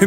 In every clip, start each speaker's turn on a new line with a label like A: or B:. A: hur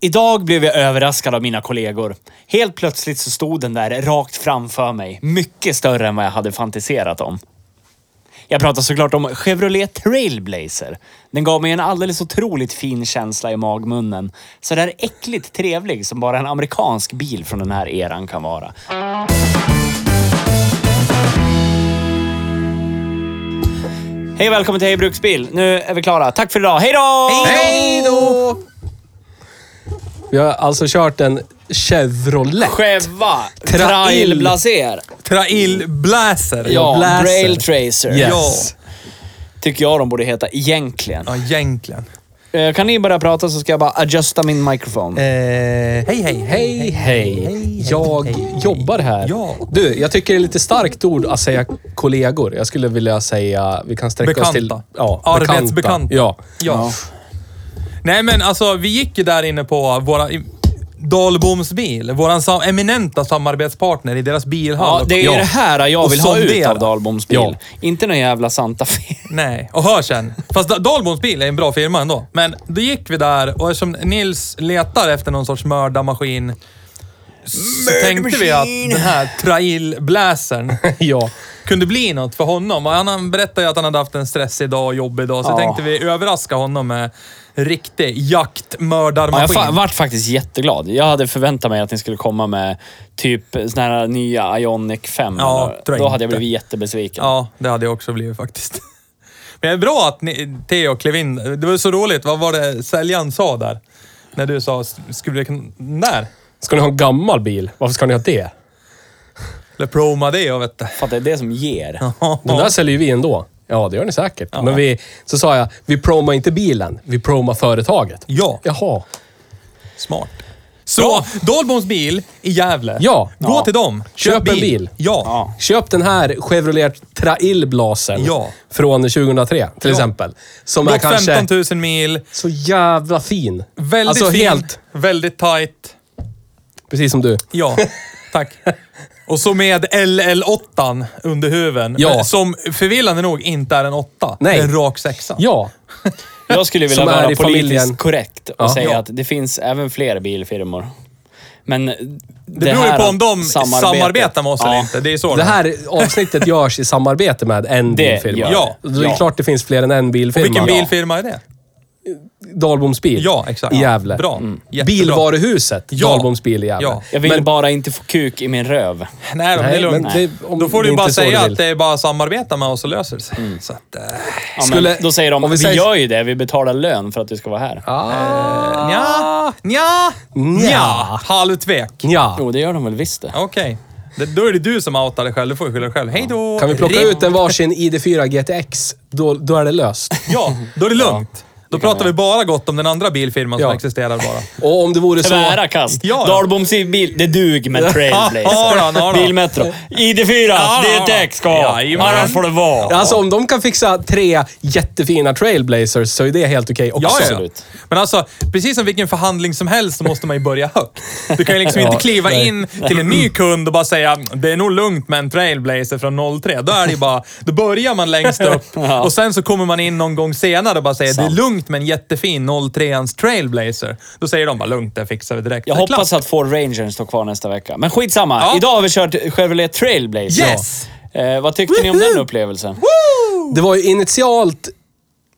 B: Idag blev jag överraskad av mina kollegor. Helt plötsligt så stod den där rakt framför mig. Mycket större än vad jag hade fantiserat om. Jag pratar såklart om Chevrolet Trailblazer. Den gav mig en alldeles otroligt fin känsla i magmunnen. Så där äckligt trevlig som bara en amerikansk bil från den här eran kan vara. Hej och välkommen till Hej Bruksbil. Nu är vi klara. Tack för idag. Hej då!
A: Hej då!
C: Vi har alltså kört en Chevrolet.
D: Cheva.
C: Trail.
D: Trailblazer.
A: Trail Blazer.
D: Ja,
C: Blazer.
D: Braille Tracer.
C: Yes.
D: Tycker jag de borde heta egentligen.
A: Ja, egentligen.
D: Eh, Kan ni börja prata så ska jag bara adjusta min mikrofon.
A: Eh, hej, hej, hej.
C: Hej, hej. Jag jobbar här.
A: Ja.
C: Du, jag tycker det är lite starkt ord att säga kollegor. Jag skulle vilja säga... Vi kan sträcka oss till...
A: Bekanta. Arbetsbekanta.
C: Ja.
A: Ja. Nej, men alltså vi gick ju där inne på våra... i- Dahlboms bil, våran sa- eminenta samarbetspartner i deras bilhall.
D: Ja, det är
A: Ja.
D: det här jag
A: Och
D: vill ha ut
A: sondera.
D: av Dahlboms bil.
C: Ja.
D: Inte någon jävla Santa Fe.
A: Nej, och hör sen. Fast Da- Dahlboms bil är en bra firma ändå. Men då gick vi där och eftersom Nils letar efter någon sorts mördarmaskin så tänkte vi att den här trailbläsern
C: ja.
A: kunde bli något för honom. Och han berättade ju att han hade haft en stressig dag och jobbig dag, så
D: Ja.
A: tänkte vi överraska honom med riktig
D: Ja, jag
A: jaktmördarmaskin.
D: fa- vart faktiskt jätteglad. Jag hade förväntat mig att ni skulle komma med typ såna här nya Ionic 5.
A: Ja,
D: eller-
A: tror jag
D: Då hade jag
A: inte.
D: blivit jättebesviken.
A: Ja, det hade jag också blivit faktiskt. Men det är bra att ni, Theo klev in. Det var så roligt. Vad var det säljaren sa där? När du sa, "S- skulle det kunna... När?
C: Ska ni ha en gammal bil? Varför ska ni ha det?
A: Eller proma det, jag vet du.
D: För att det är det som ger.
C: Den där säljer ju vi ändå. Ja, det gör ni säkert. Men vi, så sa jag, vi promar inte bilen, vi promar företaget.
A: Ja.
C: Jaha.
A: Smart. Så, Dahlboms bil i Gävle.
C: Ja.
A: Gå
C: Ja.
A: till dem.
C: Köp en bil.
A: Ja.
D: Ja.
C: Köp den här Chevrolet Trailblazern
A: Ja.
C: från 2003 till
A: Ja.
C: exempel. Som är
A: Gått
C: kanske
A: 15 000 mil.
C: så jävla fin.
A: Väldigt
C: alltså
A: fin.
C: helt,
A: Väldigt tight.
C: precis som du.
A: Ja, tack. Och så med LL8 under huven.
C: Ja.
A: men Som förvillande nog inte är en åtta.
C: Nej.
A: Det är en rak sexa.
C: Ja.
D: Jag skulle vilja
C: Som
D: vara
C: är i
D: politiskt
C: familjen.
D: korrekt och
C: Ja.
D: säga
A: Ja.
D: att det finns även fler bilfirmor. Men det,
A: Det, beror ju
D: här
A: på om de
D: samarbetet-
A: samarbetar med oss eller
D: Ja.
A: inte. Det är så
C: Det här avsnittet görs i samarbete med
D: Det
C: en bilfirma.
D: gör
A: Ja.
C: Det är
D: Ja.
C: klart det finns fler än en bilfirma.
A: Vilken
C: Ja.
A: bilfirma är det?
C: Dahlboms bil.
A: Ja, exakt.
C: I Gävle.
A: Bra. Mm. Jättebra.
C: Bilvaruhuset.
A: Ja.
C: Dahlboms bil i Gävle.
A: Ja.
D: Jag vill
C: Men-
D: bara inte få kuk i min röv.
A: Nej, då, det är
C: Nej,
A: lugnt.
C: men det- om
A: Då får
C: det
A: du
C: är
A: bara
C: inte så
A: säga
C: du vill.
A: att det är bara att samarbeta med oss och löser det sig.
D: Mm.
A: Så att, eh,
D: Ja,
C: Skulle-
D: men då säger de,
C: om
D: vi,
C: vi säger-
D: gör ju det, vi betalar lön för att du ska vara här.
C: Ah.
A: nja, nja, nja. Halvtvek.
C: Ja.
D: Jo, det gör de väl visst det.
A: Okej. Det- Då är det du som outar dig själv. Du får ju skylla dig själv. Hej då!
C: Kan vi plocka
A: Rip.
C: ut en varsin ID4 GTX, då, då är det löst.
A: Ja, då är det lugnt. Då pratar vi bara gott om den andra bilfirman som
C: Ja.
A: existerar bara.
C: Och om det vore så...
D: Tvära kast.
A: Ja.
D: Dahlboms bil, det dug med
A: Ja, ja, ja,
D: Trailblazer.
A: ja.
D: Bilmetro. ID4,
A: Ja, Ah. ja, ja.
D: Alltså, det är ett ska.
A: Jajamän.
D: Annars får det vara.
C: Alltså om de kan fixa tre jättefina trailblazers så är det helt okej också.
A: Ja, ja, ja.
D: Absolut.
A: Men alltså, precis som vilken förhandling som helst så måste man ju börja högt. Du kan ju liksom inte
C: Ja,
A: kliva
C: nej.
A: in till en ny kund och bara säga det är nog lugnt med en trailblazer från 03. Då är det ju bara, då börjar man längst upp
D: Ja.
A: och sen så kommer man in någon gång senare och bara säger det är
D: Sant.
A: lugnt med en jättefin 03ans trailblazer. Då säger de bara lugnt, det fixar vi direkt.
D: Jag
A: Det är klart.
D: hoppas att Ford Rangern står kvar nästa vecka. Men skitsamma.
A: Ja.
D: Idag har vi kört Chevrolet Trailblazer.
A: Yes!
D: Eh, vad tyckte ni om den upplevelsen?
C: Det var ju initialt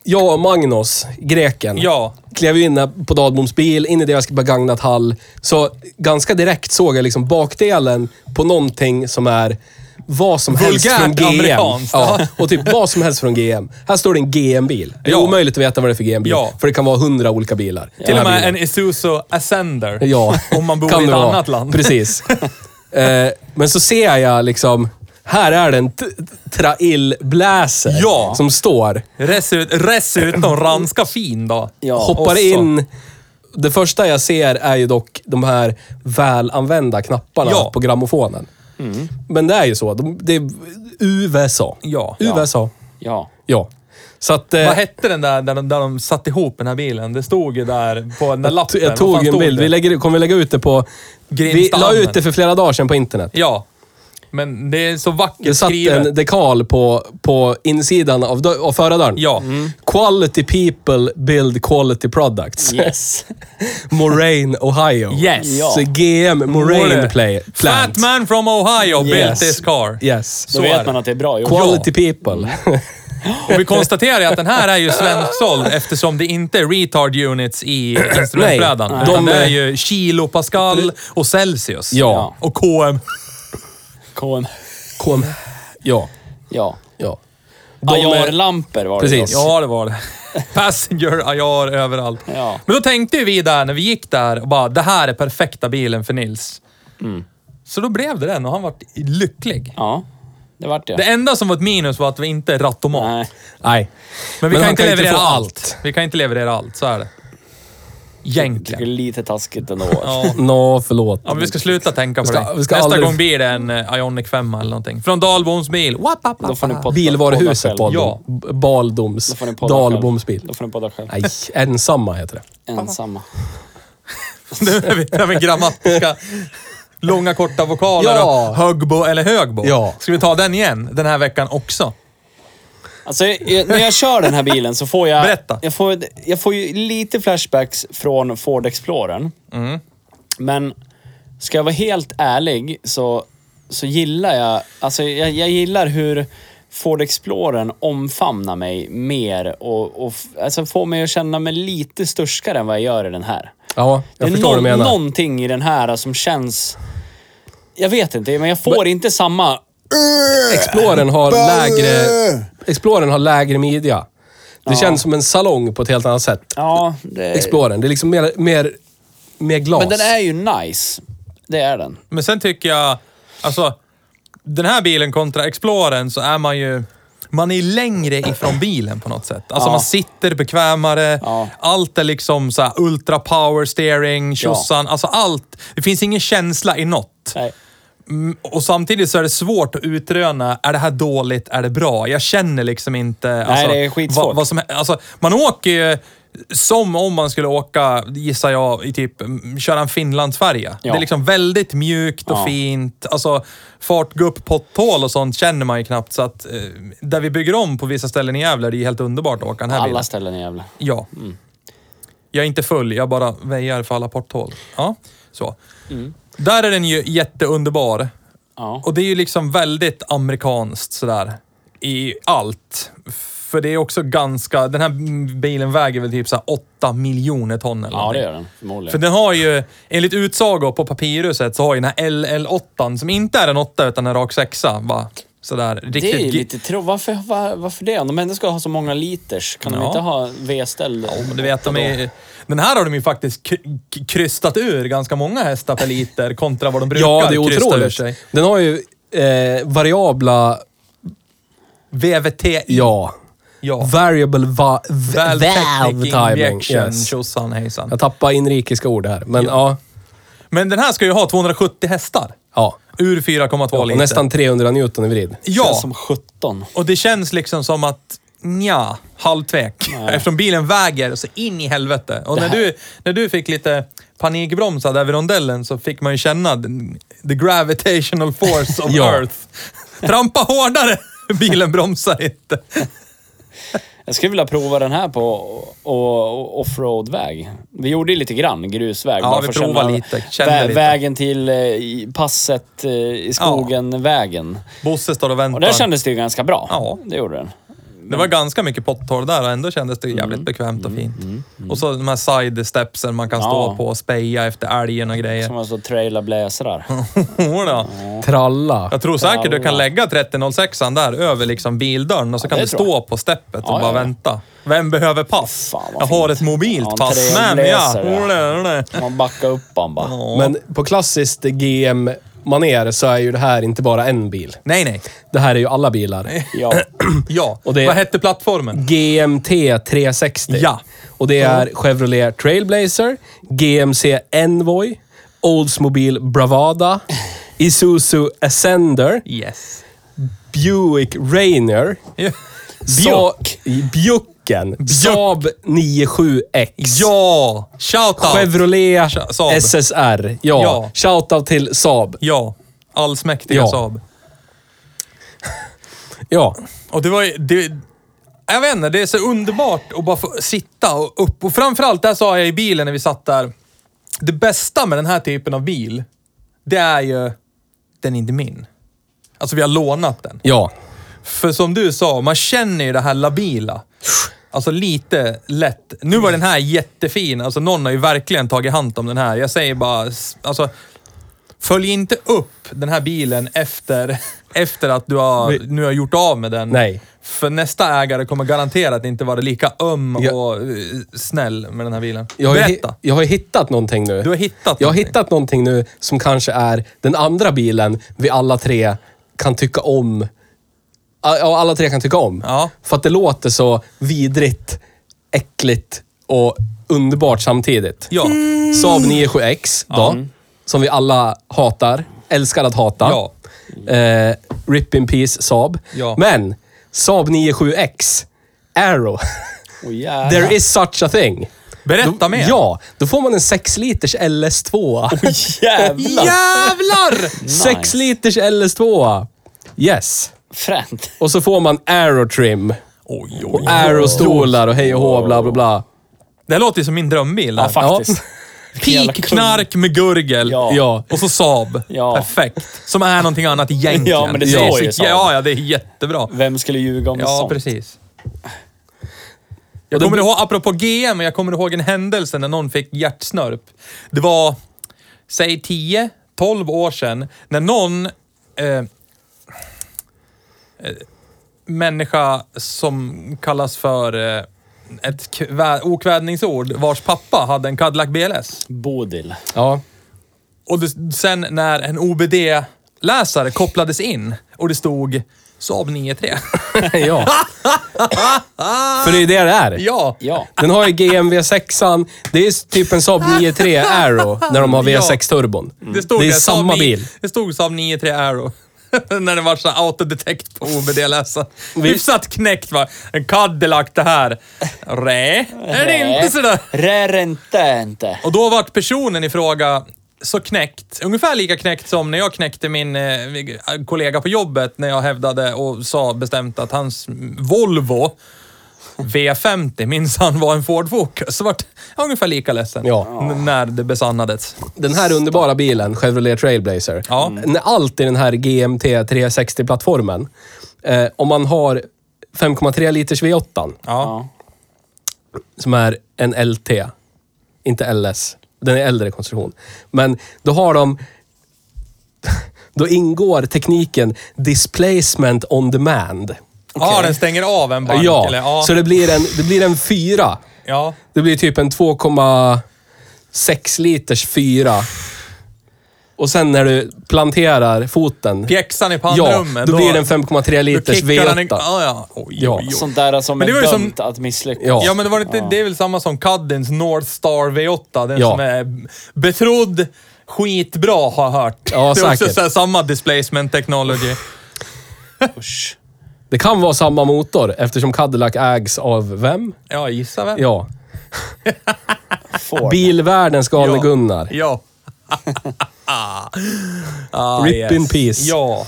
C: jag och Magnus, greken,
A: Ja.
C: klev ju in på Dadboms bil, in i deras begagnat hall. Så ganska direkt såg jag liksom bakdelen på någonting som är vad som helst
A: Vulgärt
C: från GM.
A: amerikanskt.
C: Ja, och typ vad som helst från GM. Här står det en GM-bil. Det är
A: Ja.
C: omöjligt att veta vad det är för GM-bil.
A: Ja.
C: För det kan vara hundra olika bilar.
A: Till och
C: Den här
A: med
C: bilen.
A: en Isuzu Ascender.
C: Ja.
A: Om man bor
C: Kan
A: i ett
C: det vara.
A: annat land.
C: Precis. eh, men så ser jag liksom, här är den t- trailbläser
A: Ja.
C: som står.
A: Dessutom, dessutom ranska fin då.
D: Ja.
C: hoppar
A: Och så-
C: in Det första jag ser är ju dock de här välanvända knapparna
E: Ja.
C: på grammofonen.
A: Mm.
C: Men det är ju så. De, det är USA.
E: Ja.
C: USA.
D: Ja.
C: Ja. Så att... eh,
A: Vad hette den där, där, de, där de satte ihop den här bilen? Det stod ju där på den där lappen.
C: jag
A: Vad fan
C: tog en
A: stod
C: bild.
A: det?
C: Vi lägger, kommer vi lägga ut det på... Vi la
A: Grimstahamnen.
C: ut det för flera dagar sedan på internet.
A: Ja. Men det är så
C: Det
A: vackert
C: satt
A: skrivet.
C: en dekal på, på insidan av, dö- av förardörren.
A: Ja.
C: Quality people build quality products.
D: Yes.
C: Moraine, Ohio.
A: Mm. Yes.
C: Så GM Moraine play, plant.
A: Fat man from Ohio built
C: Yes.
A: this car.
C: Yes.
D: Då vet man att det är bra gjort.
C: Quality people.
A: Och vi konstaterar ju att den här är ju svensksåld eftersom det inte är retard units i instrumentbrädan.
C: Nej.
A: utan
C: De
A: det är
C: är-
A: ju kilo pascal och Celsius.
C: Ja.
A: Och KM.
D: KM.
C: Kom. Ja.
D: Ja.
C: Ja.
D: Ah,
C: De är-
D: Ajarlampor var det
C: Precis.
D: dock.
A: Ja, det var det. Passenger, ajar, överallt.
D: Ja.
A: Men då tänkte ju vi där när vi gick där och bara, det här är perfekta bilen för Nils.
C: Mm.
A: Så då blev det den och han var lycklig.
D: Ja. Det vart det.
A: Det enda som var ett minus var att vi inte är rattomat.
D: Nej.
C: Nej.
A: Men vi kan
C: Men han
A: inte
C: kan inte
A: leverera
C: få
A: allt.
C: allt.
A: Vi kan inte leverera allt, så är det.
D: Det
A: Egentligen.
D: är lite taskigt ändå.
A: Ja.
C: Nå, förlåt.
A: Ja, men vi ska sluta tänka på
C: ska-
A: det.
C: vi ska
A: Nästa
C: aldrig-
A: gång blir det en eh, Ionic 5 eller någonting. Från Dahlboms bil. Wap, wap,
D: Då
A: wap.
D: får ni podda-
C: Bilvaruhuset
D: podda
C: på
D: själv.
C: ja. Baldoms.
D: Då får ni podda själv.
C: Dalbomsbil.
D: Då får ni podda själv.
C: Nej, ensamma heter det.
D: Ensamma.
A: Nu är vi- nu är vi grammatiska. Långa korta vokaler
C: Ja.
A: och högbo eller högbo.
C: Ja.
A: Ska vi ta den igen den här veckan också?
D: Alltså, jag, när jag kör den här bilen så får jag...
A: Berätta.
D: Jag får, jag får ju lite flashbacks från Ford Explorern.
C: Mm.
D: Men ska jag vara helt ärlig så, så gillar jag... Alltså, jag, jag gillar hur Ford Explorern omfamnar mig mer och, och f- alltså, får mig att känna mig lite störskare än vad jag gör i den här.
C: Ja, jag
D: det är
C: förstår vad du menar.
D: någonting i den här som känns... Jag vet inte, men jag får inte samma...
C: Exploren har lägre... Exploren har lägre midja. Det känns som en salong på ett helt annat sätt.
D: Ja, det,
C: Exploren. Det är liksom mer, mer, mer glas.
D: men den är ju nice. Det är den.
A: Men sen tycker jag, alltså den här bilen kontra Explorern så är man ju man är längre ifrån bilen på något sätt. Alltså
D: Ja.
A: man sitter bekvämare.
D: Ja.
A: Allt är liksom så här ultra power steering, tjosan. Alltså allt. Det finns ingen känsla i något.
D: Nej.
A: Mm, Och samtidigt så är det svårt att utröna, är det här dåligt, är det bra? Jag känner liksom inte... Alltså,
D: det är skitsvårt.
A: Vad, vad som, alltså, man åker ju som om man skulle åka, gissar jag, i typ, mm, köra en Finlandsfärja.
D: Ja.
A: Det är liksom väldigt mjukt och
D: Ja.
A: fint. Alltså, fartgupp, potthål och sånt känner man ju knappt. Så att, eh, där vi bygger om på vissa ställen i Gävle, det är ju helt underbart att åka den här bilen.
D: Alla ställen i Gävle.
A: Ja.
D: Mm.
A: Jag är inte full, jag bara väjar för alla porthål. Ja, så. Där är den ju jätteunderbar.
D: Mm. Ja.
A: Och det är ju liksom väldigt amerikanskt sådär. I allt. För det är också ganska... Den här bilen väger väl typ så här 8 miljoner ton eller
D: Ja, det
A: någonting.
D: gör den.
A: För
D: Förmodligen.
A: den har ju, enligt utsago på papyruset, så har ju den här LL8, som inte är en 8 utan en rak sexa, va? Sådär riktigt...
D: Det är ju
A: gi-
D: lite tro. Varför, var, varför det? Om de ändå ska ha så många liters, kan de
A: Ja.
D: inte ha V-ställ?
A: Ja, men du vet, de är, den här har de ju faktiskt k- k- krystat ur ganska många hästar per liter kontra vad de brukar
C: ja, det är
A: krysta ur
C: otroligt.
A: sig.
C: Den har ju eh, variabla...
A: VVT,
C: Ja.
A: ja.
C: Variable va,
A: Val
C: v, valve
A: Technic
C: timing.
A: Injection,
C: Yes.
A: tjosan hejsan.
C: Jag tappar inrikesska ord här, men ja.
A: Men den här ska ju ha 270 hästar.
C: ja.
A: Ur 4,2
C: Och
A: liter.
C: nästan 300 Newton i vrid.
D: Känns
A: Ja,
D: som 17.
A: och det känns liksom som att nja, halvtvek. Eftersom bilen väger så in i helvete. Och när du, när du fick lite panikbromsad över rondellen så fick man ju känna den- the gravitational force of
C: Ja.
A: earth. Trampa hårdare! Bilen bromsar inte.
D: Jag skulle vilja prova den här på och- och offroad-väg. Vi gjorde ju lite grann grusväg.
A: Ja,
D: bara
A: vi
D: för att
A: provade
D: känna
A: lite, kände lite.
D: Vägen till eh, i passet, eh, i skogen, vägen.
A: Bosse står och väntar.
D: Och där kändes det ju ganska bra.
A: Ja.
D: Det gjorde den.
A: Det var ganska mycket potthål där och ändå kändes det jävligt bekvämt och fint. Och så de här side stepsen man kan stå
D: Ja.
A: på och speja efter älgen och
D: Som
A: grejer.
D: alltså traila bläsrar.
A: Jodå.
C: Tralla.
A: Jag tror säkert du kan lägga 3006 där över liksom bildörren och så kan
D: det
A: du
D: tror jag.
A: stå på steppet och
D: Ja,
A: bara
D: ja, ja.
A: vänta. Vem behöver pass?
D: Fan, vad
A: jag har
D: fint.
A: ett mobilt
D: Ja, en
A: pass med mig. Ja.
D: trevlig läsare.
A: Jodå, jodå.
D: Man backar upp han bara.
C: Men på klassiskt GM-manér så är ju det här inte bara en bil.
A: Nej, nej.
C: Det här är ju alla bilar.
D: Ja.
A: Ja.
C: Och det-
A: Vad hette plattformen?
C: GMT 360.
A: Ja.
C: Och det är Chevrolet Trailblazer, GMC Envoy, Oldsmobile Bravada, Isuzu Ascender,
A: Yes.
C: Buick Rainer, Sa- Bjucken, Saab 97X.
A: Ja! Shout out!
C: Chevrolet
A: Sa- Saab.
C: SSR. Ja.
A: Ja.
C: Shoutout till Saab.
A: Ja. Allsmäktiga
C: Ja.
A: Saab.
C: Ja.
A: Och det var ju- det, Jag vet inte, det är så underbart att bara få sitta och upp. Och framförallt, det här sa jag i bilen när vi satt där. Det bästa med den här typen av bil, det är ju... Den är inte min. Alltså vi har lånat den.
C: Ja.
A: För som du sa, man känner ju det här labila. Alltså lite lätt. Nu var den här jättefin. Alltså någon har ju verkligen tagit hand om den här. Jag säger bara, s- alltså följ inte upp den här bilen efter, efter att du har, nu har gjort av med den.
C: Nej.
A: För nästa ägare kommer garanterat inte vara lika öm
C: Ja.
A: och eh, snäll med den här bilen.
C: Jag har, ju hi-
A: Berätta.
C: jag har ju hittat någonting nu.
A: Du har hittat
C: Jag har
A: någonting.
C: hittat någonting nu som kanske är den andra bilen vi alla tre kan tycka om. Ja, ja, alla tre kan tycka om.
A: Ja.
C: För att det låter så vidrigt, äckligt och underbart samtidigt. Mm.
A: Ja.
C: Saab 97X då, som vi alla hatar, älskar att hata.
A: Ja.
C: Eh, rip in peace Saab.
A: Ja.
C: Men Saab 97X, Arrow,
D: Oh, jävlar.
C: there is such a thing.
A: Berätta
C: då,
A: mer.
C: Ja, då får man en 6 liters LS2.
D: Jävlar!
A: Jävlar!
C: 6 liters LS2. Yes.
D: Fränt.
C: Och så får man Aero trim.
A: Oj,
C: Och
A: oj.
C: Aero-stolar och hej och hå, bla bla bla.
A: Det här låter ju som min drömbil. här.
D: Ja, faktiskt. jävla
A: Peak
D: kung.
A: knark med gurgel.
D: Ja.
C: Ja.
A: Och så Saab.
D: Ja.
A: Perfekt. Som är någonting annat egentligen.
D: Ja, men det står ju
A: är så-
D: Saab.
A: Ja, ja, det är jättebra.
D: Vem skulle ljuga om
A: Ja,
D: sånt?
A: precis. Jag kommer ihåg, apropå GM, jag kommer ihåg en händelse när någon fick hjärtsnörp. Det var, säg 10, 12 år sedan, när någon eh, eh, människa som kallas för eh, ett kvä- okvädningsord, vars pappa hade en Cadillac BLS.
D: Bodil.
C: Ja.
A: Och det, sen när en OBD-läsare kopplades in och det stod Saab 93.
C: ja. För det är det det är.
A: ja.
D: Ja.
C: Den har ju GM V6an. Det är typ en Saab 9.3 Aero när de har V6 turbon.
A: Det, stod
C: det är
A: där, Saab
C: samma
A: ni-
C: bil.
A: Det stod Saab 93 Arrow. När det var så här autodetect på OBD-läsaren. Hyfsat knäckt va. En Cadillac det här. Rä, är det inte sådär?
D: Rör inte, inte.
A: Och då vart personen i fråga så knäckt, ungefär lika knäckt som när jag knäckte min eh, kollega på jobbet när jag hävdade och sa bestämt att hans Volvo V50 minsann var en Ford Focus. Så vart jag ungefär lika ledsen
C: Ja.
A: n- när det besannades.
C: Den här underbara bilen, Chevrolet Trailblazer.
A: Ja.
C: Mm. Allt i den här GMT 360-plattformen. Eh, om man har 5,3 liters V8
A: Ja.
C: som är en LT. Inte LS. Den är äldre konstruktion. Men då har de... Då ingår tekniken displacement on demand.
A: Ja, den stänger av en bank.
C: ja,
A: Eller, ja.
C: så det blir, en, det blir en fyra.
A: ja.
C: Det blir typ en 2,6 liters fyra. Och sen när du planterar foten.
A: Pjäxan i
C: ja,
A: pannrummet.
C: då blir det en 5,3
A: då
C: liters
A: kickar den en-
C: V8.
A: Ja, ja. Oj,
C: Ja.
A: oj, oj.
D: Sånt där som
A: Men det
D: är
A: var ju som-
D: dömt att misslyckas.
C: Ja.
A: Ja, men det, var inte, det är väl samma som Cuddens North Star V8. Den
C: Ja.
A: som är betrodd, skitbra har jag hört.
C: Ja,
A: det är också
C: säkert.
A: så här, samma displacement technology.
D: Usch.
C: Det kan vara samma motor eftersom Cadillac ägs av vem?
A: Ja, gissa vem?
C: Ja,
D: Ford.
C: Bilvärldens galne Gunnar.
A: Ja. Ah,
C: Rip in peace.
A: Ja,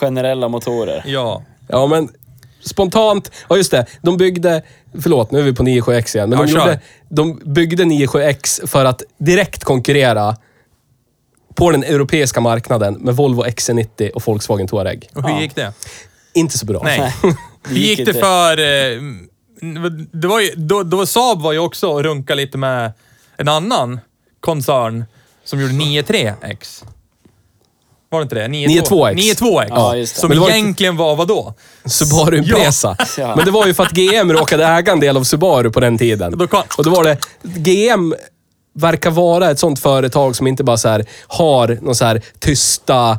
D: Generella motorer.
A: ja.
C: Ja, men spontant. Ja, just det. De byggde... Förlåt, nu är vi på 97X igen. Men
A: Ja,
C: de,
A: kör.
C: gjorde, de byggde 97X för att direkt konkurrera på den europeiska marknaden med Volvo XC90 och Volkswagen Touareg.
A: Och hur gick det?
C: Inte så bra.
A: Nej. Hur
D: gick
A: gick det
D: inte.
A: för... eh, mm, Det var ju, då, då Saab var ju också och runka lite med en annan koncern som gjorde 93X. Var det inte det?
C: 92X.
A: 92X.
D: Ja, just det.
A: Som
C: Men det var inte-
A: egentligen var vadå?
C: Subaru Impresa.
D: Ja.
C: Men det var ju för att GM råkade äga en del av Subaru på den tiden.
A: Då kom-
C: Och då var det... GM verkar vara ett sånt företag som inte bara så här har någon så här tysta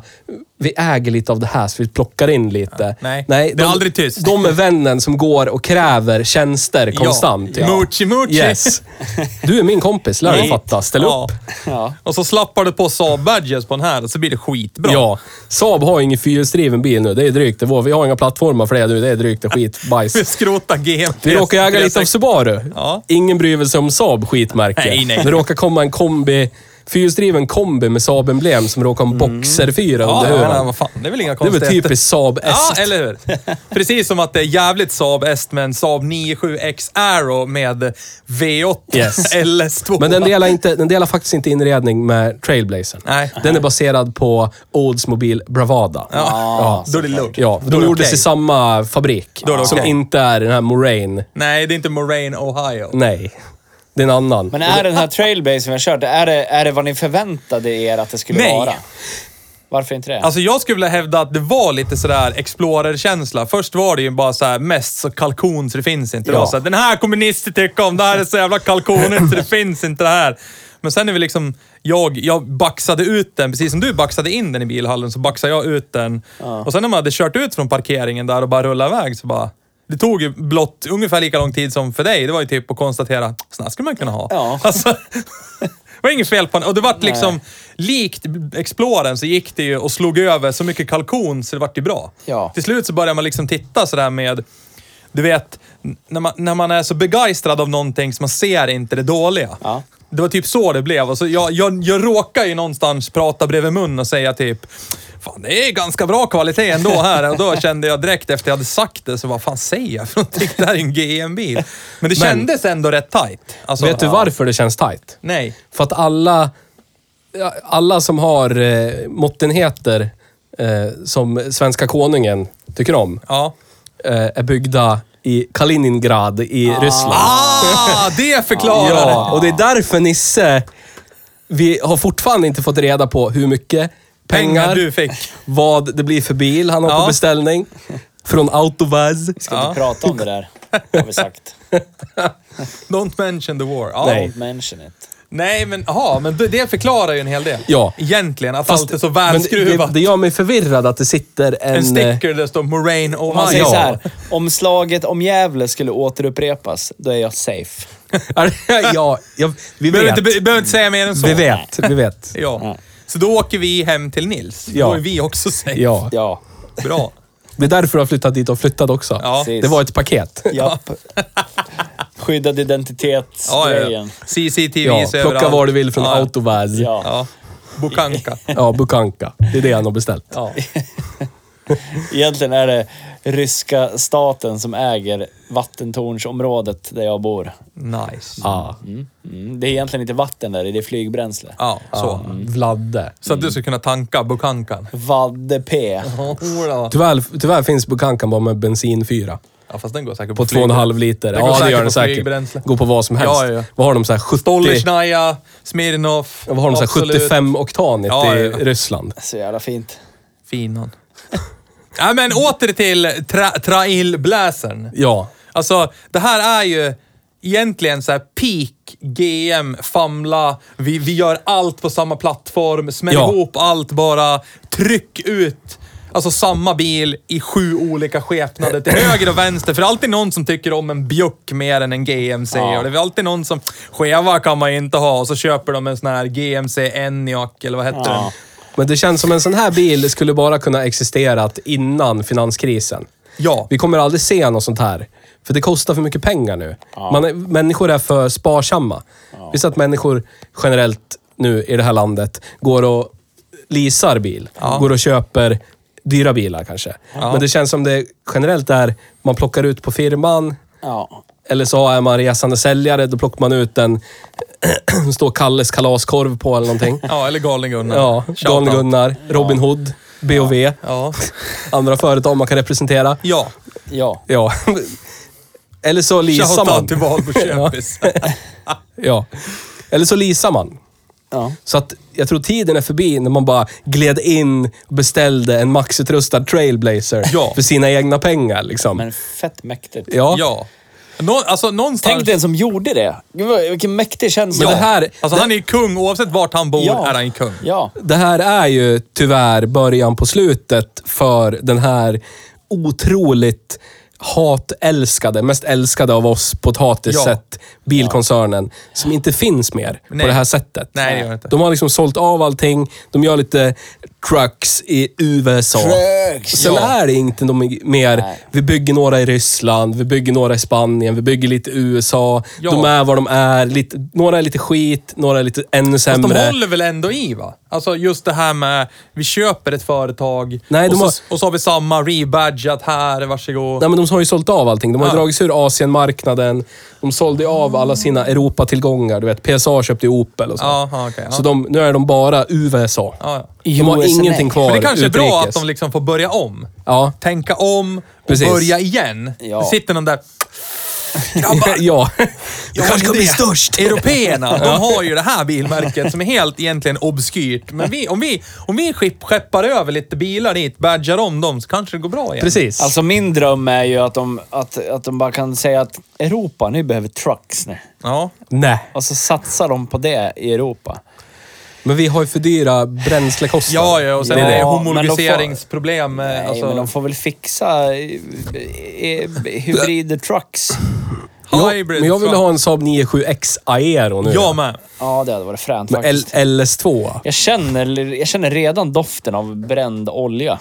C: vi äger lite av det här så vi plockar in lite.
A: nej. Det är aldrig tyst.
C: De är vännen som går och kräver tjänster konstant.
A: Ja. Muchi, muchi.
C: Yes. Du är min kompis, lär dig fatta. Ställ
A: Ja.
C: upp.
D: Ja.
A: Och så slappar du på Saab-badges på den här och så blir det skitbra.
C: Ja. Saab har ju ingen fyrhjulsdriven bil nu. Det är drygt. Det var, vi har inga plattformar för det nu. Det är drygt. Det är skit.
A: Vi
C: Bajs.
A: skrotar GM.
C: Vi råkar äga lite av Subaru.
A: Ja.
C: Ingen bryr sig om Saab skitmärke.
A: Nej, nej.
C: Det råkar komma en kombi, fyrhjulsdriven kombi med Saab-emblem som råkar ha en Boxer 4
A: Mm. Ja,
C: under
A: ja, men,
C: huvan.
A: vad fan. Det är väl inga
C: Det är väl
A: konstigheter.
C: typiskt Saab S.
A: Ja, eller hur? Precis som att det är jävligt Saab S med en Saab 97X Aero med V8
C: Yes.
A: LS2.
C: Men den delar, inte, den delar faktiskt inte inredning med Trailblazern.
A: Nej.
C: Den är baserad på Oldsmobile Bravada.
A: Ja, då är det lugnt.
C: Ja,
A: Då är
C: de
A: det
C: gjordes
A: okej.
C: i samma fabrik.
A: Då är det
C: Som
A: okej.
C: inte är den här Moraine.
A: Nej, det är inte Moraine, Ohio.
C: Nej. Det är en annan.
D: Men är den här trailbase som jag kört, är det, är det vad ni förväntade er att det skulle
A: Nej.
D: vara? Varför inte det?
A: Alltså jag skulle vilja hävda att det var lite sådär Explorer-känsla. Först var det ju bara så här mest så kalkon så det finns inte. Det
C: Ja.
A: var så här, den här kommer Nisse tycka om, det här är så jävla kalkonigt så det finns inte det här. Men sen är vi liksom, jag, jag baxade ut den, precis som du baxade in den i bilhallen så baxade jag ut den. Och sen när man hade kört ut från parkeringen där och bara rullade iväg så bara... Det tog ju blott ungefär lika lång tid som för dig. Det var ju typ att konstatera, sån här skulle man kunna ha.
D: Ja.
A: Alltså, det var inget fel på den. Och det vart liksom, likt Exploren så gick det ju och slog över så mycket kalkon så det vart ju bra.
D: Ja.
A: Till slut så började man liksom titta sådär med, du vet, n- när man, när man är så begeistrad av någonting så man ser inte det dåliga.
D: Ja.
A: Det var typ så det blev. Och så jag, jag, jag råkar ju någonstans prata bredvid mun och säga typ Fan, det är ganska bra kvalitet ändå här. Och då kände jag direkt efter jag hade sagt det, så vad fan säger jag för någonting? Det här är ju en GM-bil. Men det
C: Men-
A: kändes ändå rätt tight. Alltså,
C: Vet du varför det känns tight?
A: Nej.
C: För att alla, ja, alla som har eh, måttenheter eh, som svenska konungen tycker om
A: Ja.
C: eh, är byggda i Kaliningrad i Ryssland.
A: Ah, det förklarar
C: Ja, och det är därför Nisse... Vi har fortfarande inte fått reda på hur mycket pengar,
A: Pengar du fick.
C: vad det blir för bil han har
A: Ja.
C: på beställning. Från Autovaz.
D: Ska inte prata om det där, har vi sagt.
A: Don't mention the war. Ja.
C: Nej.
A: Nej.
D: Don't mention it.
A: men aha, men det- det förklarar ju en hel del.
C: Ja.
A: Egentligen, att
C: Fast-
A: allt är så
C: men det, det,
A: välskruvat.
C: det gör mig förvirrad att det sitter en...
A: en sticker där det står Moraine Ohio.
D: Man eh, säger
C: Ja.
D: så här, om slaget om Gävle skulle återupprepas, då är jag safe.
C: eh, ja, jag, vi
A: Behöver
C: vet.
A: inte, be- behöver inte säga mer än så.
C: Vi vet, vi vet.
A: Ja. Så då åker vi hem till Nils.
C: Ja.
A: Då är vi också safe.
C: Ja.
D: Ja.
A: Bra.
C: Det är därför du har flyttat dit och flyttat också.
A: Ja.
C: Det var ett paket.
D: Japp. Skyddad
A: Ja, ja, ja.
D: identitetsgrejen.
C: Ja,
A: CCTVs
C: plocka vad du vill från
A: ja.
C: Autovaz. Ja.
D: Ja.
A: Ja. Bukanka.
C: Bukanka. Det är det han har beställt.
A: Ja.
D: Egentligen är det ryska staten som äger vattentornsområdet där jag bor.
A: Nice.
C: Ah,
D: Mm. Det är egentligen inte vatten där, det är flygbränsle.
A: Ja, så.
C: Vladde.
A: Så att du ska kunna tanka bukankan.
D: Vadde P.
A: Ja,
C: Tyvärr, tyvärr finns Bukankan bara med bensinfyra.
A: fast den går säkert
C: På två och en halv liter.
A: Det går
C: Ja, det
A: säkert
C: gör
A: på
C: den
A: flygbränsle.
C: säkert. Går på vad som helst.
A: Ja, ja, ja.
C: Vad har de så här 70...
A: Dollersnaja, Smirnoff.
C: Vad har de så här
A: Absolut.
C: 75 oktanigt
A: Ja,
C: i
A: ja, ja.
C: Ryssland?
D: Så jävla fint.
A: Finon. Nej, men åter till tra trailblazern.
C: Ja.
A: Alltså, det här är ju egentligen så här peak GM, famla, vi, vi gör allt på samma plattform, smäll
C: Ja.
A: ihop allt bara, tryck ut. Alltså samma bil i sju olika skepnader till höger och vänster. För det är alltid någon som tycker om en Bjuck mer än en GMC. Och det är alltid någon som... Cheva kan man ju inte ha. Och så köper de en sån här GMC Enyaq, eller vad heter den?
C: Men det känns som en sån här bil skulle bara kunna existerat innan finanskrisen.
A: Ja.
C: Vi kommer aldrig se något sånt här. För det kostar för mycket pengar nu. Man är, människor är för sparsamma. Visst att människor generellt nu i det här landet går och leasar bil. Går och köper dyra bilar kanske. Men det känns som det generellt är, man plockar ut på firman.
D: Ja.
C: Eller så är man resande säljare, då plockar man ut en... står Kalles kalaskorv på eller någonting.
A: Ja, eller Galning Gunnar.
C: Ja,
A: Shout out.
C: Galne-Gunnar, Robin Hood, B&V.
A: Ja.
C: Andra företag man kan representera.
A: Ja.
D: Ja.
C: Ja. Eller så leasar
A: Shoutout
C: man.
A: till Valbo Köpis.
C: Ja. Eller så leasar man.
D: ja.
C: Så att jag tror tiden är förbi när man bara gled in och beställde en maxutrustad trailblazer
A: Ja.
C: för sina egna pengar. Liksom.
D: Men fett mäktigt.
C: ja.
A: Ja. Nå, alltså någonstans...
D: Tänk den som gjorde det. Gud, vad- Vilken mäktig känsla.
A: ja.
C: det här-
A: alltså, han är kung. Oavsett vart han bor
D: Ja.
A: är han kung.
D: Ja.
C: Det här är ju tyvärr början på slutet för den här otroligt hatälskade, mest älskade av oss
A: Ja.
C: potatissätt, sätt bilkoncernen, som inte finns mer
A: Nej.
C: på det här sättet.
A: Nej, det gör det inte.
C: De har liksom sålt av allting. De gör lite trucks i USA.
D: Trucks,
C: Sen
D: ja.
C: är det inte de mer,
D: Nej.
C: vi bygger några i Ryssland, vi bygger några i Spanien, vi bygger lite i USA.
A: Ja.
C: De är vad de är. Lite, några är lite skit, några är lite ännu
A: Fast
C: sämre.
A: de håller väl ändå i va? Alltså just det här med, vi köper ett företag
C: Nej,
A: och,
C: de
A: så,
C: har-
A: och så har vi samma rebadgat här, varsågod.
C: Nej, men de har ju sålt av allting. De har
A: Ja.
C: ja. dragits ur Asienmarknaden. De sålde ju av alla sina Europatillgångar. Du vet, PSA köpte ju Opel och så.
A: Jaha, okej, ja.
C: Så de, nu är de bara USA.
A: Ja, ja.
C: De har
D: USA.
C: ingenting kvar
A: Men det kanske är bra att
C: utrikes.
A: de liksom får börja om.
C: Ja.
A: Tänka om och
C: Precis.
A: börja igen.
D: Ja.
A: Det sitter någon där... Grabbar,
C: ja.
A: jag kanske ska bli störst. Européerna, de har ju det här bilmärket som är helt egentligen obskyrt. Men vi, om vi, om vi skipp, skeppar över lite bilar dit, badgar om dem, så kanske det går bra igen.
C: Precis.
D: Alltså min dröm är ju att de, att, att de bara kan säga att Europa, ni behöver trucks nu.
A: Ja.
C: Nej.
D: Och så Alltså, satsar de på det i Europa.
C: Men vi har ju för dyra bränslekostnader.
A: Ja, ja, och sen
D: Ja,
A: är det
D: men de får-
A: homologiseringsproblem.
D: Nej,
A: alltså,
D: men de får väl fixa eh, eh, hybrid-trucks.
C: Ja,
A: hybrid
C: men jag ville
A: truck.
C: ha en Saab 97X Aero nu.
A: Jag med.
D: Ja, det hade varit fränt
C: Med L-
D: faktiskt.
C: LS2.
D: Jag känner, jag känner redan doften av bränd olja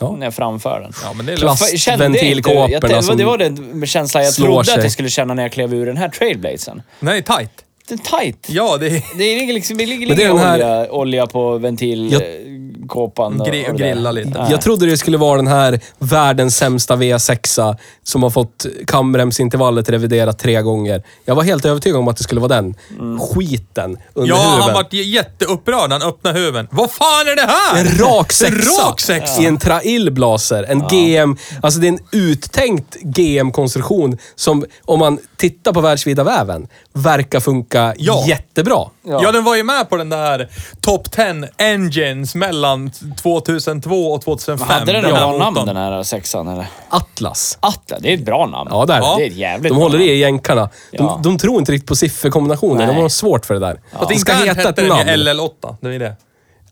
C: Ja.
D: när jag framför den.
A: Ja, men det är
C: Klass.
D: Fa- kände jag inte- jag-
C: Ventilkåporna
D: det,
C: som
D: det var den känslan jag
C: slår
D: trodde att
C: sig.
D: jag skulle känna när jag klev ur den här trailblazen.
A: Nej, tight.
D: Den är tight.
A: Ja, det är...
D: Det ligger liksom det ligger
C: Men det är
D: ingen
C: den här-
D: olja, olja på ventilkåpan. och-
A: Gri-
D: och det där.
A: grilla lite.
D: Nej.
C: Jag trodde det skulle vara den här världens sämsta V6 som har fått kamremsintervallet reviderat tre gånger. Jag var helt övertygad om att det skulle vara den. Skiten under
A: Ja,
C: huven.
A: han vart jätteupprörd. Han öppnade huven. Vad fan är det här?
C: En rak sexa!
A: Rak sexa!
C: I en trailblaser. En GM. Alltså det är en uttänkt GM-konstruktion som, om man tittar på världsvida väven, verkar funka
A: Ja.
C: jättebra.
A: Ja. den var ju med på den där Top 10 Engines mellan 2002 och 2005.
D: Hade den
A: Den här
D: bra namn
A: motorn.
D: den här sexan eller?
C: Atlas.
D: Atla, det är ett bra namn.
C: Ja, där.
D: Ja. Det är ett jävligt
C: de
D: bra
C: håller
D: namn.
C: i jänkarna. De,
D: Ja.
C: de tror inte riktigt på sifferkombinationer. De
D: Nej.
C: har svårt för det där.
A: Fast
C: Det ska
A: internt
C: heta ett
A: hette den ju
C: namn.
A: LL8. Det är det.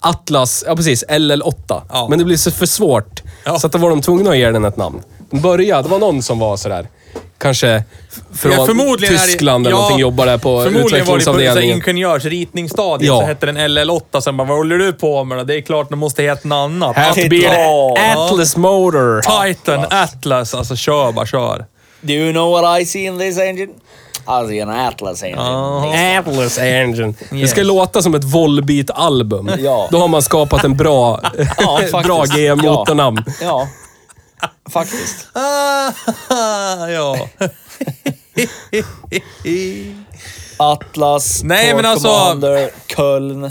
C: Atlas, ja precis, LL8.
A: Ja.
C: Men det blev så för svårt.
A: Ja.
C: Så att då var de tvungna att ge den ett namn. De började, det var någon som var sådär, kanske f- från
A: Ja, förmodligen är det-
C: Tyskland eller
A: ja,
C: någonting, jobbar där på
A: Förmodligen var det på så här
C: utvecklingsavdelningen.
A: ingenjörsritningsstadiet
C: Ja.
A: så hette den LL8. Sen bara, vad håller du på med då? Det är klart, de måste heta något annat.
C: Här
A: Atlas.
C: blir det
A: Ja.
C: Atlas Motor.
A: Titan, Atlas. Alltså kör bara, kör.
D: Do you know what I see in this engine? Alltså, I see an Atlas engine.
C: Atlas Engine. Det
A: Yes.
C: ska låta som ett Volbeat-album.
D: Ja.
C: Då har man skapat en bra,
D: Ja, faktiskt.
C: bra GM-motornamn.
D: Ja, faktiskt.
A: Ah, ja.
D: Atlas,
A: Nej,
D: Ford
A: men alltså-
D: Commander, Köln.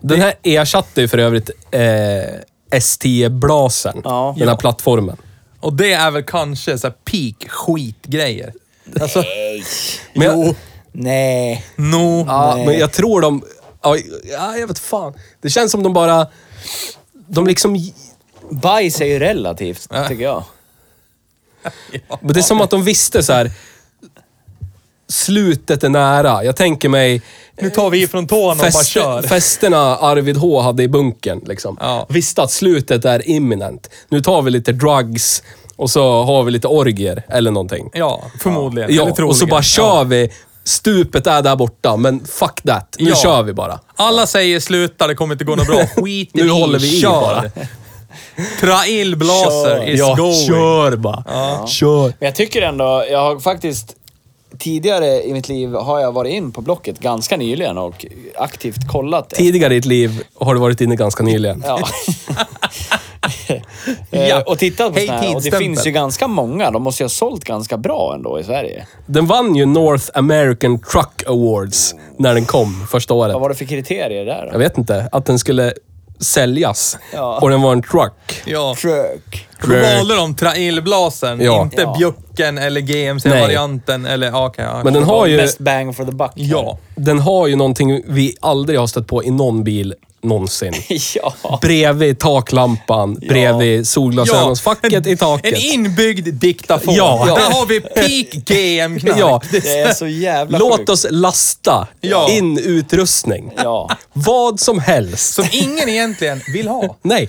C: Den här ersatte ju för övrigt eh, ST-blasen.
D: Ja.
C: Den här plattformen.
A: Och det är väl kanske så här peak skitgrejer. Alltså,
D: Nej.
C: Men jag,
D: Nej.
A: no.
C: ja, men jag tror de... Ja, ja, jag vet fan. Det känns som de bara... De liksom...
D: Bajs är ju relativt, tycker jag.
C: men Det är som att de visste så här. Slutet är nära. Jag tänker mig...
A: Nu tar vi ifrån tån och bara
C: Fest,
A: kör.
C: festerna Arvid H hade i bunkern. Liksom.
A: Ja.
C: Visste att slutet är imminent. Nu tar vi lite drugs och så har vi lite orgier eller någonting.
A: Ja, förmodligen.
C: Ja,
A: Eller troligen.
C: och så bara kör
A: Ja.
C: vi. Stupet är där borta, men fuck that. Nu
A: Ja.
C: kör vi bara.
A: Alla säger sluta, det kommer inte gå något bra. Skit i
C: Nu
A: det,
C: håller vi i
A: kör.
C: bara.
A: Trail Blaser
D: Kör.
A: is
C: ja,
A: going.
C: kör bara. Kör.
D: Men jag tycker ändå, jag har faktiskt tidigare i mitt liv har jag varit in på Blocket ganska nyligen och aktivt kollat det.
C: Tidigare i ditt liv har du varit inne ganska nyligen.
D: Ja.
A: Ja.
D: Eh, Och tittat på
A: Hej,
D: såna här, och det
A: tidsstämpel.
D: finns ju ganska många. De måste ju ha sålt ganska bra ändå i Sverige.
C: Den vann ju North American Truck Awards när den kom första året.
D: Vad var det för kriterier där
C: Jag
D: då?
C: vet inte. Att den skulle säljas.
D: Ja.
C: Och den var en truck.
A: Ja.
D: Truck.
A: Då valde de Trail Blasern,
C: Ja.
A: inte
D: Ja.
A: Bjucken eller GMC-varianten. Eller, ja, okej, ja.
C: Men den har ju,
D: Best bang for the buck.
A: Ja.
C: den har ju någonting vi aldrig har stött på i någon bil någonsin.
D: ja.
C: Bredvid taklampan, bredvid solglasögonsfacket i taket.
A: En inbyggd diktafon.
C: Ja.
A: Där har vi peak GM-knark.
C: Ja.
D: Det är så jävla
C: Låt
D: sjukt.
C: oss lasta
A: Ja.
C: in utrustning.
D: Ja.
C: Vad som helst.
A: Som ingen egentligen vill ha.
C: Nej,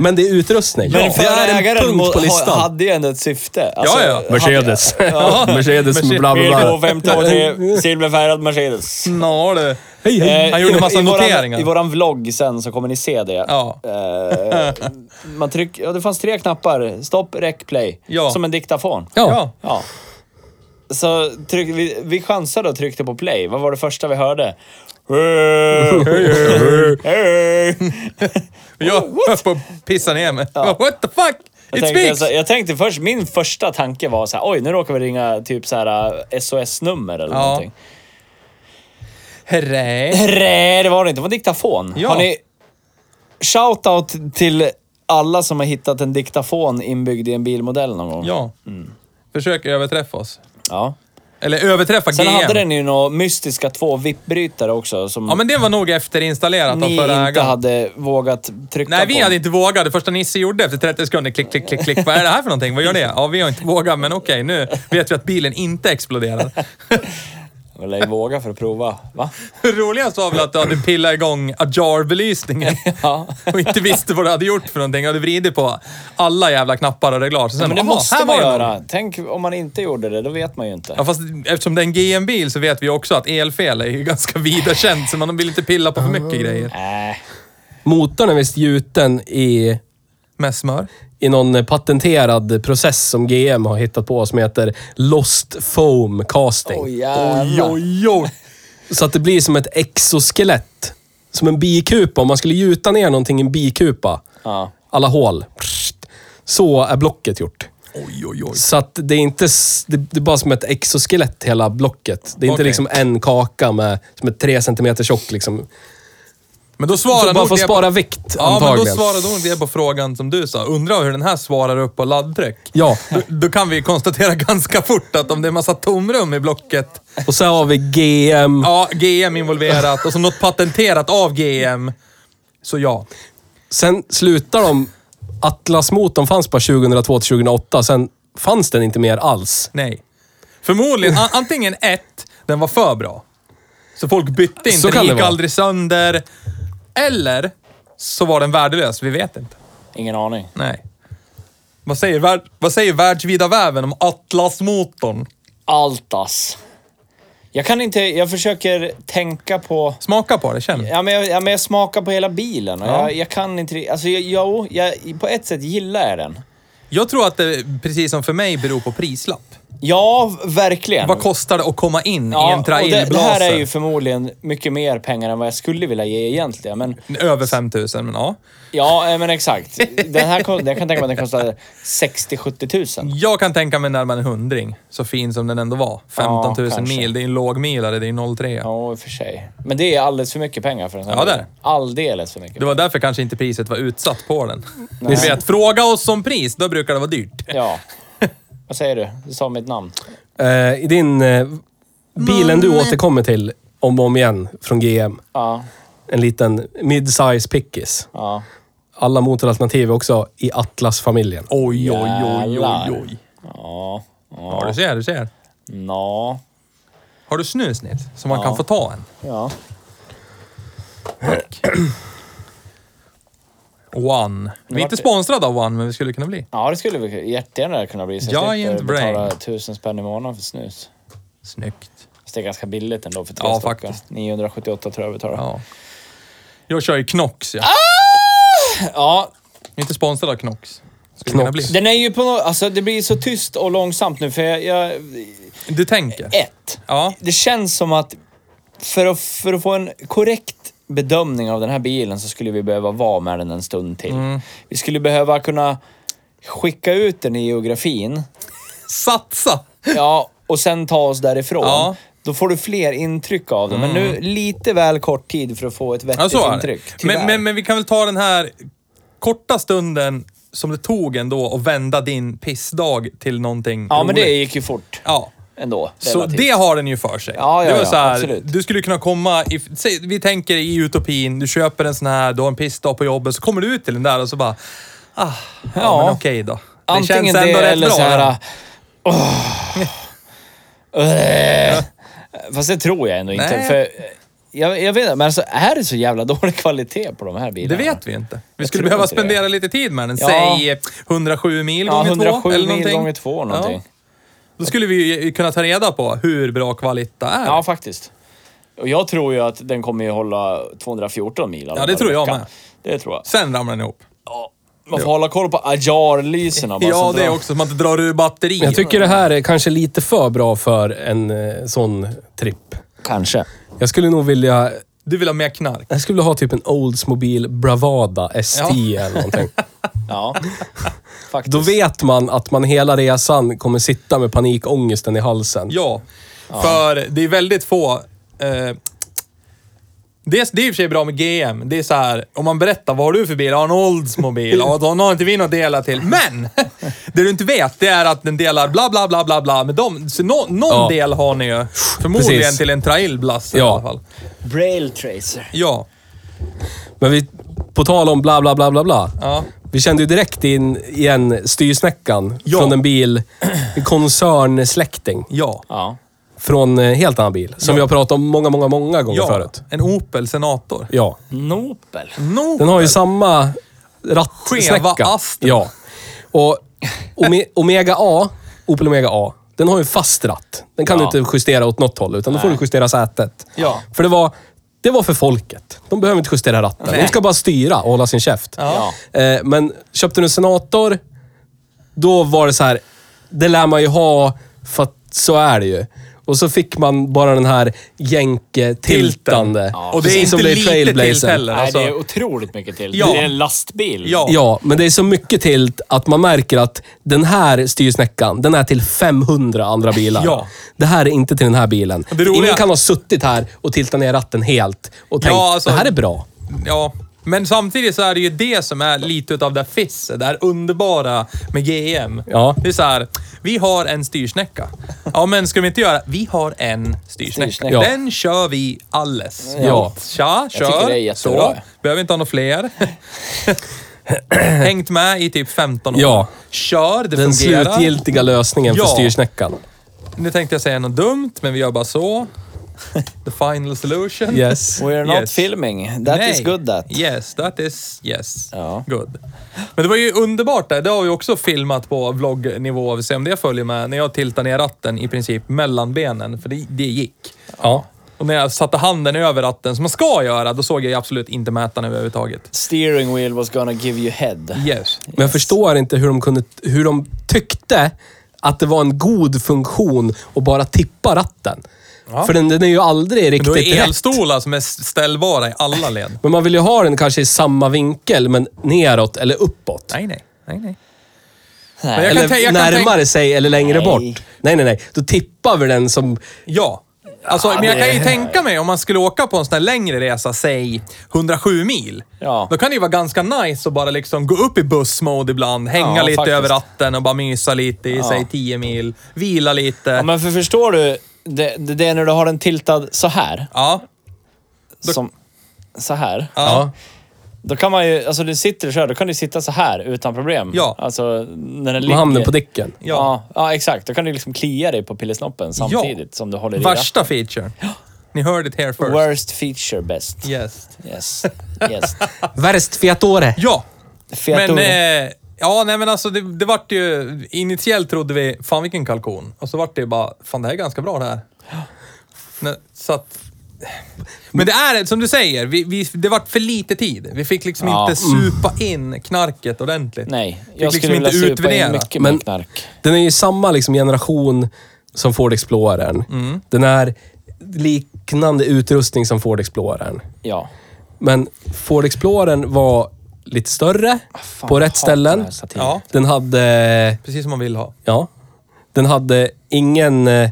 A: Men-
C: det är utrustning.
D: Men
C: det
D: förra
C: är en
D: ägaren
C: punkt
D: må-
C: på
D: ha-
C: listan.
D: hade ju ändå ett syfte. Alltså, eh,
A: Ja, ja.
C: Mercedes. Mercedes med bla bla bla.
D: VK523, silverfärgad Mercedes. Eh,
A: Nå du.
C: Hej, hej.
A: Eh, Han gjorde
D: i-
A: massa
D: i våran-
A: noteringar.
D: I våran vlogg sen så kommer ni se det.
A: Ja.
D: Eh, man tryck, ja, det fanns tre knappar. Stopp, räck, play.
A: Ja.
D: Som en diktafon.
C: Ja.
A: Ja.
D: Ja. Så tryck, vi, vi chansade och tryckte på play. Vad var det första vi hörde?
A: Jag höll på att pissa ner mig. What the fuck?
D: Jag
A: It's
D: tänkte,
A: peak!
D: alltså, jag tänkte först, min första tanke var så här, oj nu råkar vi ringa typ så här eh, SOS-nummer eller
A: Ja.
D: någonting.
A: Herre.
D: Nej, det var det inte. Det var diktafon.
A: Ja.
D: Har ni... Shoutout till alla som har hittat en diktafon inbyggd i en bilmodell någon gång.
A: Ja. Försök överträffa oss.
D: Ja.
A: Eller överträffa
D: Sen
A: GM.
D: hade den ju några mystiska två vippbrytare också som
A: Ja, men det var nog efterinstallerat av
D: ni
A: förra
D: inte
A: ägaren.
D: hade vågat trycka
A: Nej,
D: på.
A: vi hade inte vågat. Det första Nisse gjorde efter 30 sekunder, klick, klick, klick, klick. Vad är det här för någonting? Vad gör det? Ja, vi har inte vågat, men okej, nu vet vi att bilen inte exploderar.
D: Eller ej våga för att prova. Va?
A: Det roligaste var väl att du hade pillat igång ajar-belysningen
D: Ja.
A: och inte visste vad du hade gjort för någonting. Du hade vridit på alla jävla knappar och reglage. Och sen,
D: Men det
A: aha,
D: måste
A: här
D: man
A: var det någon.
D: göra. Tänk om man inte gjorde det, då vet man ju inte.
A: Ja, fast eftersom det är en GM-bil så vet vi också att elfel är ju ganska vida känt, så man vill inte pilla på för mycket grejer.
D: Nej.
C: Motorn är visst gjuten i,
A: Med smör.
C: i någon patenterad process som GM har hittat på som heter Lost Foam Casting.
D: Åh jävlar.
A: Oj, oj.
C: Så att det blir som ett exoskelett. Som en bikupa. Om man skulle gjuta ner någonting i en bikupa.
D: Ja.
C: Alla hål. Pssst. Så är blocket gjort.
A: Oj, oj, oj.
C: Så att det är inte... s- Det, det är bara som ett exoskelett, hela blocket. Det är inte
A: Okej.
C: liksom en kaka med, som är tre centimeter tjock. Liksom.
A: Men då
C: Så
A: svarar
C: man
A: nog
C: får
A: det
C: spara
A: på...
C: vikt,
A: Ja, men då
C: antagligen.
A: svarade nog det på frågan som du sa. Undrar hur den här svarar upp på laddtryck.
C: Ja,
A: Då, då kan vi konstatera ganska fort att om det är massa tomrum i blocket,
C: och så har vi GM.
A: ja, GM involverat och så något patenterat av GM, så ja.
C: Sen slutar de... Atlas-motorn fanns bara 2002 till 2008. Sen fanns den inte mer alls.
A: Nej. Förmodligen, a- antingen ett, den var för bra. Så folk bytte
C: Så
A: inte,
C: kan
A: den
C: det
A: gick
C: vara.
A: aldrig sönder. Eller så var den värdelös, vi vet inte.
D: Ingen aning.
A: Nej. Vad säger, värld, vad säger världsvida väven om Atlas-motorn?
D: Altas. Jag kan inte... Jag försöker tänka på...
A: Smaka på det, känn.
D: Ja men, jag, ja, men jag smakar på hela bilen och jag, jag kan inte... ri- Alltså jag, jo, jag, på ett sätt gillar jag den.
A: Jag tror att det, precis som för mig, beror på prislapp.
D: Ja, verkligen.
A: Vad kostar det att komma in
D: ja,
A: i en
D: och det, det här är ju
A: trailblazer?
D: förmodligen mycket mer pengar än vad jag skulle vilja ge egentligen. Men
A: Över 5000, men ja.
D: ja, eh, men exakt. Den här, ko- jag kan tänka mig att den kostar 60-70 000.
A: Jag kan tänka mig närmare en hundring, så fin som den ändå var. 15 000
D: Ja, kanske.
A: mil, det är en lågmilare, det är 03.
D: Ja, i och för sig. Men det är alldeles för mycket pengar för en sån
A: Ja,
D: här
A: det är
D: bil. Alldeles för mycket.
A: Det var därför kanske inte priset var utsatt på den. Du vet, fråga oss om pris, då brukar det vara dyrt.
D: Ja. Vad säger du? Du sa mitt namn.
C: Eh, I din... Eh, bilen du återkommer till om och om igen från GM.
D: Ja.
C: En liten mid-size pickis.
D: Ja.
C: Alla motoralternativ är också i Atlas-familjen.
A: Oj, oj, oj, oj, oj.
D: Ja.
A: Ja, du ser, du ser.
D: Nå.
A: Har du snus, Nils? Så man kan få ta en.
D: Ja.
A: One. Vi är inte
D: vart-
A: sponsrade av One, men vi skulle kunna bli.
D: Ja, det skulle vi jättegärna kunna bli. Så jag
A: Giant
D: slipper betala
A: brain.
D: tusen spänn i månaden för snus.
A: Snyggt.
D: Så det är ganska billigt ändå för tre
A: Ja,
D: stockar.
A: faktiskt.
D: 978 tror jag vi tar. Ja.
A: Ja. Jag kör ju Knox, ja.
D: Ah! ja,
A: Vi är inte sponsrade av Knox. Skulle kunna bli.
C: Knox.
D: den är ju på något... Alltså det blir så tyst och långsamt nu för jag... jag
A: Du
D: Eh,
A: tänker?
D: ett.
A: Ja.
D: Det känns som att för att, för att få en korrekt bedömning av den här bilen så skulle vi behöva vara med den en stund till.
A: Mm.
D: Vi skulle behöva kunna skicka ut den i geografin.
A: Satsa!
D: Ja, och sen ta oss därifrån.
A: Ja. Mm.
D: Då får du fler intryck av det. Men nu lite väl kort tid för att få ett vettigt
A: Ja, så är
D: intryck.
A: det.
D: tyvärr.
A: Men, men, men vi kan väl ta den här korta stunden som det tog ändå att vända din pissdag till någonting
D: ja, men det
A: roligt.
D: gick ju fort.
A: Ja.
D: ändå.
A: Så
D: relativt.
A: det har den ju för sig.
D: Ja, ja,
A: det var
D: ja,
A: så här,
D: absolut.
A: Du skulle kunna komma... I, säg, vi tänker i utopin, du köper en sån här, du har en pissdag på jobbet, så kommer du ut till den där och så bara... Ah, ja,
D: Ja.
A: men okej då. Det
D: Antingen det, eller så här... äh, Åh. Eh. Fast det tror jag ändå inte.
A: Nej.
D: För, eh, jag, jag vet inte, men alltså, är det så jävla dålig kvalitet på de här bilarna?
A: Det vet vi inte. Vi
D: Jag
A: skulle
D: tror
A: behöva
D: inte det.
A: spendera lite tid med den.
D: Ja.
A: Säg 107 mil
D: Ja,
A: gånger
D: 107
A: två eller
D: mil
A: någonting.
D: gånger två någonting.
A: Ja. Då skulle vi ju kunna ta reda på hur bra kvalitet är.
D: Ja, faktiskt. Och jag tror ju att den kommer ju hålla 214 mil. alla
A: Ja, det
D: dagar i
A: tror jag
D: veckan.
A: med.
D: Det tror jag.
A: Sen ramlar den ihop.
D: Man får hålla koll på ajarlyserna. bara,
A: Ja,
D: så
A: det
D: drar-
A: också. Så man inte drar ur batteriet.
C: Jag tycker det här är kanske lite för bra för en eh, sån tripp.
D: Kanske.
C: Jag skulle nog vilja...
A: Du vill ha mer knark.
C: Jag skulle vilja ha typ en Oldsmobile Bravada ST eller någonting.
D: Ja, faktiskt.
C: Då vet man att man hela resan kommer sitta med panikångesten i halsen.
A: Ja, för det är väldigt få... Eh, det, är, det är i och för sig bra med GM. Det är så här, om man berättar vad har du för bil? Ja, en Oldsmobil. Ja, då har inte vi något att dela till. Men! Det du inte vet, det är att den delar bla, bla, bla, bla, bla med dem. Så nå- någon
C: Ja.
A: del har ni ju. Förmodligen
C: Precis.
A: till en trailblass i
C: Ja.
A: alla fall.
D: Braille Tracer.
A: Ja.
C: Men vi, på tal om bla bla bla bla bla.
A: Ja.
C: Vi kände ju direkt in igen styrsnäckan
A: Ja.
C: från en bil, en koncernsläkting.
A: Ja.
D: Ja.
C: Från en helt annan bil. Som vi har pratat om många, många, många gånger
A: Ja.
C: förut.
A: En Opel Senator.
C: Ja.
D: Nopel.
A: No.
C: Den har ju samma rattsnäcka.
A: Skeva asten.
C: Ja. Och Ome- Omega A, Opel Omega A, den har ju fast ratt. Den kan
D: Ja.
C: du inte justera åt något håll, utan då får du justera sätet.
A: Ja.
C: För det var, det var för folket. De behöver inte justera ratten. De ska bara styra och hålla sin käft.
D: Ja.
C: Eh, men köpte du en Senator, då var det så här, det lär man ju ha, för att så är det ju. Och så fick man bara den här jänke-tiltande.
A: Och det är
C: Precis
A: inte
C: som i
A: lite tilt
C: Trailblazer.
A: heller.
D: Nej,
A: Alltså.
D: det är otroligt mycket till.
A: Ja.
D: Det är en lastbil.
A: Ja.
C: Ja, men det är så mycket till att man märker att den här styrsnäckan, den är till 500 andra bilar.
A: Ja.
C: Det här är inte till den här bilen.
A: det roliga-
C: Ingen kan ha suttit här och tiltat ner ratten helt och tänkt,
A: Ja, alltså-
C: det här är bra.
A: Ja, men samtidigt så är det ju det som är lite utav det fisset, det här underbara med GM.
C: Ja.
A: Det är så här, vi har en styrsnäcka. Ja, men ska vi inte göra? Vi har en styrsnäcka.
D: Styrsnäcka.
C: Ja.
A: Den kör vi alles.
C: Ja.
A: Tja,
D: tycker det är
A: kör.
D: jättebra.
A: Så. Behöver inte ha några fler. Hängt med i typ 15 år.
C: Ja.
A: Kör, det
C: Den
A: fungerar.
C: slutgiltiga lösningen
A: Ja.
C: för styrsnäckan.
A: Nu tänkte jag säga något dumt, men vi gör bara så. The final solution.
C: Yes.
D: We're not
A: Yes.
D: filming. That is good that.
A: Yes, that is yes.
D: Ja.
A: Good. Men det var ju underbart där. Det har vi också filmat på vloggnivå. Vi ser om det följer med. När jag tiltade ner ratten i princip mellan benen, för det, det gick.
C: Ja.
A: Och när jag satte handen över ratten, som man ska göra, då såg jag ju absolut inte mätaren överhuvudtaget.
D: Steering wheel was gonna give you head.
A: Yes.
C: Men jag förstår inte hur de, kunde, hur de tyckte att det var en god funktion att bara tippa ratten. För den, den är ju aldrig
A: Men då
C: riktigt
A: är
C: rätt.
A: elstolar som är ställbara i alla led.
C: Men man vill ju ha den kanske i samma vinkel, men neråt eller uppåt.
A: Nej, nej. nej, nej.
D: Nej.
A: Men jag kan
C: Eller
A: tän- jag kan
C: närmare sig eller längre
D: Nej.
C: bort. Nej, nej, nej. Då tippar vi den som...
A: Ja. Alltså, men jag
D: det-
A: kan ju tänka mig om man skulle åka på en sån här längre resa, säg 107 mil.
D: Ja.
A: Då kan det ju vara ganska nice att bara liksom gå upp i bussmode ibland, hänga
D: Ja,
A: lite
D: faktiskt.
A: över ratten och bara mysa lite i, säg 10 mil. Vila lite.
D: Ja, men för förstår du, det, det det är när du har den tiltad så här.
A: Ja.
D: Som, så här.
A: Ja.
D: Då kan man ju, alltså du sitter och kör, då kan du sitta så här utan problem.
A: Ja.
D: Alltså när den ligger.
C: Man hamnar på dicken.
A: Ja.
D: Ja. ja, exakt. Då kan du liksom klia dig på pillesnoppen samtidigt som du håller i ratten.
A: Värsta feature. Ni hörde det här först.
D: Worst feature best.
A: Yes.
D: Yes. yes.
C: Värst fiatore.
A: Ja.
D: Fiatore.
A: Men, eh, ja, nej men alltså det, det vart ju... Initiellt trodde vi, fan vilken kalkon. Och så vart det ju bara, fan det här är ganska bra det här. Nej, så att... Men det är, som du säger, vi, vi, det vart för lite tid. Vi fick liksom
D: Ja. Mm.
A: inte supa in knarket ordentligt.
D: Nej,
A: Fick liksom
D: jag skulle vilja supa in mycket mer
C: Men-
D: knark.
C: Den är ju samma liksom, generation som Ford Explorern.
A: Mm.
C: Den är liknande utrustning som Ford Explorern.
D: Ja.
C: Men Ford Explorern var lite större
D: Ah, fan,
C: på
D: jag
C: rätt
D: hatar
C: ställen.
D: den här satiren.
A: Ja,
C: Den hade...
A: precis som man vill ha.
C: Ja. Den hade ingen eh,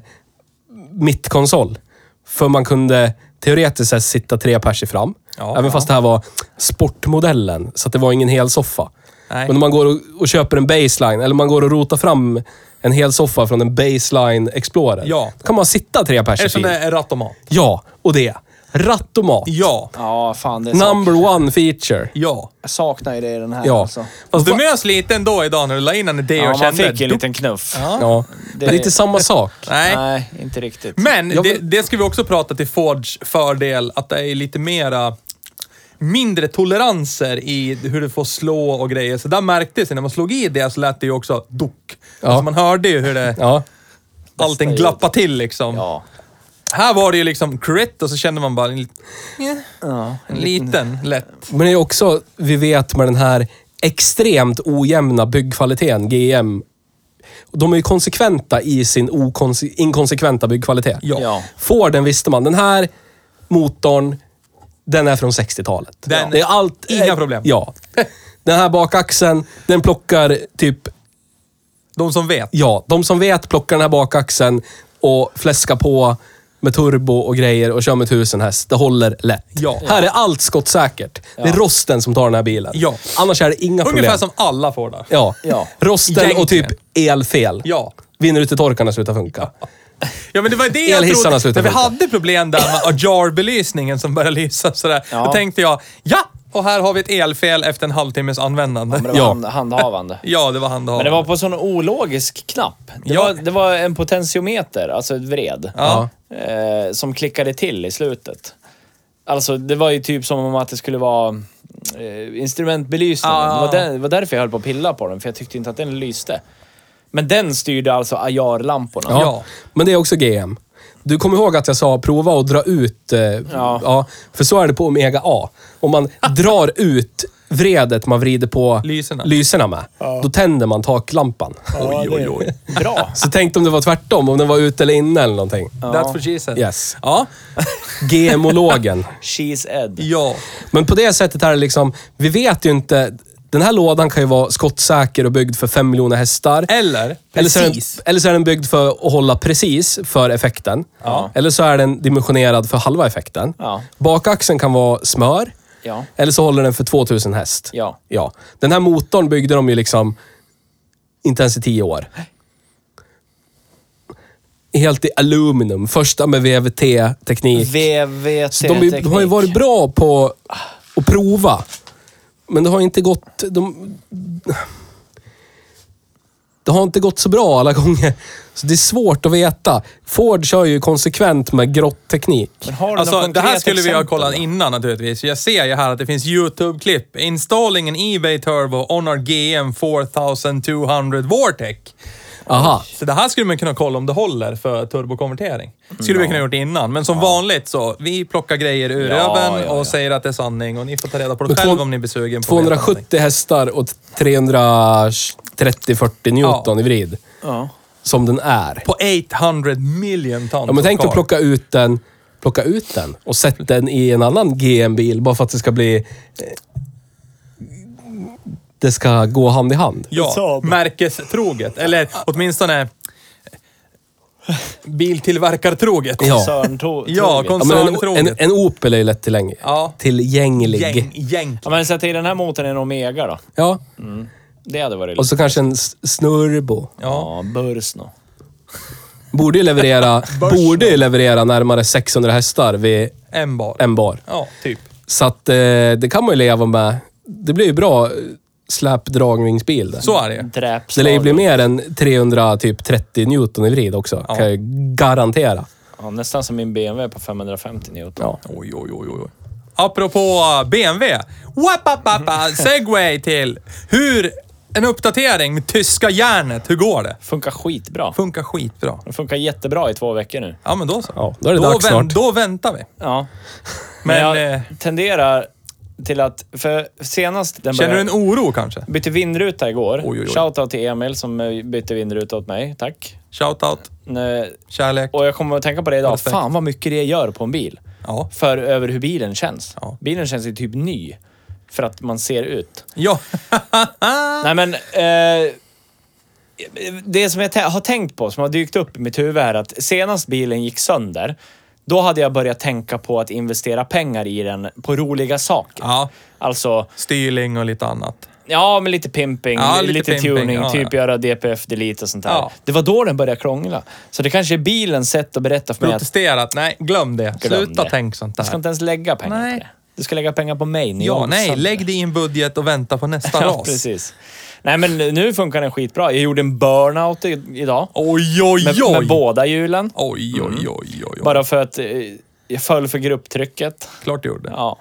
C: mittkonsol. För man kunde teoretiskt sett sitta tre pers i fram.
A: Ja,
C: även
A: ja.
C: fast det här var sportmodellen, så att det var ingen hel soffa.
A: Nej.
C: Men om man går och, och köper en baseline, eller man går och rotar fram en hel soffa från en baseline Explorer.
A: Ja.
C: Då kan man sitta tre
A: Eftersom
C: personer
A: det är rattomat.
C: Ja, och det. Rattomat.
A: Ja.
D: Ja, fan. Det är sak...
C: Number one feature.
A: Ja.
D: Jag saknar ju det i den här.
C: Ja.
D: Alltså.
A: Fast du mös lite ändå idag när du la in en idé
B: Ja,
A: och
B: man
A: kände...
B: fick ju en liten knuff.
C: Ja. Det är lite samma sak.
A: Nej.
D: Nej, inte riktigt.
A: Men
C: Jag
A: det,
C: vill-
A: det ska vi också prata till Fords fördel, att det är lite mera mindre toleranser i hur du får slå och grejer. Så där märktes det, när man slog i det så lät det ju också dock.
C: Ja.
A: Alltså man hörde ju hur det,
C: Ja.
A: allting
D: ljudet.
A: glappade till liksom.
D: Ja.
A: Här var det ju liksom crit och så kände man bara en, lit- en liten, lätt.
C: Men det är också, vi vet med den här extremt ojämna byggkvaliteten, GM. De är ju konsekventa i sin okonse- inkonsekventa byggkvalitet.
A: Ja.
D: Ja.
C: Får den visste man, den här motorn, den är från 60-talet.
A: Den-
C: det är allt,
A: inga
C: eh,
A: problem.
C: Ja. Den här bakaxeln, den plockar typ
A: De som vet.
C: Ja, de som vet plockar den här bakaxeln och fläskar på med turbo och grejer och kör med 1000 häst. Det håller lätt.
A: Ja.
C: Här är allt skottsäkert. Det är rosten som tar den här bilen.
A: Ja.
C: Annars är det inga problem.
A: Ungefär som alla får där.
C: Ja.
D: Ja.
C: Rosten och typ
A: Egentligen.
C: elfel.
A: Ja.
C: Vinner ut i torkarna slutar funka.
A: Ja, men det var det jag
C: Elhissarna
A: trodde.
C: slutar
A: När vi
C: funka.
A: hade problem där med ajar-belysningen som började lysa sådär,
D: Ja.
A: då tänkte jag ja! Och här har vi ett elfel efter en halvtimmes användande.
D: Men
A: Ja,
D: det var
C: Ja.
D: hand, handhavande.
A: det var handhavande.
D: Men det var på en sån ologisk knapp. Det,
A: Ja.
D: var, det var en potentiometer, alltså ett vred,
A: Ja.
D: eh, som klickade till i slutet. Alltså, det var ju typ som om att det skulle vara eh, instrumentbelysningen.
A: Ja, ja,
D: Det, var
A: ja.
D: där, det var därför jag höll på att pilla på den, för jag tyckte inte att den lyste. Men den styrde alltså ajarlamporna.
C: Ja.
A: Ja.
C: Men det är också GM. Du kommer ihåg att jag sa prova att dra ut... Eh, ja.
D: Ja.
C: För så är det på Omega A. Om man drar ut vredet man vrider på
A: Lyserna.
C: med, då tänder man taklampan.
A: Oj, oj, oj.
D: Bra!
C: Så tänk om det var tvärtom, om den var ute eller inne eller någonting.
A: That's what she said.
C: Yes.
A: Ja.
C: GMologen.
D: She's Ed.
A: Ja.
C: Men på det sättet här är det liksom, vi vet ju inte. Den här lådan kan ju vara skottsäker och byggd för 5 miljoner hästar.
A: Eller,
C: Eller så, är den,
A: precis.
C: eller så är den byggd för att hålla precis för effekten. Eller så är den dimensionerad för halva effekten.
D: Ja.
C: Bakaxeln kan vara smör.
D: Ja.
C: Eller så håller den för 2000 häst.
D: Ja.
C: ja. Den här motorn byggde de ju liksom inte ens i tio år. Helt i aluminium. Första med VVT-teknik.
D: VVT
C: De, är- de har ju varit bra på att prova. Men det har inte gått... De, det har inte gått så bra alla gånger. Så det är svårt att veta. Ford kör ju konsekvent med grottteknik.
D: Men har du
A: Alltså,
D: något
A: det här
D: konkret
A: skulle vi ha
D: exempel?
A: kollat innan naturligtvis. Jag ser ju här att det finns YouTube-klipp. Installing an eBay Turbo on our GM 4200 Vortec.
C: Aha.
A: Så det här skulle man kunna kolla om det håller för turbokonvertering. Skulle vi kunna gjort innan, men som vanligt så, vi plockar grejer ur
D: Ja,
A: röven
D: ja,
A: och
D: ja.
A: säger att det är sanning och ni får ta reda på det
C: Men
A: själva
C: två-
A: om ni är besugna på att veta någonting.
C: 270 hästar och 330-40 newton i vrid.
D: Ja.
C: Som den är.
A: På 800 million ton.
C: Ja, men tänk dig
A: kvar.
C: att plocka ut den plocka ut den och sätt den i en annan GM-bil bara för att det ska bli... eh, Det ska gå hand i hand.
A: Ja, märkestroget. Eller åtminstone biltillverkartroget.
C: Ja.
D: Sörntro-
A: Ja,
D: troget.
C: Ja, men en, en,
A: koncerntroget.
C: en Opel är ju lätt tilläng
A: Ja.
C: tillgänglig.
A: Gäng, gäng.
D: Ja, men sätt i den här motorn i en Omega då.
C: Ja.
D: Det hade varit
C: Och så kanske en s- snurbo.
A: Ja.
D: Ja, Bursno.
C: Borde ju leverera, borde ju leverera närmare 600 hästar vid
A: En bar.
C: en bar.
A: Ja, typ.
C: Så att eh, det kan man ju leva med. Det blir ju bra eh, släpdragningsbil. där.
A: Så är det
C: Det
D: Dräpslag.
C: lär ju bli mer än 300, typ 30 newton i vrid också. Kan jag garantera.
D: Ja, nästan som min BMW på 550 Newton.
C: Ja.
A: Oj, oj, oj, oj. oj. Apropå eh, BMW. Wapapapa, segway till hur en uppdatering med tyska järnet, hur går det?
D: Funkar skitbra.
A: Funkar skitbra.
D: Den funkar jättebra i två veckor nu.
A: Ja, men då så.
C: Ja, då är det dags
A: vän-
C: snart.
A: Då väntar vi.
D: Ja.
A: Men,
D: Men,
A: eh,
D: jag tenderar till att... För senast... Den
A: Känner du
D: började-
A: en oro kanske?
D: Bytte vindruta igår.
A: Oj, oj, oj.
D: Shoutout till Emil som eh, bytte vindruta åt mig. Tack.
A: Shoutout,
D: Eh,
A: kärlek.
D: Och jag kommer att tänka på det idag.
A: Respekt.
D: Fan vad mycket det gör på en bil.
A: Ja.
D: För över hur bilen känns.
A: Ja.
D: Bilen känns ju typ ny. För att man ser ut.
A: Ja.
D: Nej men... Eh, det som jag tä- har tänkt på, som har dykt upp i mitt huvud här, att senast bilen gick sönder, då hade jag börjat tänka på att investera pengar i den på roliga saker.
A: ja.
D: Alltså,
A: Styrling och lite annat.
D: Ja, men lite pimping,
A: Ja,
D: lite,
A: lite pimping,
D: tuning,
A: ja,
D: typ
A: ja.
D: göra DPF delete och sånt där.
A: Ja.
D: Det var då den började krångla. Så det kanske är bilens sätt att berätta för mig att
A: Protesterat? Nej, glöm det.
D: Glöm
A: Sluta
D: det.
A: tänk sånt
D: du ska
A: där.
D: inte ens lägga pengar
A: Nej.
D: på det. Du ska lägga pengar på mig när
A: Ja,
D: jag
A: nej,
D: sönder.
A: lägg det i en budget och vänta på nästa
D: Ja,
A: ras.
D: precis. Nej, men nu funkar den skitbra. Jag gjorde en burnout i, idag.
A: Oj, oj,
D: Med,
A: oj!
D: med båda hjulen.
A: Oj, oj, oj, oj. oj.
D: Bara för att eh, jag föll för grupptrycket.
A: Klart du gjorde.
D: Ja.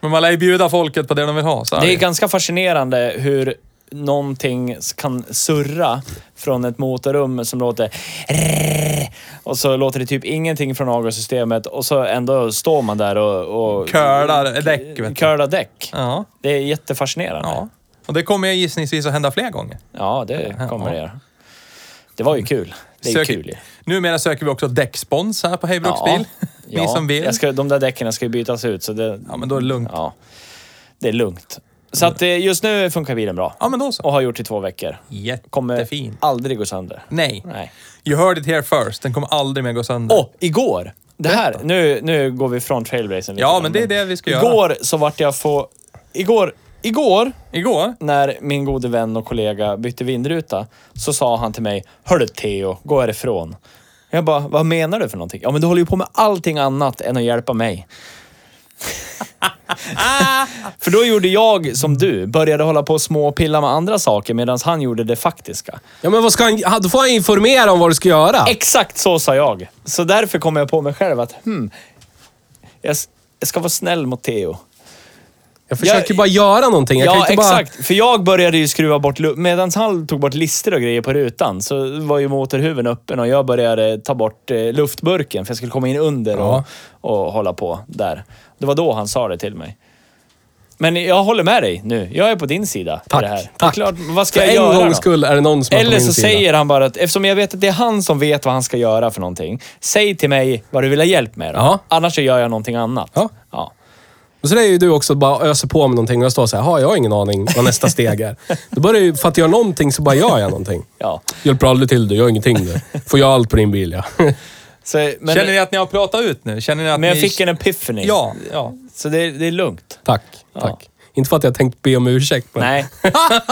A: Men man lär ju bjuda folket på det de vill ha. Så här.
D: Det är ganska fascinerande hur någonting kan surra från ett motorrum som låter och så låter det typ ingenting från avgassystemet och så ändå står man där och, och
A: Curlar däck, vet du.
D: curlar däck.
A: Ja.
D: Det är jättefascinerande.
A: ja. Och det kommer ju gissningsvis att hända fler gånger.
D: Ja, det kommer det göra. Det var ju kul. Det är ju kul ju.
A: Numera söker vi också däckspons här på Hejbruks bil. Ni som vill.
D: Jag ska, de där däcken ska ju bytas ut så det,
A: Ja, men då är det lugnt. Ja,
D: ja, det är lugnt. Så att eh, just nu funkar bilen bra.
A: men då så.
D: Och har gjort i två veckor. Kommer
A: Jättefin.
D: aldrig gå sönder.
A: Nej.
D: Nej.
A: You heard it here first. Den kommer aldrig mer gå sönder.
D: Och igår! Det här, nu, nu går vi från trailblazern lite
A: Ja,
D: grann,
A: men det är det vi ska göra.
D: Igår så vart jag få... Igår, igår
A: Igår?
D: när min gode vän och kollega bytte vindruta så sa han till mig Hörru Theo, gå härifrån. Jag bara, vad menar du för någonting? Ja, men du håller ju på med allting annat än att hjälpa mig. för då gjorde jag som du, började hålla på och småpilla med andra saker medan han gjorde det faktiska.
C: Ja, men vad ska han... ha- Då får han informera om vad du ska göra.
D: Exakt så sa jag. Så därför kom jag på mig själv att hmm, jag, s- jag ska vara snäll mot Theo.
C: Jag försöker bara göra någonting. Jag kan
D: ja,
C: inte bara...
D: exakt. För jag började ju skruva bort... Medan han tog bort lister och grejer på rutan så var ju motorhuven öppen och jag började ta bort eh, luftburken för jag skulle komma in under
C: Ja.
D: och, och hålla på där. Det var då han sa det till mig. Men jag håller med dig nu. Jag är på din sida. i
C: Tack,
D: det här.
C: tack.
D: Klart, vad ska
C: För
D: jag
C: en
D: göra
C: gångs
D: då?
C: skull är det någon som är på
D: Eller
C: min
D: så
C: sida.
D: säger han bara att eftersom jag vet att det är han som vet vad han ska göra för någonting. Säg till mig vad du vill ha hjälp med då.
C: Ja.
D: Annars så gör jag någonting annat.
C: Ja.
D: Ja.
C: Och så är ju du också bara öser på med någonting och jag står så här, "Ha, jag har ingen aning vad nästa steg är. Då börjar ju, för att jag gör någonting så bara gör jag någonting.
D: Ja.
C: Hjälper aldrig till du, gör ingenting du. Får jag allt på din bil ja.
D: Så, men,
A: Känner ni att ni har pratat ut nu? Känner ni att
D: men jag
A: ni...
D: fick en epiphany.
A: Ja, ja.
D: Så det, det är lugnt.
C: Tack, tack. Inte för att jag tänkt be om ursäkt. Men...
D: Nej,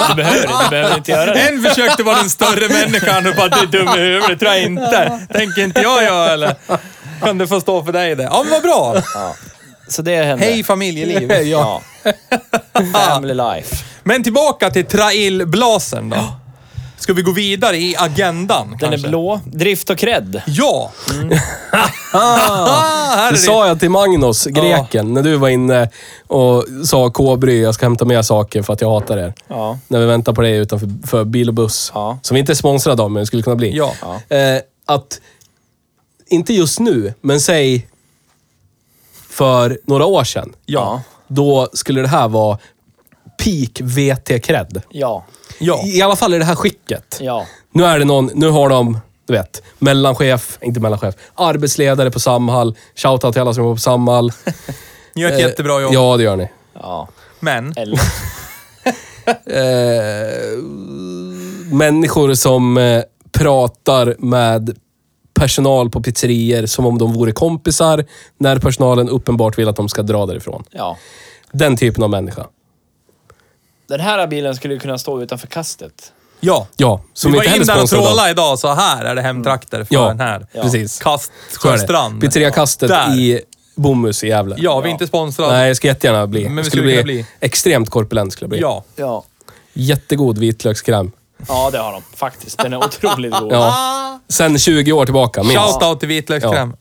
D: du behöver, inte- du behöver inte göra det.
A: En försökte vara den större människan och bara du är dum i huvudet, det tror jag inte. Tänker inte jag jag eller? Kan du få stå för dig det? Ja, men vad bra.
D: Så det hände.
A: Hej familjeliv.
D: ja. Family life.
A: Men tillbaka till trailblazern då. Ska vi gå vidare i agendan
D: Den
A: kanske?
D: är blå. Drift och cred.
A: Ja! Ah, här är
C: Det Mm. sa jag till Magnus, greken, när du var inne och sa K-bry, jag ska hämta med saker för att jag hatar er.
D: Ja.
C: När vi väntar på dig utanför för bil och buss.
D: Ja.
C: Som vi inte är sponsrade av, men skulle kunna bli.
A: Ja.
C: Eh, att, inte just nu, men säg för några år sedan.
D: Ja.
C: Då skulle det här vara peak VT-cred.
D: Ja.
A: Ja.
C: I alla fall i det här skicket.
D: Ja.
C: Nu är det någon, nu har de, du vet, mellanchef, inte mellanchef, arbetsledare på Samhall. Shoutout till alla som jobbar på Samhall.
A: Ni gör ett
C: Eh,
A: jättebra jobb.
C: Ja, det gör ni.
D: Ja.
A: Men,
D: Eller.
C: Människor som eh, pratar med personal på pizzerier som om de vore kompisar när personalen uppenbart vill att de ska dra därifrån.
D: Ja.
C: Den typen av människa.
D: Den här bilen skulle ju kunna stå utanför kastet.
A: ja.
C: Ja, som
A: vi var
C: inte heller
A: in där och
C: sponsrade av-
A: trålade idag, så här är det hemtrakter för
C: Ja,
A: den här.
C: Ja. precis.
A: Kast
C: Så är det.
A: Sjöstrand.
C: Pizzeria Kastet
A: Där.
C: i Bomhus i Gävle.
A: Ja, vi är inte sponsrade.
C: Nej, jag ska jättegärna bli.
A: Men
C: Men
A: vi
C: skulle,
A: skulle
C: bli,
A: kunna bli.
C: extremt korpulent. Skulle jag bli.
A: Ja.
D: Ja.
C: Jättegod vitlökskräm.
D: Ja, det har de faktiskt. Den är otroligt god.
C: Ja.
A: Ah.
C: Sen 20 år tillbaka, minst.
A: Shoutout till vitlökskräm.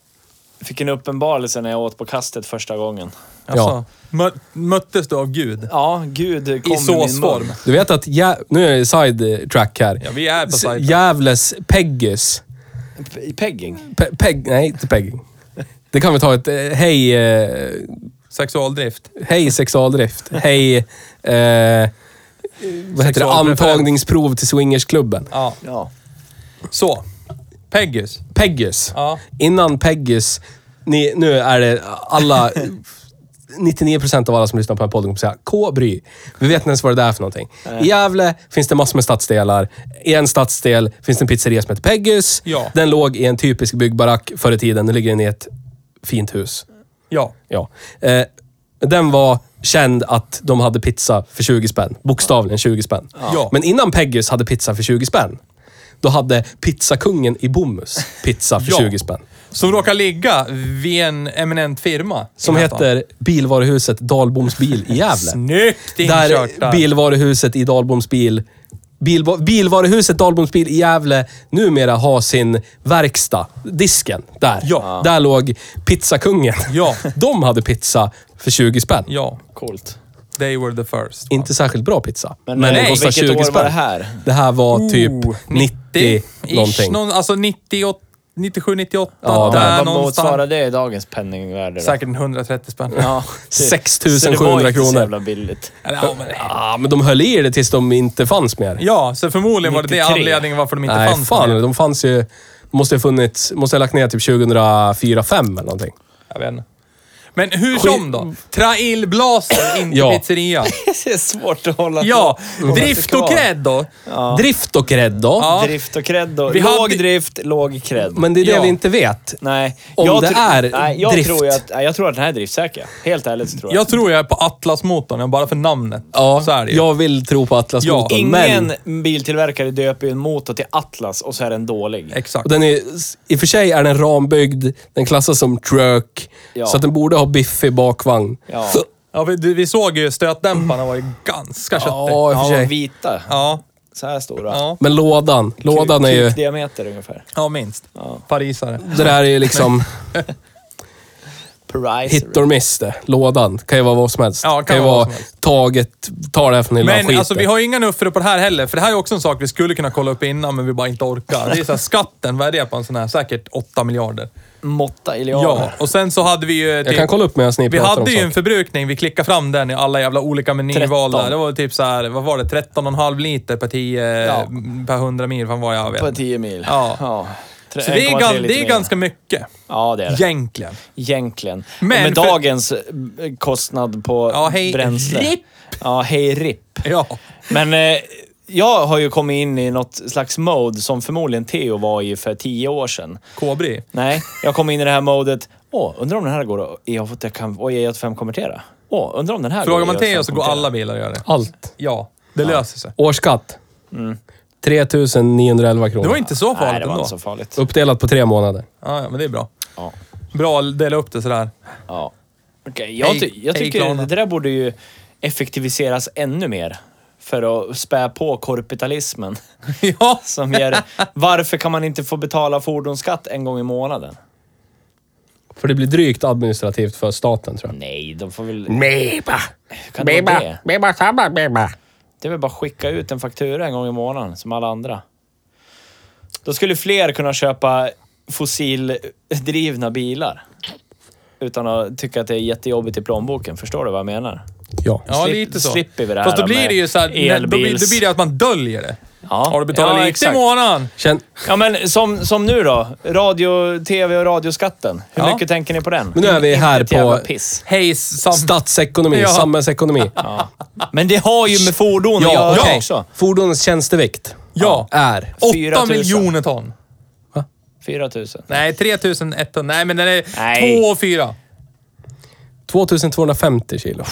D: Fick en uppenbarelse när jag åt på kastet första gången.
A: Alltså, mö möttes du av Gud?
D: Ja, Gud kom
A: I såsform.
C: Du vet att, Gä... nu är det side-track här.
A: Ja, vi är på
C: S-
A: sajten.
C: Gävles Peggis.
D: Pe- I pegging.
C: Pe peg... Nej, inte pegging. Det kan vi ta ett... eh, Hej... Eh,
A: Sexualdrift.
C: hej sexualdrift. Hej... Eh, vad heter det?
A: Sexualpreferens.
C: Antagningsprov till swingersklubben.
A: Ja.
D: Ja.
A: Så. Peggus.
C: Peggis.
A: Ja.
C: Innan Peggis... Ni, nu är det alla... 99% av alla som lyssnar på den här podden kommer säga K-bry. Vi vet inte ens vad det är för någonting. I Gävle finns det massor med stadsdelar. I en stadsdel finns det en pizzeria som heter Peggis.
A: Ja.
C: Den låg i en typisk byggbarack förr i tiden. Nu ligger den i ett fint hus.
A: Ja.
C: Ja. Eh, Den var känd att de hade pizza för 20 spänn. Bokstavligen 20 spänn.
A: Ja.
C: Men innan Peggys hade pizza för 20 spänn, då hade pizzakungen i Bomhus pizza för
A: Ja.
C: 20 spänn.
A: Som råkar ligga vid en eminent firma. i
C: Som
A: den här stan.
C: heter Bilvaruhuset Dalboms bil i Gävle.
A: Snyggt inkört
C: Där
A: där.
C: bilvaruhuset i Dalboms bil... Bilva, bilvaruhuset Dalboms bil i Gävle numera har sin verkstad. Disken. Där.
A: Ja.
C: Där låg pizzakungen.
A: Ja.
C: De hade pizza för 20 spänn.
A: Ja,
D: Coolt.
A: they were the first.
C: Inte särskilt bra pizza. Men,
D: nej,
C: den kostar
D: vilket
C: 20
D: år
C: spänn.
D: var det här?
C: Det här var typ
A: Oh,
C: 90,
A: 90-ish,
C: någonting.
A: Någon, alltså 98, 97, 98.
C: Ja,
A: där
D: Vad motsvarar
A: någonstans.
D: det i dagens penningvärde? då?
A: Säkert en 130 spänn.
D: Ja, det-
C: 6
D: Så det var
C: 700
D: inte så
C: kronor.
D: jävla billigt.
A: Ja, men,
C: Ja, Ah, men de höll i det tills de inte fanns mer.
A: ja, så förmodligen var det det
D: 93.
A: anledningen varför de inte
C: Nej,
A: fanns.
C: fan.
A: mer.
C: De fanns ju... Måste ha funnits... Måste ha lagt ner typ 2004, 5 eller någonting.
A: Jag vet inte. Men hur som då? Trail Blaser, inte
C: Ja.
A: pizzeria.
D: Det är svårt att hålla
A: Ja,
D: hålla sig
A: drift och
D: kvar.
A: cred då.
C: Drift och cred då.
A: Ja.
D: Drift och cred då.
A: Vi
D: låg
A: hade-
D: drift, låg cred.
C: Men det är det
A: Ja.
C: vi inte vet.
D: Nej.
C: Om
D: jag
C: det
D: tro-
C: är
D: nej, jag
C: drift.
D: Tror ju att, nej, jag tror att den här är driftsäker. Helt ärligt så tror jag.
A: Jag tror jag är på Atlas-motorn, bara för namnet.
C: Ja,
A: Så är det ju.
C: jag vill tro på Atlas
A: Ja.
C: motorn,
D: Ingen
C: men...
D: biltillverkare döper ju en motor till Atlas och så är den dålig.
A: Exakt.
C: Och den är, I och för sig är den rambyggd, den klassas som truck,
D: Ja.
C: så att den borde ha biffig bakvagn.
D: Ja.
A: Ja, vi, du- vi såg ju stötdämparna var ju ganska köttig.
C: Ja, i och för
D: Ja,
C: sig.
D: vita.
A: Ja,
D: Så här stora.
A: ja,
C: Men lådan, lådan är ju...
D: Kukdiameter ungefär.
A: ja minst. Parisare.
C: Det där är ju liksom
D: Price.
C: hit or miss det. Lådan kan ju vara vad som helst.
A: Ja, kan
C: ju
A: vara vad
C: vara
A: som helst.
C: taget, ta det här från lilla
A: Men
C: skiten.
A: alltså, vi har ju inga nuffror på det här heller, för det här är också en sak vi skulle kunna kolla upp innan, men vi bara inte orkar. Det är så här, skatten, vad är det på en sån här? Säkert 8 miljarder.
D: Måtta
A: Ja,
D: illiarder.
A: och sen så hade vi ju... typ-
C: Jag kan kolla upp medan ni
A: Vi
C: pratar om
A: hade ju en
C: saker.
A: förbrukning, vi klickade fram den i alla jävla olika menyval där.
D: 13.
A: Det var typ så här, vad var det? 13,5 liter per 10,
D: Ja.
A: m, per 100 mil, fan vad jag vet.
D: På 10 mil.
A: Ja.
D: Tre-
A: Så det är,
D: 1,3
A: gan-
D: liter
A: det är
D: mer.
A: ganska mycket,
D: Ja, det är det.
A: egentligen.
D: Egentligen. Men
A: Men
D: med
A: för-
D: dagens eh, kostnad på
A: Ja, hej,
D: bränsle.
A: ripp.
D: Ja, hej ripp.
A: Ja.
D: Men eh, jag har ju kommit in i något slags mode som förmodligen Theo var i för tio år sedan.
A: Kobri.
D: Nej, jag kom in i det här modet. Åh, undrar om den här går att E85 att jag kan- och E85 konvertera? Åh, undrar om den här
A: Frågar
D: går
A: man
D: att E85
A: Theo så går
D: konvertera?
A: alla bilar att göra det.
C: Allt.
A: Ja, det löser sig.
C: Årsskatt. 3911 kronor.
A: Mm. Det var inte så farligt
D: Nej, det var
A: ändå.
D: inte så farligt.
C: Uppdelat på tre månader.
A: Ja, ja, men det är bra.
D: Ja.
A: Bra att dela upp det sådär.
D: Ja. Okej, jag, ty-
A: Hej-
D: jag
A: hej,
D: tycker
A: Klarna.
D: det där borde ju effektiviseras ännu mer för att spä på korpitalismen.
A: ja,
D: Som ger, varför kan man inte få betala fordonsskatt en gång i månaden?
C: För det blir drygt administrativt för staten tror jag.
D: Nej, de får väl...
F: Meba.
D: Hur kan det vara
F: Meba.
D: det?
F: Meba samma meba.
D: Det är väl bara att skicka ut en faktura en gång i månaden, som alla andra. Då skulle fler kunna köpa fossildrivna bilar. Utan att tycka att det är jättejobbigt i plånboken. Förstår du vad jag menar?
C: Ja.
A: ja
D: Slipp-
A: lite så.
D: slipper vi det här
A: Fast då blir
D: med
A: det ju såhär, när- då blir,
D: elbils-
A: då blir det att man döljer det.
D: Ja.
A: Har du betalat
D: Ja,
A: lite i
D: exakt.
A: månaden?
C: Känn,
D: Ja, men som, som nu då. Radio, TV och radioskatten. Hur
A: Ja.
D: mycket tänker ni på den?
C: men nu är vi här
D: Ett jävla
C: på
D: piss.
A: Hej, sam...
C: statsekonomi,
A: Ja.
C: samhällsekonomi. Ja,
D: Men det har ju med fordon att göra
C: okej.
D: också.
C: Fordonens tjänstevikt
A: Ja.
C: är...
A: 8
D: 4 000.
A: miljoner ton.
D: 4 000.
A: Nej, 3100. Nej, men den är
D: Nej.
A: 2 och 4.
C: 2250 kilo.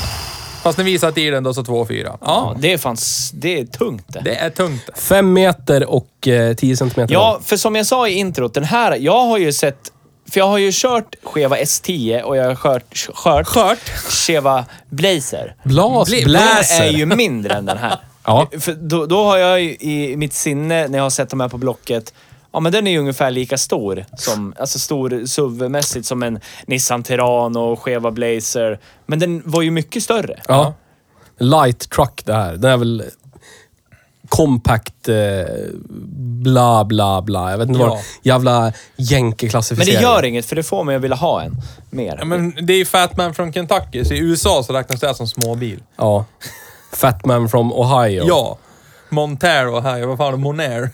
A: Fast när vi satt i den då så 2 och 4. Ja,
D: Ja, det är fan... s- Det är tungt det.
A: det är tungt.
C: 5 meter och eh, 10 centimeter
D: Ja,
C: lång.
D: för som jag sa i introt, den här... Jag har ju sett... För jag har ju kört Cheva S10 och jag har kört... Kört?
A: Skört.
D: Cheva Blazer.
C: Blas,
D: Bli-
C: bläser.
D: Den är ju mindre än den här.
C: Ja.
D: För då, då har jag ju i mitt sinne, när jag har sett de här på Blocket, ja men den är ju ungefär lika stor. Som, alltså stor SUV-mässigt som en Nissan Terrano, Cheva Blazer. Men den var ju mycket större.
C: Ja. Light truck det här. Den är väl compact eh, bla bla bla. Jag vet inte
A: Ja.
C: vad jävla
D: Men det
C: jänkeklassificering.
D: gör inget, för det får mig att vilja ha en mer.
A: Ja, men det är ju Fatman från Kentucky, så i USA så räknas det här som småbil.
C: Ja. Fatman from Ohio.
A: Ja. Montero här, vad fan, Monair.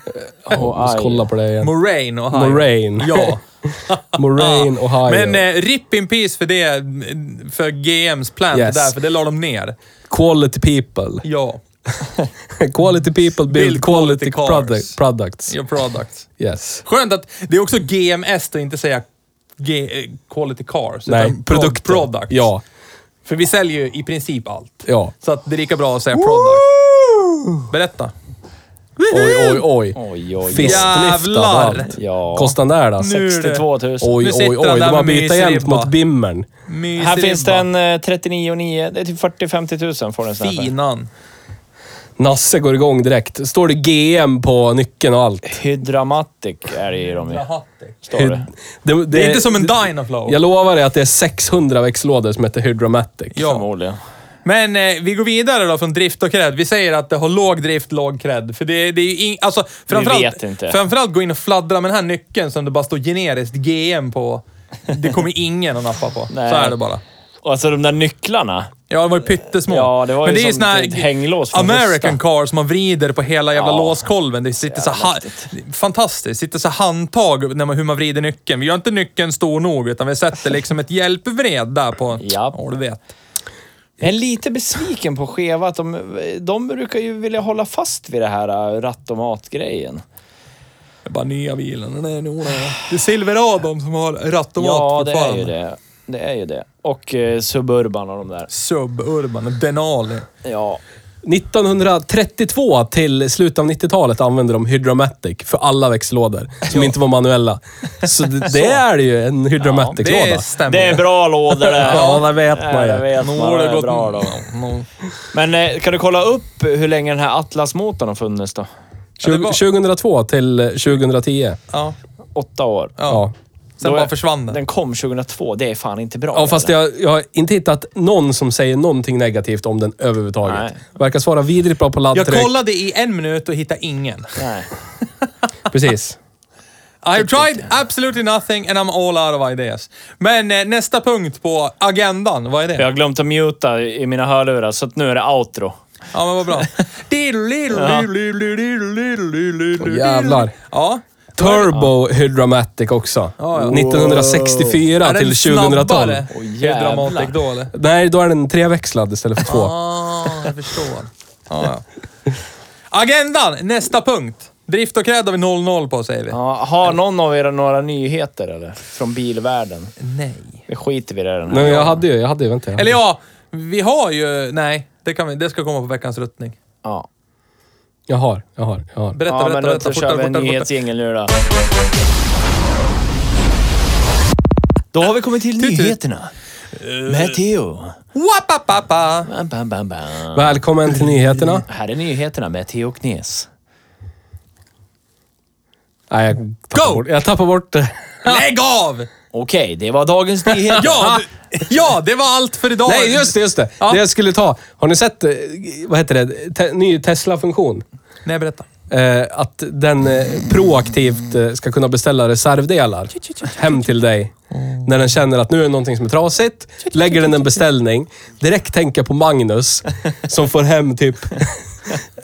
C: Jag måste kolla på det igen.
A: Moraine och Ohio.
C: Moraine.
A: Ja.
C: Moraine, Ohio.
A: Men eh, RIP in peace för det, mm, för GMs plant
C: Yes.
A: där, för det la de ner.
C: Quality people.
A: Ja,
C: quality people build,
A: Build quality
C: quality,
A: cars.
C: product, products.
A: your product.
C: Yes.
A: Skönt att det är också GMS och inte säga G, eh, quality cars.
C: Nej,
A: utan pro-
C: produkter.
A: Products.
C: Ja.
A: För vi säljer ju i princip allt.
C: Ja.
A: Så att det är lika bra att säga product. Berätta.
C: Oj, oj, oj.
D: Oj, oj, oj.
C: Fistlyftad och
A: Jävlar.
C: allt.
D: Ja.
C: Kostar den där då?
A: Nu.
D: 62 000.
C: Oj,
A: Nu
C: oj,
A: sitter
C: oj.
A: han
C: De
A: där
C: har
A: med
C: bytt
A: mysribba.
C: jämt mot bimmern.
A: Mysig
D: Här finns det
A: ribba.
D: en eh, 39 9. Det är typ 40-50 000 får den sån här för.
A: Finan.
C: Nasse går igång direkt. Står det GM på nyckeln och allt.
D: Hydramatic är det ju de ju. Står det.
C: Det, det,
A: Det är inte som en Dynaflow.
C: Jag lovar dig att det är 600 växellådor som heter Hydromatic.
A: Ja.
D: Förmodligen.
A: Men eh, vi går vidare då från drift och cred. Vi säger att det har låg drift, låg cred. För det, det är ju ing- alltså,
D: vet
A: framförallt,
D: inte.
A: framförallt gå in och fladdra med den här nyckeln som det bara står generiskt GM på. Det kommer ingen att nappa på.
D: Nej.
A: Så är det bara.
D: Och alltså de där nycklarna.
A: Ja, de var ju pyttesmå.
D: Ja, det var
A: Men
D: ju
A: det är ju
D: som
A: såna här
D: ett hänglås från
A: American
D: Rusta.
A: car som man vrider på hela jävla
D: Ja.
A: låskolven. Det sitter så ha- Fantastiskt. Det sitter så handtag när man, hur man vrider nyckeln. Vi gör inte nyckeln stor nog, utan vi sätter liksom ett hjälpvred där på...
D: Japp.
A: Ja, du vet.
D: Jag är lite besviken på Cheva att de, de brukar ju vilja hålla fast vid det här eh, rattomat-grejen.
A: Det är bara nya bilen. Den är nog Det är Silveradon som har rattomat
D: Ja, det är
A: fortfarande.
D: ju det. Det är ju det. Och eh, Suburban och de där.
A: Suburban, Denali.
D: Ja.
C: 1932 till slutet av 90-talet använde de Hydromatic för alla växellådor som inte var manuella. Så det, det är ju en Hydromatic-låda.
A: Det stämmer.
D: Det är bra lådor det här.
C: Ja, det vet man ju.
D: Det vet man.
A: Nå, det har
D: Det är
A: gått-
D: bra då.
A: Nå.
D: Men eh, kan du kolla upp hur länge den här Atlas-motorn har funnits då?
A: Ja, det var-
C: 2002 till 2010.
A: Ja.
D: Åtta år.
A: ja.
C: Ja.
A: Sen
D: Då
A: bara
D: är-
A: försvann den.
D: Den kom 2002. Det är fan inte bra.
C: Ja, fast
D: det...
C: jag, jag har inte hittat någon som säger någonting negativt om den överhuvudtaget.
D: Nej.
C: Verkar svara vidrigt bra på
A: Jag
C: laddtryck.
A: kollade i en minut och hittade ingen.
D: Nej.
C: Precis.
A: I've tried absolutely nothing and I'm all out of ideas. Men eh, nästa punkt på agendan, vad är det?
D: Jag har glömt att muta i mina hörlurar, så att nu är det outro.
A: Ja, men vad bra.
C: Åh, jävlar.
A: Ja.
C: Turbo Hydromatic också. 1964
A: Är den
C: till 2012.
A: snabbare?
D: Åh,
A: Är det Dramatic då eller?
C: Nej, då är den treväxlad istället för två.
A: Ah, jag förstår. Ah, ja. Agendan, nästa punkt. Drift och cred har vi 0-0 på säger vi.
D: Ja, har någon av er några nyheter eller? Från bilvärlden?
A: Nej.
D: Det skiter vi i det den här
C: Nej, men jag
D: gången.
C: hade ju, jag hade ju, vänta. jag hade-
A: Eller ja, vi har ju... Nej, det, kan vi, det ska komma på veckans ruttning.
D: Ja.
C: Jag har, jag har, jag har.
A: Berätta,
D: Ja,
A: berätta,
D: men
A: berätta.
D: då kör vi
A: Fortare,
D: en
A: fortare, fortare.
D: nyhetsjingel nu då. Då har vi kommit till
A: Tut, tut.
D: nyheterna. Med Theo.
A: Wapapapa.
D: Bam, bam, bam, bam.
C: Välkommen till nyheterna.
D: Här är nyheterna med Theo Knes.
C: Nej, jag tappar
A: Go!
C: bort, jag tappar bort det.
A: Lägg av!
D: Okej, det var dagens nyheter.
A: Ja, d- ja, det var allt för idag.
C: Nej, just det, just det.
A: Ja.
C: Det jag skulle ta. Har ni sett, eh, vad heter det, Te ny Tesla-funktion?
A: Nej, berätta.
C: Eh, att den eh, proaktivt eh, ska kunna beställa reservdelar hem till dig. När den känner att nu är det någonting som är trasigt, lägger den en beställning. Direkt tänka på Magnus som får hem typ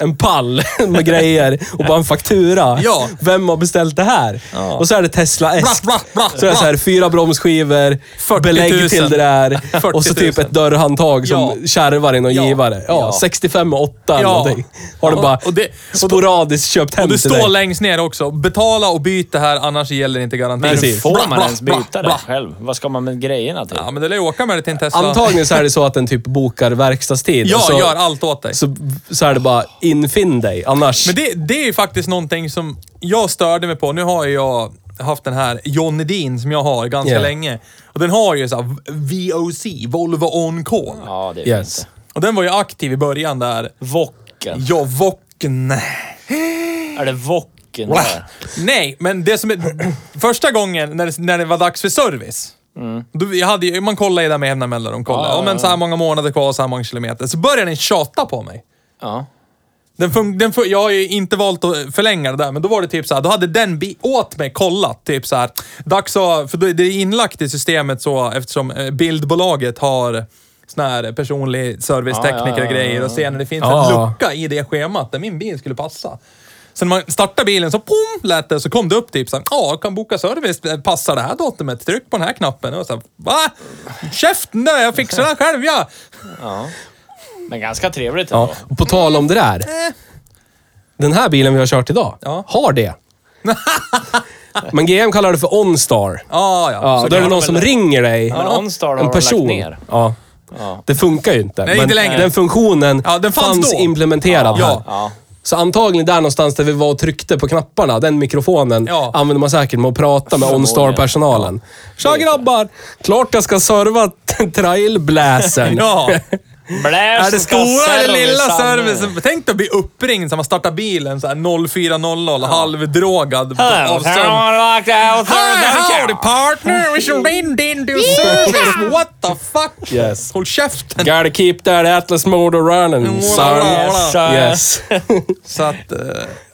C: en pall med grejer och bara en faktura.
A: Ja.
C: Vem har beställt det här? Och så är det Tesla S.
A: Bra, bra, bra,
C: Så är det så
A: bra.
C: här, fyra bromsskivor,
A: 40 000.
C: belägg till det där och
A: 40
C: så
A: 000.
C: typ ett dörrhandtag som
A: Ja.
C: kärvar i någon
A: Ja.
C: givare. Ja,
D: Ja.
C: 65 och 8 eller
A: Ja.
C: någonting. Har den
A: Ja,
C: bara
A: och det- och då-
C: sporadiskt köpt hem
A: Och du
C: till dig.
A: står längst ner också. Betala och byt det här, annars gäller inte garantin.
D: Men
C: Precis.
D: får
A: Bra,
D: man
A: bra,
D: ens
A: bra,
D: byta det
A: bra.
D: själv? Vad ska man med grejerna till?
A: Ja, men du lär ju åka med det till en Tesla.
C: Antagligen så är det så att den typ bokar verkstadstid.
A: Ja,
C: och
D: Alltså,
C: så,
A: gör allt åt dig.
C: Så, så är det bara infinn dig, annars...
A: Men det, det är ju faktiskt någonting som jag störde mig på. Nu har ju jag haft den här Johnny Dean som jag har ganska
C: Ja.
A: länge. Och den har ju så här VOC, Volvo On Call.
D: Ja, det är
C: Yes.
D: fint.
A: Och den var ju aktiv i början där.
D: Vocken.
A: Ja, Vocken.
D: Är det vocken där?
A: Nej, men det som är... Första gången när det, när det var dags för service. Då, jag hade, ju- man kollade ju där med jämna mellanrum. Kollade.
D: Ja, ja,
A: Ja, men så här många månader kvar, så här många kilometer. Så började den tjata på mig.
D: Ja.
A: Den fun- den fun- jag har ju inte valt att förlänga det där, men då var det typ så här, då hade den bi- åt mig kollat, typ så här, dags att, för då är det är inlagt i systemet så, eftersom eh, bildbolaget har sån här personlig
C: Ah,
A: servicetekniker
D: Ja, ja, ja,
A: och grejer och ser när det finns
C: Ja.
A: en lucka i det schemat där min bil skulle passa. Så när man startade bilen så pom, lät det, så kom det upp typ såhär, ja, kan boka service, eh, passar det här datumet, tryck på den här knappen. Och så här, va? Käften där, jag fixar det här själv ja!
D: Men ganska trevligt ändå.
C: Ja. och På tal om det där. Den här bilen vi har kört idag
A: Eh. Ja.
C: har det. Men GM kallar det för OnStar.
A: Ah, ja,
C: Ja,
A: Så
C: då är det
A: kan-
C: någon som ringer dig.
D: Men OnStar har
C: en
D: de lagt
C: person.
D: ner.
C: Ja. Det funkar ju inte.
A: Nej,
C: men
A: inte längre.
C: Den funktionen
A: Ja, den fanns då.
C: implementerad
A: Ja.
C: här.
D: Ja.
C: Så antagligen där någonstans där vi var och tryckte på knapparna, den mikrofonen,
A: Ja.
C: använder man säkert med att prata med
D: Förmodligen.
C: OnStar-personalen. Tja grabbar! Klart jag ska serva trailbläsen.
A: Ja.
B: Bläs
C: Alltså,
A: Är det
B: och
A: stora
B: kasser
A: eller
B: och
A: lilla
B: samma.
A: servicen? Tänk dig att bli uppringd så man startar bilen så här 0400, halvdrogad på-
B: Hello,
A: av sömn. Hi, howdy
B: hello,
A: partner! We should bend into service! What the fuck?
C: Yes.
A: Håll käften!
C: Gotta keep that Atlas motor running, son. Yes.
A: Så att, eh,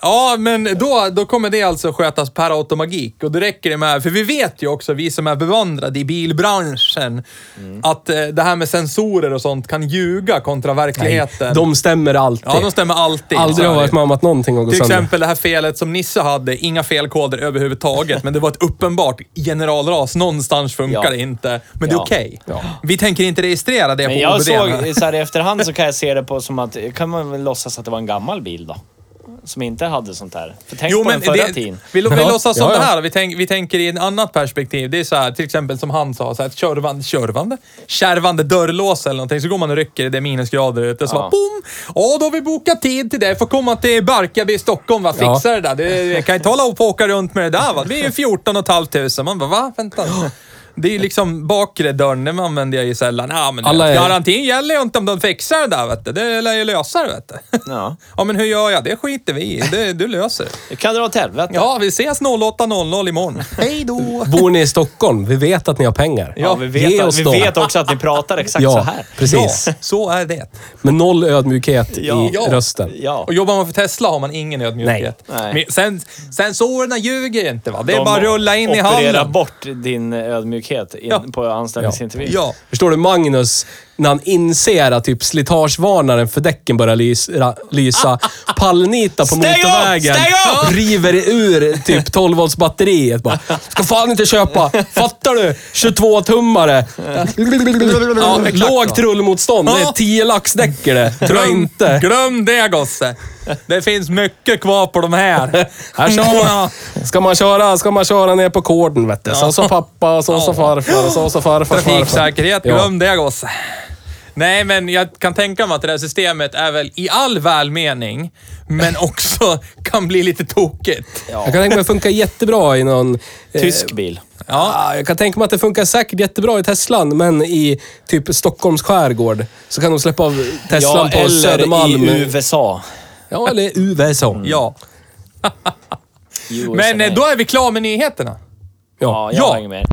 A: ja, men då, då kommer det alltså skötas per automatik. Och det räcker det med, för vi vet ju också, vi som är bevandrade i bilbranschen, att eh, det här med sensorer och sånt kan ljuga kontra verkligheten.
C: De stämmer alltid.
A: ja, de stämmer alltid.
C: Aldrig
A: Så
C: har
A: är
C: jag
A: det.
C: varit med om att någonting har gått
A: Till
C: sönder.
A: exempel det här felet som Nisse hade, inga felkoder överhuvudtaget, men det var ett uppenbart generalras. Någonstans funkar
D: Ja.
A: det inte, men det är
D: Ja.
A: okej. Vi tänker inte registrera det
B: Men
A: på
B: jag
A: OBD.
B: såg, så här i efterhand så kan jag se det på som att, kan man väl låtsas att det var en gammal bil då? Som inte hade sånt här. För tänk på den förra tiden.
A: Vi, vi
C: Ja,
A: låtsas som
C: ja, ja.
A: det här. Vi, tänk, vi tänker i ett annat perspektiv. Det är så här, till exempel som han sa, så här, körvande, körvande, kärvande dörrlås eller någonting. Så går man och rycker, det är minusgrader ute. Så bara boom! Ja, då har vi bokat tid till det. Får komma till Barkarby i Stockholm va? fixa det där. Det, jag kan inte hålla på och åka runt med det där va. Det är ju 14 500. Man bara, va? Vänta. Det är ju liksom bakre dörren, den använder jag ju sällan. Ja, men
C: Alla
A: Alla
C: är-
A: Garantin gäller ju inte om de fixar det där vet du. Det lär ju lösa det vet du.
B: Ja.
A: ja men hur gör jag? Det skiter vi i. Det, du löser det.
B: Det kan dra åt helvete.
A: Ja, vi ses 08.00 imorgon. Hej då!
C: Bor ni i Stockholm? Vi vet att ni har pengar.
B: Ja, vi
C: Ge
B: vet, att,
C: oss
B: vi
C: dem.
B: vet också att ni pratar exakt så
C: Ja,
B: här.
C: precis.
A: Ja, så är det.
C: Med noll ödmjukhet i
B: Ja.
C: rösten.
B: Ja.
A: Och jobbar man för Tesla har man ingen ödmjukhet.
B: Nej. Nej.
A: Men Sen, sensorerna ljuger inte va? Det är
B: De
A: bara att rulla in i
B: opererar
A: hallen.
B: bort din ödmjukhet in,
A: Ja.
B: på anställningsintervjun.
A: Ja.
C: Förstår du Magnus, när han inser att typ slitagevarnaren för däcken börjar lysa, lysa pallnita på
B: Stäng upp!
C: motorvägen,
B: Stäng upp!
C: river ur typ 12 volts batteriet bara. Ska fan inte köpa! Fattar du? 22-tummare. Lågt rullmotstånd. Det är 10 lax däck i det. Tror jag inte.
A: Glöm det gosse! Det finns mycket kvar på de här.
C: Här kör man. Ska man köra, ska man köra ner på kården vet du. Så sa pappa, så sa farfar, så sa farfar, farfar.
A: Trafiksäkerhet,
C: Ja.
A: glöm det gosse. Nej, men jag kan tänka mig att det där systemet är väl i all välmening, men också kan bli lite tokigt.
C: Jag kan tänka mig att det funkar jättebra i någon... eh,
B: Tysk bil.
C: Ja, Ah, jag kan tänka mig att det funkar säkert jättebra i Teslan, men i typ Stockholms skärgård så kan de släppa av Teslan
B: Ja,
C: på
B: eller
C: Södermalm.
B: i USA.
C: Ja, eller USA.
A: Ja.
B: USA.
A: Men eh, då är vi klara med nyheterna.
B: Ja,
C: Ja.
B: jag
A: Ja.
B: hänger med.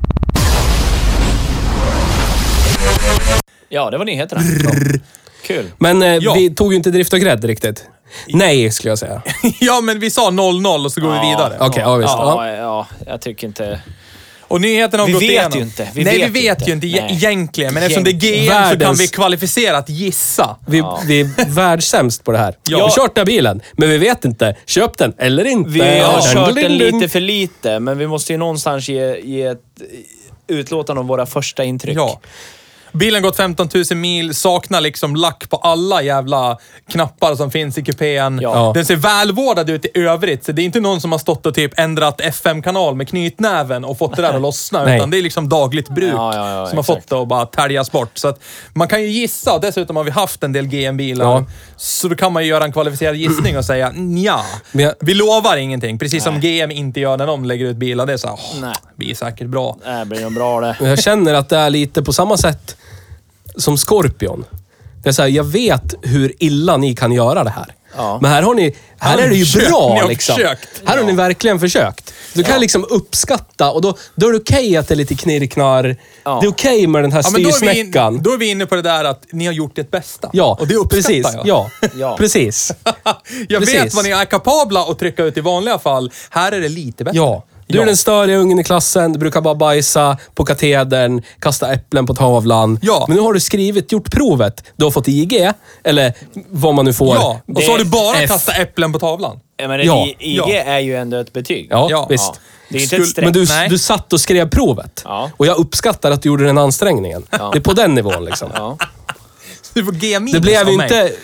B: Ja, det var nyheterna. Ja. Kul.
C: Men eh,
A: Ja.
C: vi tog ju inte drift och grädd riktigt. Nej, skulle jag säga.
A: Ja, men vi sa 00 och så går vi vidare.
C: Okej, ja visst. Ja.
B: Ja, ja, jag tycker inte...
A: Och nyheterna har
B: Vi
A: gått
B: vet
A: igenom.
B: ju inte. Vi
A: Nej,
B: vet
A: vi
B: ju
A: vet ju inte,
B: inte. Nej.
A: egentligen. Men eftersom det är GM så kan
C: Världens-
A: vi kvalificerat gissa.
C: Vi, vi är världssämst på det här. Vi har kört den här bilen, men vi vet inte. Köp den eller inte.
B: Vi har
C: Ja.
B: kört den
C: Ding, ding.
B: lite för lite, men vi måste ju någonstans ge, ge ett utlåtande om våra första intryck.
A: Ja. Bilen har gått 15 000 mil, saknar liksom lack på alla jävla knappar som finns i kupén.
B: Ja.
A: Den ser välvårdad ut i övrigt, så det är inte någon som har stått och typ ändrat FM-kanal med knytnäven och fått det där att lossna.
C: Nej.
A: Utan det är liksom dagligt bruk
B: Ja, ja, ja,
A: som har
B: exakt.
A: fått det att bara täljas bort. Så att man kan ju gissa och dessutom har vi haft en del GM-bilar.
C: Ja.
A: Så då kan man ju göra en kvalificerad gissning och säga ja.
C: Men jag-
A: Vi lovar ingenting, precis som GM inte gör när de lägger ut bilar. Det är såhär,
B: Nej.
A: oh, blir säkert bra.
B: Det blir nog bra det.
C: Men jag känner att det är lite på samma sätt som Scorpion. Det är så här, jag vet hur illa ni kan göra det här.
B: Ja.
C: Men här har ni... Här är det ju
A: försökt, ni
C: bra
A: har
C: liksom.
A: försökt.
C: Här har ni verkligen försökt. Du kan liksom uppskatta och då, då är det okej att det är lite knirknar.
B: Ja.
C: Det är okej med den här
A: Ja, men då, är vi
C: styrsnäckan.
A: in, då är vi inne på det där att ni har gjort ert bästa.
C: Ja,
A: och det uppskattar
C: precis.
A: jag.
C: Ja.
B: Ja.
C: precis.
A: jag vet
C: Precis.
A: vad ni är kapabla att trycka ut i vanliga fall. Här är det lite bättre.
C: Ja. Du är den störiga ungen i klassen, du brukar bara bajsa på katedern, kasta äpplen på tavlan.
A: Ja.
C: Men nu har du skrivit, gjort provet, du har fått IG, eller vad man nu får.
A: Ja, och så har du bara
C: F.
A: kastat äpplen på tavlan.
B: Jag menar,
C: Ja,
B: I- IG
A: ja.
B: är ju ändå ett betyg.
C: Ja,
A: Ja.
C: visst.
B: Ja. Det är ju inte ett streck.
C: Men du,
A: Nej.
C: du satt och skrev provet.
B: Ja.
C: Och jag uppskattar att du gjorde den ansträngningen. Det är på den nivån liksom.
B: Ja.
A: Du får G minus
C: Det blev
A: av
C: ju
A: mig.
C: inte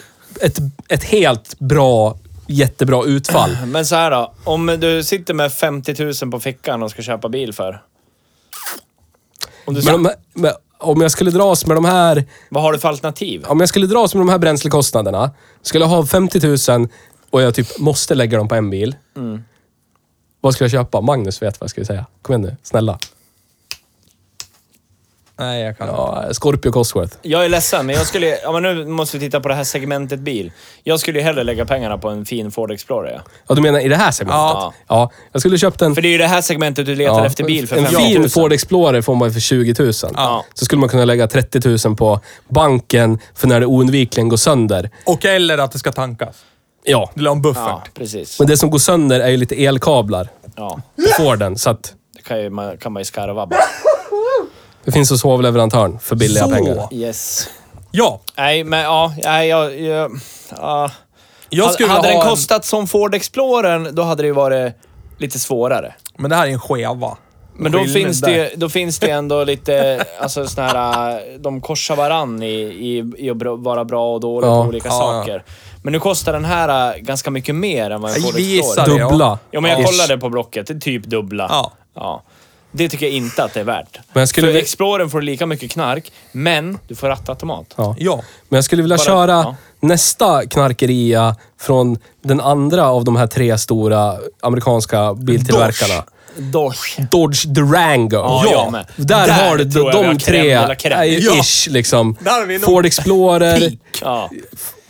C: ett, ett helt bra, jättebra utfall.
B: Men så här då. Om du sitter med 50 000 på fickan och ska köpa bil för. Om du
C: Men, de- men om jag skulle dras med de här
D: Vad har du för alternativ?
C: om jag skulle dras med de här bränslekostnaderna, skulle jag ha 50 000 och jag typ måste lägga dem på en bil. Vad skulle jag köpa? Magnus vet vad jag skulle säga. Kom igen nu, snälla.
A: Nej, jag kan inte.
C: Ja, Scorpio Cosworth.
D: Jag är ledsen, men jag skulle... Ja, men nu måste vi titta på det här segmentet bil. Jag skulle ju hellre lägga pengarna på en fin Ford Explorer. ja.
C: Ja, du menar i det här segmentet?
D: Ja.
C: ja jag skulle köpt en...
D: För det är ju det här segmentet du letar
C: ja,
D: efter bil för
C: En
D: 15 000.
C: fin Ford Explorer får man för 20 000.
D: Ja.
C: Så skulle man kunna lägga 30 000 på banken för när det oundvikligen går sönder.
A: Och eller att det ska tankas.
C: Ja,
A: Eller en buffert.
D: Ja, precis.
C: men det som går sönder är ju lite elkablar
D: Ja,
C: på Forden. Så att
D: det kan, ju, man, kan man ju skarva bara.
C: det finns hos hovleverantören för billiga
A: Så.
C: pengar.
D: Yes.
A: Ja,
D: Nej, men ja... Nej, jag... jag ja.
A: jag skulle ha
D: hade den
A: en-
D: kostat som Ford Explorern, då hade det ju varit lite svårare.
A: Men det här är en skeva.
D: Men då
A: Skillnad
D: finns,
A: där.
D: det, då finns det ändå lite, alltså såna här, de korsar varann i, i, i att bra- vara bra och dåligt
C: Ja.
D: på olika
A: Ja, ja.
D: saker. Men nu kostar den här äh, ganska mycket mer än vad en
A: Jag
D: Ford
A: gissar
D: Explorer.
A: det. ja.
C: Dubbla.
D: Ja, men jag
C: Ish.
D: kollade på Blocket. Det är typ dubbla.
A: Ja.
D: Ja. Det tycker jag inte att det är värt.
C: Men jag skulle
D: För
C: vi-
D: Explorern får lika mycket knark, men du får rattautomat.
C: Ja.
A: Ja.
C: Men jag skulle vilja
D: Bara-
C: köra
D: ja.
C: nästa knarkeria från den andra av de här tre stora amerikanska biltillverkarna.
D: Dosh.
C: Dodge Durango.
D: Ja, jag med.
C: Där,
D: Där
C: har du
D: tror jag vi har
C: de
D: crème
C: tre.
D: de la crème.
C: är ju
A: Ja.
C: Ish, liksom.
A: Där har vi nog-
C: Ford Explorer.
D: Ja.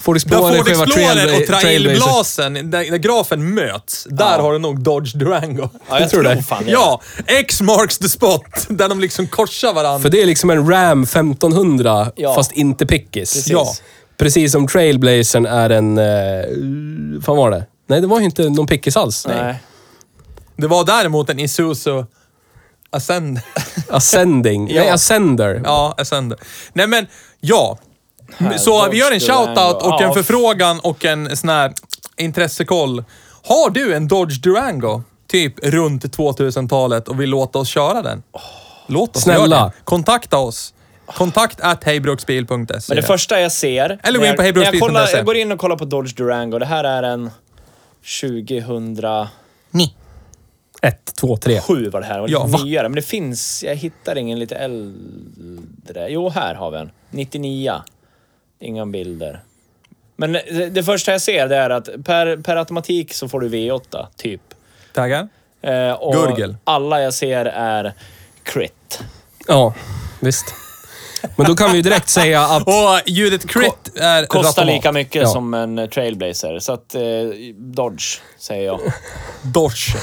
C: Ford
A: Där
C: Explorer,
A: Ford
C: Cheva
A: Explorer
C: Trailbla-
A: och
C: Trailblazer.
A: Trailblazen, där, där grafen möts, där har du nog Dodge Durango.
D: ja, jag
C: Tror
D: tror,
C: du det?
D: fan det.
A: Ja, X marks the spot. Där de liksom korsar varandra.
C: För det är liksom en Ram 1500,
D: Ja.
C: fast inte pickis.
D: Precis.
C: Ja. Precis som Trailblazern är en... Eh, fan var det? Nej, det var ju inte någon pickis alls.
D: Nej.
A: Det var däremot en Isuzu Ascender.
C: Ascending. Nej,
A: Ja.
C: Ascender.
A: Ja, Ascender. Nej men, ja. Så
D: Dodge
A: vi gör en shoutout
D: Durango.
A: och en
D: Ja.
A: förfrågan och en sån här intressekoll. Har du en Dodge Durango, typ runt 2000-talet och vill låta oss köra den? Låt oss
C: Snälla.
A: göra det. Kontakta oss. Kontakt at hejbruksbil.se.
D: Men det första jag ser...
A: Eller gå
D: när
A: in på
D: jag- när jag,
A: hejbruksbil.se.
D: kollar, jag går in och kollar på Dodge Durango. Det här är en 2007
A: Ni.
C: Ett, två, tre.
D: var det här. Det var
A: Ja,
D: lite
A: va?
D: nyare. Men det finns... Jag hittar ingen lite äldre. Jo, här har vi en. 99. Inga bilder. Men det, det första jag ser det är att per, per automatik så får du V8, typ.
A: Taggar?
D: Eh, och
A: Gurgel.
D: alla jag ser är crit.
C: Ja, visst. Men då kan vi ju direkt säga att...
A: Och ljudet crit är
D: Kostar
A: rattomat.
D: lika mycket
C: Ja.
D: som en eh, trailblazer. Så att eh, Dodge, säger jag.
A: Dodge.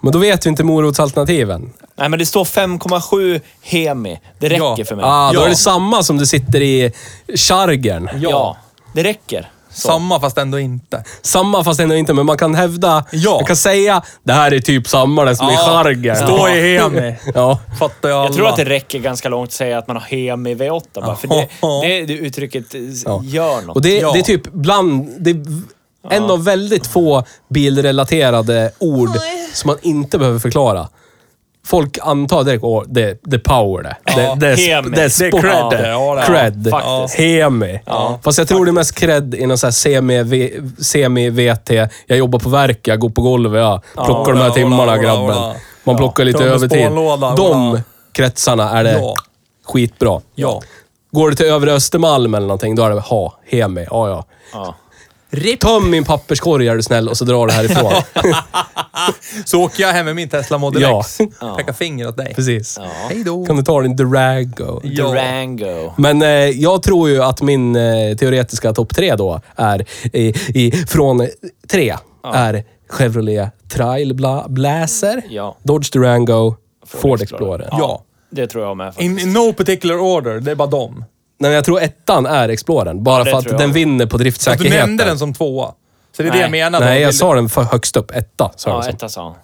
C: Men då vet vi inte morotsalternativen.
D: Nej, men det står 5,7 hemi. Det räcker
A: Ja.
D: för mig.
C: Ah, då
A: Ja.
C: är det samma som du sitter i chargern.
D: ja. det räcker. Så.
A: Samma fast ändå inte.
C: Samma fast ändå inte, men man kan hävda...
A: Ja.
C: Man kan säga det här är typ samma den som är i
A: Ja,
C: chargern.
A: stå
C: Ja.
A: i hemi.
C: Ja.
A: Fattar jag alla.
D: Jag tror att det räcker ganska långt att säga att man har hemi V8 bara, för det, det, det uttrycket eh,
C: Ja.
D: gör något.
C: Och det,
A: Ja.
C: det är typ bland... Det är v- en av väldigt få bilrelaterade ord som man inte behöver förklara. Folk antar direkt åh, det, det är power det. Det, det, är,
D: Hemi.
C: sp- det är
D: Det är
C: sport.
D: cred det.
A: Ja, det är.
C: cred.
D: Ja, faktiskt.
C: Hemi. Fast jag tror det är mest cred i någon så här semi-VT. jag jobbar på verk, jag går på golvet, jag plockar de här
A: ola,
C: timmarna
A: ola,
C: grabben.
A: ola.
C: Man plockar lite
A: Tum med
C: övertid.
A: spånlåda,
C: De
A: ola.
C: kretsarna är det
A: Ja.
C: skitbra.
A: Ja.
C: Går du till övre Östermalm eller någonting, då är det ha, hemi, ja ja.
D: Ja.
C: Töm min papperskorg är du snäll och så drar du härifrån.
A: Så åker jag hem med min Tesla Model
C: Ja.
A: X. Pekar finger åt dig.
C: Precis.
A: Hej då.
C: Kan du ta din Durago?
A: Ja.
D: Durango.
C: Men eh, jag tror ju att min eh, teoretiska topp tre då är i, i, från tre är Chevrolet Trailblazer,
D: Ja.
C: Dodge Durango, Ford,
D: Explorer.
C: Explorer.
A: Ja.
D: Det tror jag med.
A: In, in no particular order, det är bara dem.
C: Nej, men jag tror ettan är Explorern, bara
D: det
C: för
D: tror
C: att
D: jag.
C: den vinner på
A: Att du
C: driftsäkerheten.
A: nämnde den som tvåa. Så det är det
D: Nej.
A: jag menar.
C: Nej, jag sa den för högst upp. Etta, sa jag
D: Ja,
C: som.
D: etta sa han.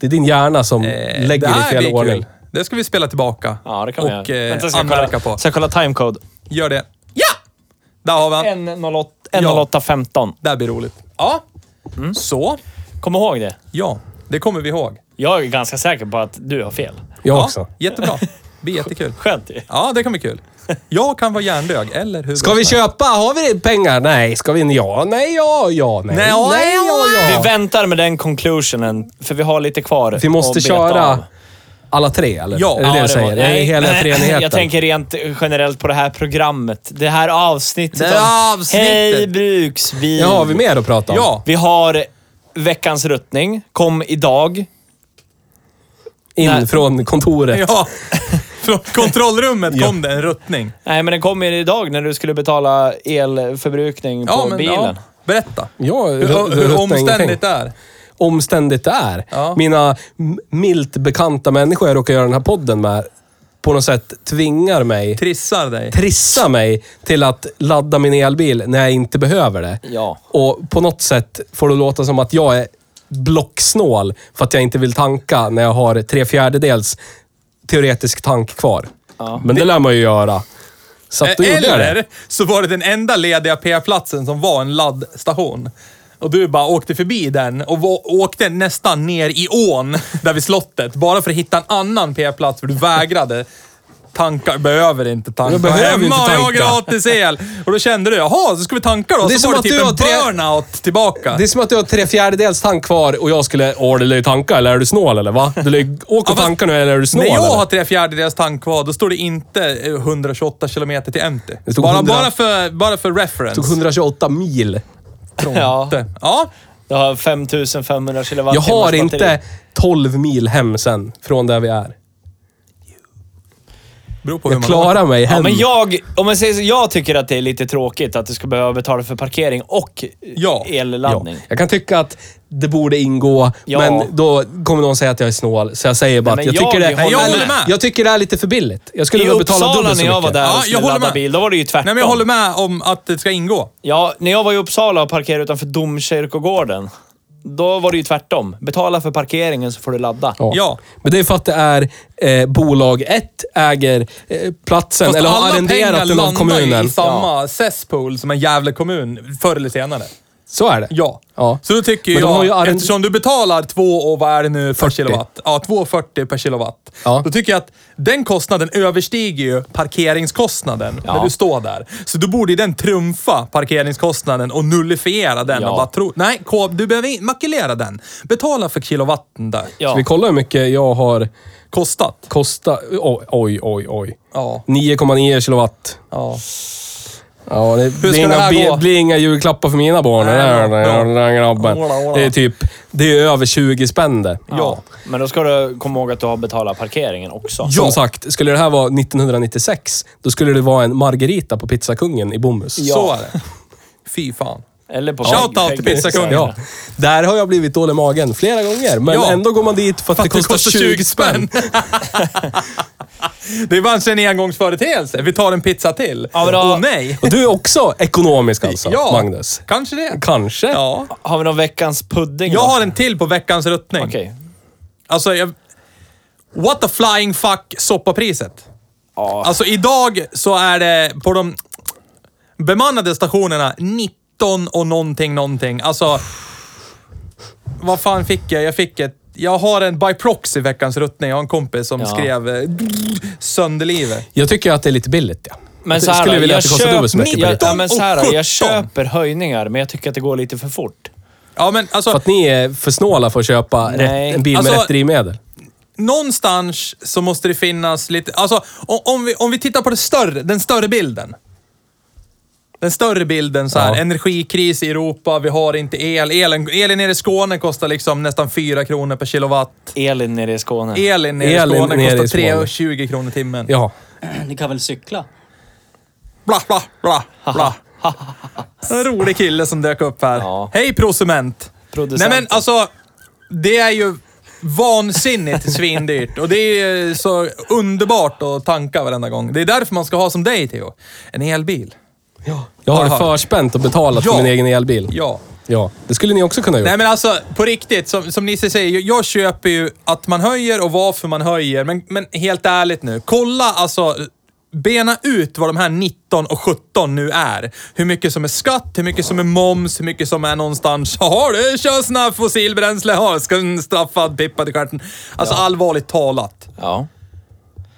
C: Det är din hjärna som lägger i fel
A: Eh, blir kul.
C: ordning.
A: Det ska vi spela tillbaka.
D: Ja, det kan man
A: Och
D: göra.
A: eh,
D: Vänta, ska jag
A: anmärka
D: kolla-
A: på.
D: Ska jag kolla timecode?
A: Gör det. Ja! Där har vi han.
D: 1.08 1.08.15.
A: Det här blir roligt. Ja.
C: Mm.
A: Så.
D: Kom ihåg det.
A: Ja, det kommer vi ihåg.
D: Jag är ganska säker på att du har fel.
C: Jag
A: Ja,
C: också.
A: Jättebra. Det blir jättekul.
D: Skönt ju.
A: Ja, det kan bli kul. Jag kan vara hjärndög, eller hur?
C: Ska vi köpa? Har vi pengar? Nej. Ska vi? Ja, nej, ja, ja, nej.
A: Nej, ja, ja,
D: Vi väntar med den conclusionen, för vi har lite kvar
C: Vi måste
D: att beta av.
C: köra alla tre, eller?
A: Ja.
C: Är det det du
B: var-
C: säger? Är det hela treenigheten?
B: Jag tänker rent generellt på det här programmet. Det här avsnittet
A: Det här avsnittet.
B: Hej Bruksbil.
C: Ja, har vi mer att prata om?
A: Ja.
B: Vi har Veckans ruttning. Kom idag.
C: In
B: Nej.
C: från kontoret.
A: Ja, från kontrollrummet kom det en ruttning.
B: Nej, men den kom ju idag när du skulle betala elförbrukning på
A: Ja, men,
B: bilen.
A: ja, berätta.
C: Ja,
A: Hur,
C: ruttning
A: hur
C: och
A: omständigt
C: tänk.
A: det är.
C: omständigt det är.
A: Ja.
C: Mina m- milt bekanta människor jag råkar göra den här podden med på något sätt tvingar mig,
A: Trissar dig.
C: trissa mig till att ladda min elbil när jag inte behöver det.
B: Ja.
C: Och på något sätt får det låta som att jag är blocksnål för att jag inte vill tanka när jag har tre fjärdedels teoretisk tank kvar. Men det lär man ju göra. Så att då gjorde jag det.
A: Eller så var det den enda lediga p-platsen som var en laddstation. Och du bara åkte förbi den och va- åkte nästan ner i ån där vid slottet. Bara för att hitta en annan p-plats för du vägrade tanka. Behöver inte tanka.
C: Jag behöver
A: Hemma
C: inte
A: har jag
C: tanka.
A: gratis el. Och då kände du, jaha, så ska vi tanka då.
C: Det är
A: så
C: som
A: var det
C: att
A: typ
C: du har
A: en
C: tre-
A: burnout tillbaka.
C: Det är som att du har tre fjärdedels tank kvar och jag skulle, åh, det lär ju tanka eller är du snål eller va? Du lär ju åka och
A: fast-
C: tanka nu eller är du snål
A: När jag
C: eller?
A: har tre fjärdedelars tank kvar, då står det inte eh, 128 kilometer till empty.
C: Det stod
A: Bara,
C: 100.
A: bara, för, bara för reference.
C: tog 128 mil.
B: Ja.
A: Ja,
B: Du har 5500 kilowattimmar.
C: Jag har inte 12 mil hem sen från där vi är.
A: beror på hur
C: Jag
A: man
C: klarar mig hem.
B: Ja, men jag, om man säger så, jag tycker att det är lite tråkigt att du ska behöva betala för parkering och
A: Ja.
B: elladdning.
C: Ja, jag kan tycka att det borde ingå,
B: Ja.
C: men då kommer någon säga att jag är snål. Så jag säger bara
B: Nej,
C: att jag,
B: men jag
C: tycker det,
B: håller
A: Jag håller med. med.
C: jag tycker det är lite för billigt. Jag skulle
B: I
C: vilja betala
B: Uppsala
C: dubbelt så
B: när jag var
C: mycket.
B: där
A: Ja,
B: och
A: jag
B: skulle
A: håller
B: ladda
A: med.
B: bil, då var det ju tvärtom.
A: Nej, men jag håller med om att det ska ingå.
B: Ja, när jag var i Uppsala och parkerade utanför domkyrkogården, då var det ju tvärtom. Betala för parkeringen så får du ladda.
A: Ja.
C: Men det är för att det är eh, bolag ett äger eh, platsen
A: Fast
C: eller har
A: alla pengar
C: arrenderat den av
A: landar
C: kommunen.
A: i samma cesspool som en jävla kommun förr eller senare.
C: Så är det.
A: Ja.
C: Ja.
A: Så då tycker
C: Men de
A: jag,
C: har ju arrend-
A: eftersom du betalar två och vad är det nu per
C: 40.
A: kilowatt? Ja, 2,40 per kilowatt.
C: Ja.
A: Då tycker jag att den kostnaden överstiger ju parkeringskostnaden när du står där. Så då borde ju den trumfa parkeringskostnaden och nullifiera den
B: Ja.
A: och bara tro... Nej, K, du behöver in- makulera den. Betala för kilowatten där.
B: Ja.
C: Så vi kollar hur mycket jag har
A: Kostat.
C: kostat. Oj, oj, oj. oj.
A: Ja.
C: 9,9 kilowatt.
A: ja.
C: Ja, det blir
A: ska det
C: inga,
A: här
C: be,
A: gå?
C: blir inga julklappar för mina barn.
A: Nej,
C: Nej,
A: ja,
C: nej,
A: ja.
C: nej, nej, grabben.
A: Ola, ola.
C: Det är typ... Det är över 20 spänn det.
A: Ja.
B: Men då ska du komma ihåg att du har betalat parkeringen också.
C: Som sagt, skulle det här vara 1996, då skulle det vara en Margarita på Pizzakungen i Bomhus.
A: Så är det. Fy fan.
B: Eller på
A: Shoutout
B: Peg-
A: till
B: Peg-
A: Pizzakungen.
C: Ja. Där har jag blivit dålig i magen flera gånger, men
A: Ja.
C: ändå går man dit för att, det, kostar 20 spänn.
A: det är bara en engångsföreteelse. Vi tar en pizza till.
B: Ja, men då-
A: Åh nej!
C: Och du är också ekonomisk alltså,
A: Ja,
C: Magnus?
A: kanske det.
C: Kanske.
A: Ja.
B: Har vi någon veckans pudding?
A: Jag
B: då?
A: har en till på veckans ruttning.
B: Okej.
A: Alltså, jag... What the flying fuck soppapriset.
B: Ja.
A: Alltså idag så är det på de bemannade stationerna 19 och någonting någonting. Alltså, vad fan fick jag? Jag fick ett... Jag har en by proxy veckans ruttning. Jag har en kompis som
B: Ja.
A: skrev eh, sönderlivet.
C: Jag tycker att det är lite billigt, ja.
B: Men
C: jag
B: så här,
C: skulle
B: då,
C: vilja
B: jag
C: att det kostar
B: köp-
C: dubbelt så mycket.
B: jag,
C: billigt.
B: ja, men så här, då,
A: 17.
B: jag köper höjningar, men jag tycker att det går lite för fort.
A: Ja, men alltså...
C: För att ni är för snåla för att köpa
B: Nej.
C: rätt, en bil med
A: Alltså-
C: rätt drivmedel.
A: någonstans så måste det finnas lite... Alltså, om, om, vi, om vi tittar på det större, den större bilden. Den större bilden så här,
C: Ja.
A: energikris i Europa, vi har inte el. Elen, elen nere i Skåne kostar liksom nästan 4 kronor per kilowatt.
B: Elin nere i Skåne.
A: Elen nere
C: Elen
A: i Skåne
C: nere i
A: kostar
C: Skåne.
A: 3,20 kronor timmen.
C: Ja.
F: Ni kan väl cykla?
A: Bla, bla, bla, bla. En rolig kille som dök upp här.
B: Ja.
A: Hej prosument!
B: Producenten.
A: Nej men alltså, det är ju vansinnigt svindyrt och det är ju så underbart att tanka varenda gång. Det är därför man ska ha som dig Theo, en elbil.
C: Jag har
A: Aha.
C: förspänt och betalat
A: Ja.
C: för min egen elbil.
A: Ja.
C: Ja, det skulle ni också kunna göra.
A: Nej men alltså, på riktigt, som, som Nisse säger, jag, jag köper ju att man höjer och varför man höjer, men, men helt ärligt nu, kolla alltså, bena ut vad de här 19 och 17 nu är. Hur mycket som är skatt, hur mycket som är moms, hur mycket som är någonstans, har du kör sån fossilbränsle, har ska en straffad pippad i stjärten. Alltså allvarligt talat.
B: Ja.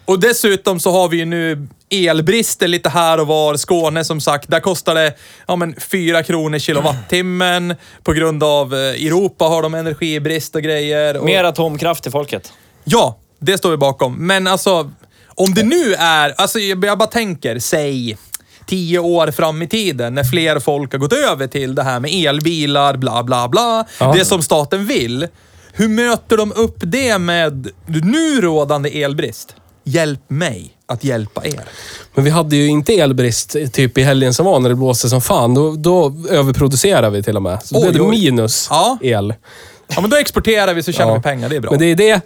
A: Och dessutom så har vi ju nu elbrister lite här och var. Skåne som sagt, där kostar det ja, men 4 kronor kilowattimmen. På grund av eh, Europa har de energibrist och grejer. Och,
B: Mer atomkraft till folket.
A: Ja, Det står vi bakom. Men alltså, om det nu är... Alltså jag jag bara tänker, säg tio år fram i tiden när fler folk har gått över till det här med elbilar, bla bla bla.
C: Ja.
A: Det som staten vill. Hur möter de upp det med nu rådande elbrist? Hjälp mig att hjälpa er.
C: Men vi hade ju inte elbrist typ i helgen som var när det blåste som fan. Då, då överproducerade vi till och med. Så då
A: Oj,
C: blev det
A: oj.
C: minus
A: Ja.
C: el.
A: Ja, men då exporterar vi så tjänar
C: Ja.
A: vi pengar. Det är bra.
C: Men det är det.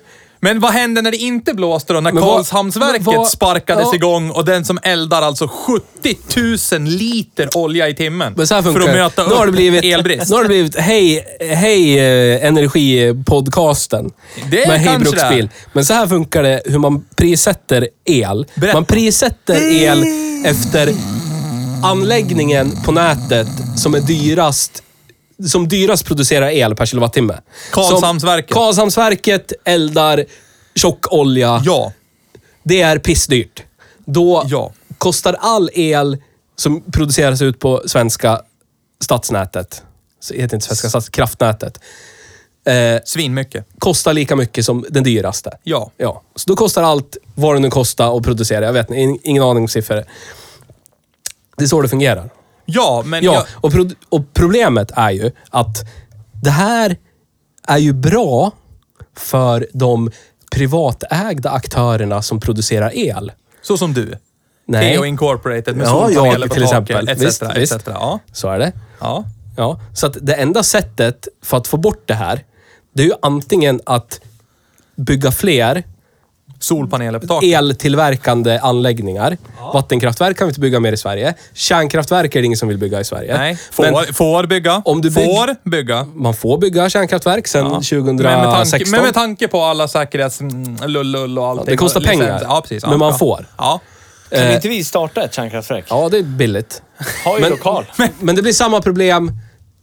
A: Men vad hände när det inte blåste då? När
C: Men vad-
A: Karlshamnsverket
C: men vad-
A: sparkades
C: ja.
A: igång och den som eldar alltså 70 000 liter olja i timmen.
C: Men så här
A: för
C: funkar
A: att
C: det.
A: möta
C: Nu har det
A: upp
C: blivit,
A: elbrist.
C: Nu har det blivit Hej, hej eh, Energipodcasten.
A: Det är
C: med
A: kanske
C: hej Bruksbil.
A: det.
C: Men så här funkar det hur man prissätter el.
A: Berätta.
C: Man prissätter el efter anläggningen på nätet som är dyrast som dyrast producerar el per kilowattimme.
A: Karlshamnsverket.
C: Som- Karlshamnsverket eldar tjockolja.
A: Ja.
C: Det är pissdyrt. Då
A: Ja.
C: kostar all el som produceras ut på svenska stadsnätet, så heter inte svenska stads, kraftnätet, eh,
A: Svinmycket.
C: kostar lika mycket som den dyraste.
A: Ja.
C: ja. Så då kostar allt vad det nu kostar att producera. Jag vet inte, in- ingen aning om siffror. Det är så det fungerar.
A: Ja, men
C: Ja,
A: jag,
C: och, pro- och problemet är ju att det här är ju bra för de privatägda aktörerna som producerar el.
A: så som du.
C: Nej.
A: Theo Incorporated med
C: Ja,
A: solpaneler
C: jag
A: på
C: till
A: taket,
C: exempel.
A: etc.
C: Visst,
A: etc.
C: visst.
A: Ja.
C: Så är det.
A: Ja.
C: Ja, så att det enda sättet för att få bort det här, det är ju antingen att bygga fler
A: Solpaneler
C: E-
A: på taket.
C: eltillverkande anläggningar. Vattenkraftverk kan vi inte bygga mer i Sverige. Kärnkraftverk är det ingen som vill bygga i Sverige.
A: Nej, får,
C: Men
A: får bygga.
C: Om du bygg- Mm,
A: får bygga.
C: man får bygga kärnkraftverk sedan
A: Ja.
C: 2016.
A: Men med, tanke, men med tanke på alla säkerhets... mm, Lullull och allting.
C: det kostar
A: och licens-
C: pengar.
A: Ja, precis. Ja,
C: Men man
A: bra.
C: får.
A: Ja.
B: Kan inte vi starta ett kärnkraftverk?
C: Eh. ja, det är billigt.
B: Har ju
C: Men-
B: lokal.
C: Men det blir samma problem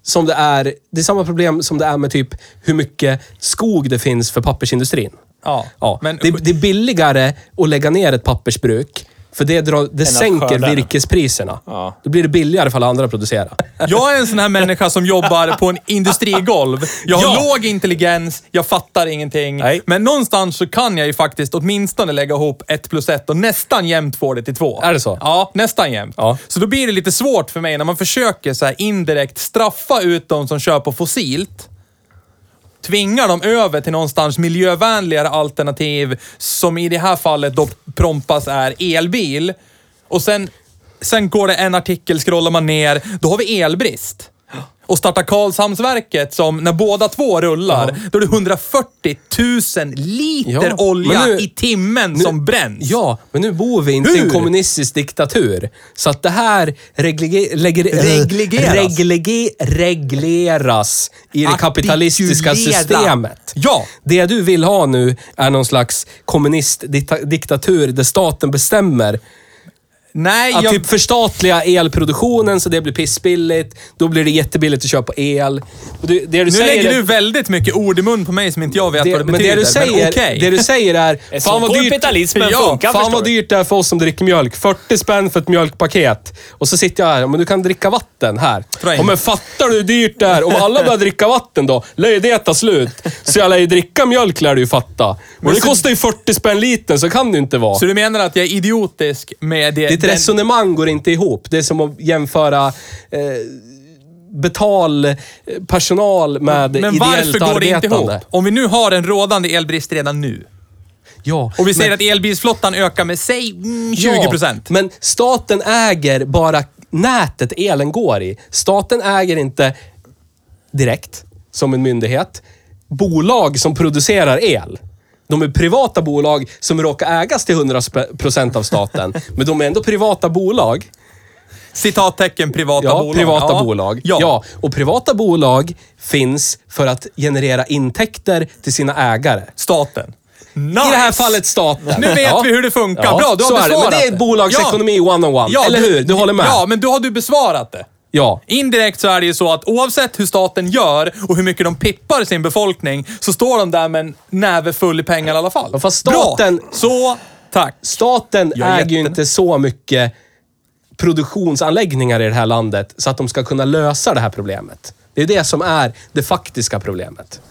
C: som det är, det är samma problem som det är med typ hur mycket skog det finns för pappersindustrin.
A: Ja.
C: Ja,
A: Men,
C: det, det är billigare att lägga ner ett pappersbruk, för det, drar, det sänker
B: skörda den.
C: virkespriserna.
B: Ja.
C: Då blir det billigare för alla andra att producera.
A: Jag är en sån här människa som jobbar på en industrigolv. Jag har
C: Ja.
A: låg intelligens, jag fattar ingenting.
B: Nej.
A: Men någonstans så kan jag ju faktiskt åtminstone lägga ihop ett plus ett och nästan jämnt få det till två.
C: Är det så?
A: Ja, nästan jämnt.
C: Ja.
A: Så då blir det lite svårt för mig när man försöker så här indirekt straffa ut de som kör på fossilt. Tvingar dem över till någonstans miljövänligare alternativ som i det här fallet då prompas är elbil. Och sen, sen går det en artikel, scrollar man ner, då har vi elbrist. Och starta Karlshamnsverket som, när båda två rullar, då är det 140 000 liter
C: Ja,
A: olja
C: men nu-
A: i timmen som bränns.
C: Ja, men nu bor vi inte i en
A: Hur?
C: kommunistisk diktatur. Så att det här reglege, legger,
A: Reglegeras.
C: reglege, regleras i det kapitalistiska
A: Artikulera.
C: systemet.
A: Ja.
C: Det du vill ha nu är någon slags kommunistdiktatur där staten bestämmer
A: Nej,
C: Att
A: jag...
C: typ förstatliga elproduktionen så det blir pissbilligt. Då blir det jättebilligt att köpa el. Och det, det du
A: Nu
C: säger
A: lägger
C: är-
A: du väldigt mycket ord i mun på mig som inte jag vet
C: det,
A: vad det
C: men det
A: betyder.
C: du säger,
A: okej.
C: det du säger är...
B: är så korpitalismen funkar,
C: fan
B: förstår
C: vad
B: du.
C: dyrt det är för oss som dricker mjölk. 40 spänn för ett mjölkpaket. Och så sitter jag här, men du kan dricka vatten här.
A: Dra in.
C: Ja, men fattar du hur dyrt det är? Om alla börjar dricka vatten då, lär ju det ta slut. Så jag lär ju dricka mjölk lär du ju fatta. Och det
A: så-
C: kostar ju 40 spänn liten så kan det ju inte vara.
A: Så du menar att jag är idiotisk med det?
C: Ditt
A: den-
C: resonemang går inte ihop. Det är som att jämföra eh, betalpersonal med
A: men
C: ideellt
A: varför går det inte ihop?
C: arbetande.
A: Om vi nu har en rådande elbrist redan nu
C: Ja,
A: och vi säger
C: men-
A: att elbilsflottan ökar med, säg mm, 20 procent.
C: Ja, men staten äger bara nätet elen går i. Staten äger inte direkt, som en myndighet, bolag som producerar el. De är privata bolag som råkar ägas till 100% av staten, men de är ändå privata bolag.
A: Citattecken privata
C: ja,
A: bolag.
C: privata bolag.
A: Ja.
C: Ja. och privata bolag finns för att generera intäkter till sina ägare.
A: Staten. Nice.
C: I det här fallet staten.
A: Nu vet
C: Ja.
A: vi hur det funkar.
C: Ja,
A: Bra, du har
C: så är det.
A: besvarat
C: Men det är bolagsekonomi one-on-one. Eller hur? Du håller med?
A: Ja, men då har du besvarat det.
C: Ja.
A: Indirekt så är det ju så att oavsett hur staten gör och hur mycket de pippar sin befolkning så står de där med en näve full i pengar i alla fall.
C: Ja, fast staten-
A: Bra. Så, tack.
C: Staten
A: Jag är
C: äger ju
A: jätten.
C: inte så mycket produktionsanläggningar i det här landet så att de ska kunna lösa det här problemet. Det är det som är det faktiska problemet.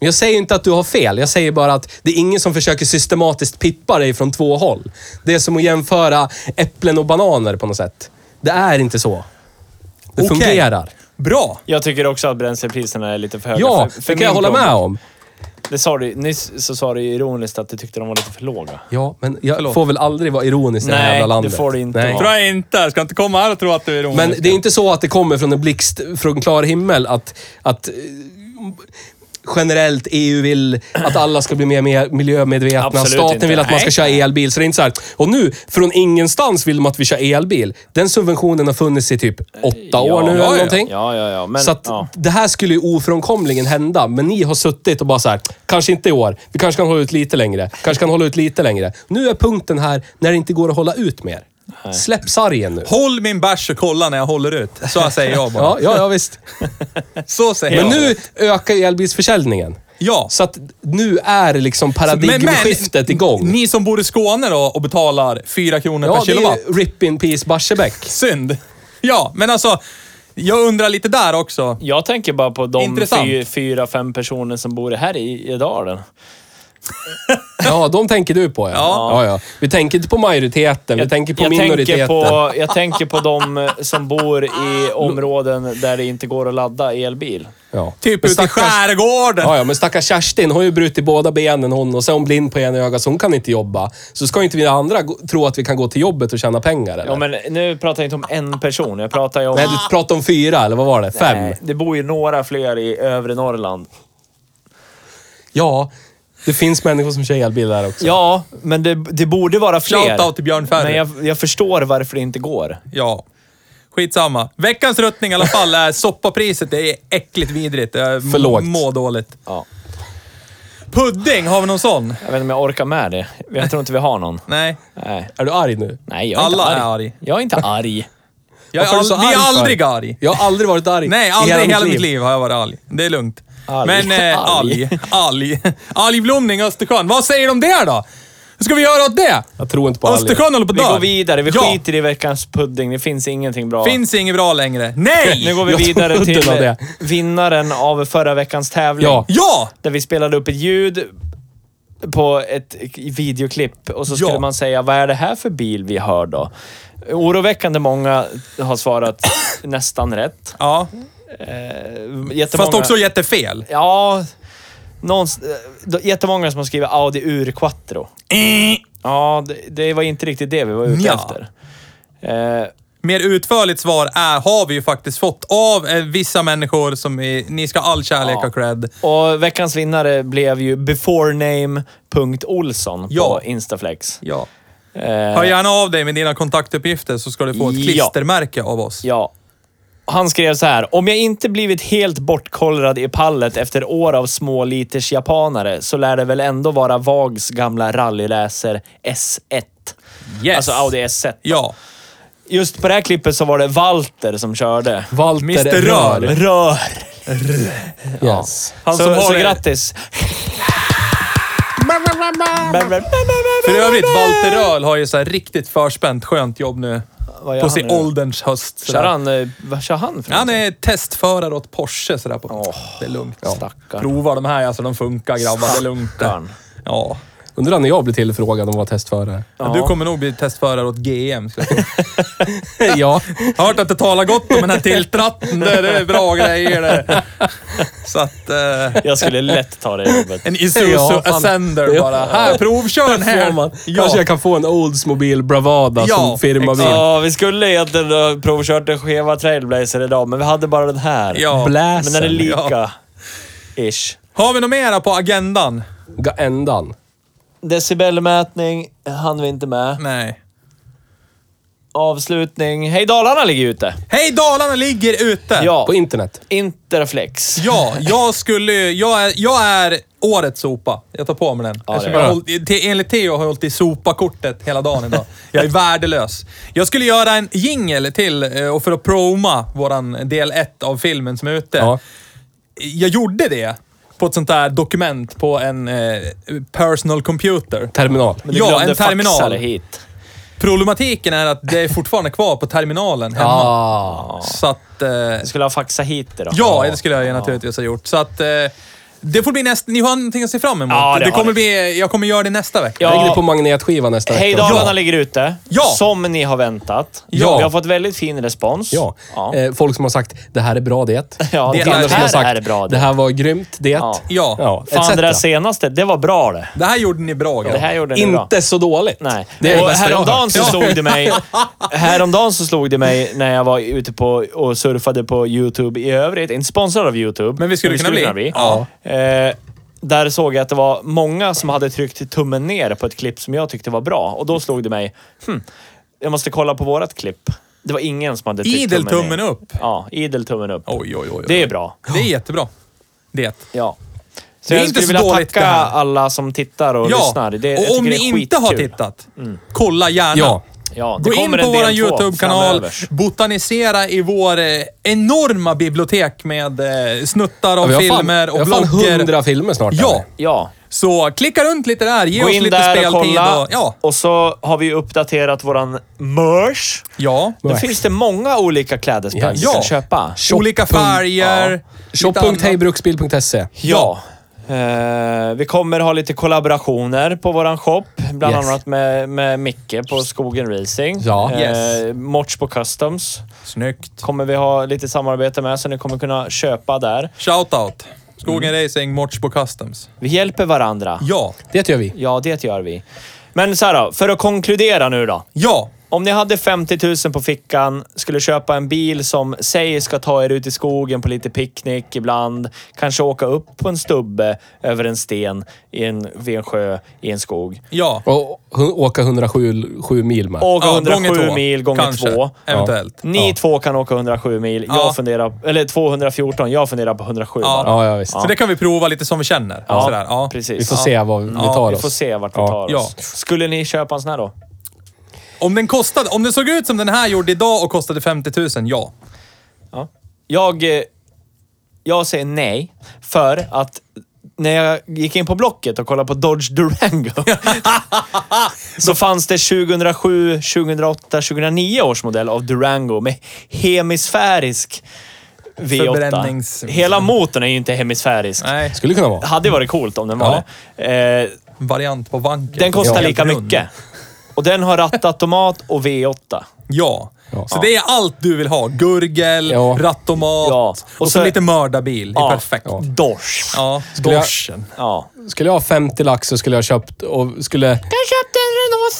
C: Men jag säger inte att du har fel. Jag säger bara att det är ingen som försöker systematiskt pippa dig från två håll. Det är som att jämföra äpplen och bananer på något sätt. Det är inte så. Det
A: Okej.
C: fungerar.
A: Bra!
D: Jag tycker också att bränslepriserna är lite för höga.
C: Ja,
D: för, för
C: det kan jag
D: min
C: hålla
D: plånbok.
C: med om.
D: Det sa du, nyss så sa du ironiskt att du tyckte de var lite för låga.
C: Ja, men jag får väl aldrig vara ironisk i det här
D: Nej,
C: jävla
D: det
C: landet.
D: får du inte vara.
A: Tror jag inte. Jag Ska inte komma här och tro att du är ironisk.
C: Men det är inte så att det kommer från en blixt från klar himmel att, att eh, generellt EU vill att alla ska bli mer med- miljömedvetna.
D: Absolut
C: Staten
D: inte.
C: vill att man ska
D: Nej.
C: köra elbil. Så det är inte så här, och nu, från ingenstans vill de att vi kör elbil. Den subventionen har funnits i typ åtta år nu eller någonting.
D: Ja, ja, ja. Men,
C: så att
D: ja.
C: det här skulle ju ofrånkomligen hända, men ni har suttit och bara så här, kanske inte i år, vi kanske kan hålla ut lite längre, kanske kan hålla ut lite längre. Nu är punkten här när det inte går att hålla ut mer. Släpp sargen nu.
A: Håll min bärs och kolla när jag håller ut. Så säger jag bara.
C: Ja, ja, ja visst.
A: Så säger
C: Men
A: jag.
C: nu ökar ju elbilsförsäljningen.
A: Ja.
C: Så att nu är liksom paradigmskiftet igång.
A: Ni som bor i Skåne då och betalar 4 kronor
C: Ja,
A: per
C: det
A: kilowatt.
C: är RIP in peace Barsebäck.
A: Synd. Ja, men alltså. Jag undrar lite där också.
D: Jag tänker bara på de
A: Intressant.
D: fy, fyra, fem personer som bor här i, i dalen.
C: Ja, de tänker du på ja. ja. ja, Vi tänker inte på majoriteten, vi tänker på minoriteten.
D: Tänker på, jag tänker på de eh, som bor i områden där det inte går att ladda elbil.
C: Ja.
A: Typ
C: Men
A: ute i
C: stackars-
A: skärgården.
C: Ja, ja, men stackars Kerstin har ju brutit båda benen hon och så är hon blind på ena ögat så hon kan inte jobba. Så ska inte vi andra gå, tro att vi kan gå till jobbet och tjäna pengar eller?
D: Ja, men nu pratar jag inte om en person. Jag pratar ju om...
C: Nej, du pratade om fyra eller vad var det? Fem?
D: Nej, det bor ju några fler i övre Norrland.
C: Ja, det finns människor som kör elbil där också.
D: Ja, men det, det borde vara fler.
A: Shoutout till Björn Ferry.
D: Men jag, jag förstår varför det inte går.
A: Ja. Skitsamma. Veckans ruttning i alla fall är soppapriset. Det är äckligt vidrigt. Jag
C: För lågt.
A: mår dåligt.
D: Ja.
A: Pudding, har vi någon sån?
D: Jag vet inte om jag orkar med det. Jag tror inte vi har någon.
A: Nej.
D: Nej,
C: Är du arg nu?
D: Nej jag är
A: Alla
D: inte
A: är
D: arg.
A: arg.
D: Jag är inte arg.
A: Jag är all...
C: Varför är du så
A: Vi
C: arg
A: är
C: för?
A: aldrig arg.
C: Jag har aldrig varit arg.
A: Nej, aldrig i hela mitt liv har jag varit arg. Det är lugnt.
D: Arg.
A: Men eh,
D: Arg.
A: alg, alg. Algblomning Östersjön. Vad säger de om det då? Hur ska vi göra åt det?
C: Jag tror inte på alger.
A: Östersjön håller på
D: Vi
A: att dö.
D: går vidare. Vi
A: ja.
D: skiter i veckans pudding. Det finns ingenting bra.
A: Finns inget bra längre. Nej!
D: nu går vi
C: Jag tog
D: vidare
C: udden av
D: till
C: det.
D: vinnaren av förra veckans tävling.
C: Ja.
A: Ja!
D: Där vi spelade upp ett ljud på ett videoklipp och så skulle
A: Ja.
D: man säga vad är det här för bil vi hör då? Oroväckande många har svarat nästan rätt.
A: Ja,
D: Eh,
A: fast
D: jättemånga-
A: också jättefel.
D: Ja, någonst, eh, jättemånga som har skrivit Audi Ur Quattro.
A: Eh.
D: Ja, det, det var inte riktigt det vi var ute
A: Nja.
D: efter. Eh,
A: Mer utförligt svar är, har vi ju faktiskt fått av eh, vissa människor som är, ni ska ha all kärlek
D: Ja.
A: och cred.
D: och veckans vinnare blev ju beforename.olsson
A: Ja.
D: på Instaflex.
A: Ja.
D: Eh,
A: Hör gärna av dig med dina kontaktuppgifter så ska du få ett
D: Ja.
A: klistermärke av oss.
D: ja. Han skrev så här. Om jag inte blivit helt bortkollrad i pallet efter år av små liters japanare så lär det väl ändå vara Vags gamla rallyläser S1.
A: Yes.
D: Alltså Audi S1.
A: Ja.
D: Just på det här klippet så var det Walter som körde.
C: Walter
A: Mr. Rör.
D: Rör!
C: Yes.
A: Han som
D: Så,
A: har
D: så
A: det-
D: grattis!
A: För övrigt, Walter Röhl har ju så här riktigt förspänt skönt jobb nu.
D: Vad gör
A: På
D: han
A: sin
D: nu?
A: ålderns höst. sådär.
D: Kör han, eh, vad kör han för
A: Han
D: någonting?
A: är testförare åt Porsche sådär. På. det är lugnt.
D: Stackarn.
A: Prova de här, alltså de funkar grabbar. Det är lugnt.
D: Stackarn.
A: Ja.
C: Undrar när jag blir tillfrågad om att vara testförare.
A: Ja. Du kommer nog bli testförare åt GM. Ska jag säga.
C: ja.
A: Jag har hört att det talar gott om den här tilltratten. Det det är bra grejer det. Så att... Eh,
D: Jag skulle lätt ta det jobbet.
A: en Isuzu
C: Ja, fan.
A: Ascender bara. Här, provkör den här.
C: Får man.
A: Ja.
C: Kanske jag kan få en Oldsmobile Bravada
A: Ja,
C: som firmabil.
D: Ja, vi skulle egentligen ha provkört en skeva trailblazer idag, men vi hade bara den här.
A: Ja.
D: Men den är
C: Bläsen.
D: lika. Ish.
A: Har vi något mera på agendan?
C: Ga- Ändan.
D: Decibelmätning hann vi inte med.
A: Nej.
D: Avslutning. Hej Dalarna ligger ute!
A: Hej, Dalarna ligger ute!
D: Ja.
C: På internet.
D: Interflex.
A: Ja, jag skulle ju- jag är, jag är årets sopa. Jag tar på mig den. Eftersom
D: det är
A: jag
D: bra.
A: håll, te- enligt Theo har jag hållit i sopakortet hela dagen idag. Jag är värdelös. Jag skulle göra en jingle till eh, och för att proma våran del ett av filmen som är ute.
C: Ja.
A: Jag gjorde det på ett sånt där dokument på en eh, personal computer.
C: Terminal.
D: Men du
A: ja,
D: glömde
A: en terminal.
D: faxa det hit.
A: Problematiken är att det är fortfarande kvar på terminalen hemma.
C: Ah.
A: Så att... eh,
D: Du skulle ha faxat hit det då.
A: Ja, det skulle jag ju naturligtvis ha gjort. Så att eh, Det får bli nästa... Ni har någonting att se fram emot.
B: Ja, det
A: det
B: har
A: kommer
B: vi.
A: bli, jag kommer göra det nästa vecka.
C: Lägg det
B: Ja.
C: på magnetskiva nästa
D: Hej
C: vecka.
D: Dalarna
A: Ja.
D: ligger ute,
A: Ja.
D: som ni har väntat.
C: Ja.
D: Vi har fått väldigt fin respons.
C: Ja.
D: Ja.
C: Eh, folk som har sagt det här är bra det.
D: Ja,
A: det
C: Och andra
A: här
C: som har sagt
D: är bra, det."
C: det här var grymt det.
D: Ja.
A: Ja.
D: Fan, det där
C: etc.
D: senaste, det var bra det.
A: Det här gjorde ni bra,
D: Det
A: grabbar.
D: här gjorde ni bra.
C: Inte så dåligt.
D: Nej.
C: Det är det
D: och
C: bästa jag har
D: häromdagen så
C: hört.
D: slog det mig... Häromdagen så slog det mig när jag var ute på och surfade på YouTube i övrigt. Inte sponsrad av YouTube.
A: Men vi skulle kunna bli. Ja.
D: Eh, där såg jag att det var många som hade tryckt tummen ner på ett klipp som jag tyckte var bra. Och då slog det mig, hmm, jag måste kolla på vårat klipp. Det var ingen som hade tryckt
A: Idel
D: ner.
A: tummen upp.
D: Ja, idel tummen upp.
A: Oj, oj, oj, oj.
D: Det är bra.
A: Det är jättebra. Det.
D: Ja. Så
A: Det är
D: jag
A: inte
D: skulle
A: så
D: vilja
A: dåligt
D: tacka
A: det här.
D: alla som tittar och lyssnar. Det, jag
A: och om
D: tycker
A: ni
D: det är
A: inte har
D: skitkul. Mm.
A: tittat, kolla gärna.
C: Ja.
D: Ja, det
A: Gå in
D: kommer
A: på
D: en del
A: vår
D: två
A: YouTube-kanal,
D: framöver.
A: botanisera i vår eh, enorma bibliotek med eh, snuttar av
C: vi har fan,
A: filmer och
C: vi har fan
A: blogger.
C: hundra filmer snart.
A: Ja,
C: här.
D: Ja.
A: så klicka runt lite där. Ge
D: Gå
A: oss
D: in
A: lite
D: där och
A: speltid.
D: kolla.
A: Och, ja,
D: Och så har vi uppdaterat våran merch.
A: ja.
D: Då finns det många olika klädesplagg du
A: Ja.
D: kan köpa.
A: Olika färger. lite annat.
C: Shop.hejbruksbil.se.
D: Ja. Eh, vi kommer ha lite kollaborationer på våran shop. Bland
C: Yes.
D: annat med, med Micke på Skogen Racing.
C: Ja.
D: Eh,
A: Yes.
D: Morts på Customs
A: Snyggt.
D: kommer vi ha lite samarbete med, så ni kommer kunna köpa där.
A: Shoutout. Skogen Racing, Mortsbo Customs.
D: Vi hjälper varandra.
A: Ja,
C: Det gör vi.
D: Ja, det gör vi. Men så här då, för att konkludera nu då.
A: ja.
D: Om ni hade 50 000 på fickan, skulle köpa en bil som säger ska ta er ut i skogen på lite picknick ibland, kanske åka upp på en stubbe över en sten i en, vid en sjö i en skog.
A: Ja.
C: Och hu- åka 107 sju mil med.
D: Åka
A: Ja,
D: 107
A: gånger två,
D: mil gånger
A: kanske.
D: två.
A: Eventuellt.
D: Ni två kan åka 107 mil, jag
A: Ja.
D: funderar, eller 214, jag funderar på 107
A: Ja.
D: bara.
C: Ja, ja visst.
A: Så det kan vi prova lite som vi känner.
D: Ja,
A: Sådär. Ja.
D: precis.
C: Vi får
D: Ja.
C: se vad vi tar
D: Vi
C: oss.
D: får se vart vi
C: Ja.
D: tar oss.
A: Ja.
D: Skulle ni köpa en sån här då?
A: Om den kostade, om den såg ut som den här gjorde idag och kostade 50 000, ja.
D: Ja. Jag, eh, jag säger nej, för att när jag gick in på Blocket och kollade på Dodge Durango så fanns det 2007, 2008, 2009 års modell av Durango med hemisfärisk
A: Förbrännings-
D: V8. Hela motorn är ju inte hemisfärisk.
A: Nej.
C: Skulle kunna vara.
D: Hade varit coolt om den var det. Eh,
A: Variant på vanken.
D: den kostar
A: Helt
D: lika
A: rund.
D: mycket. Och den har rattautomat och V8.
A: Ja.
C: Ja.
A: Så det är allt du vill ha. Gurgel,
C: Ja.
A: rattomat
D: Ja.
A: och,
D: Och
A: så,
D: så-
A: lite mördarbil. Det är perfekt. Ja.
D: Dodge.
C: Skulle jag-
A: Dorschen.
D: Ja.
C: Skulle jag ha 50 lax så skulle jag ha köpt och skulle...
D: Jag köpte en Renault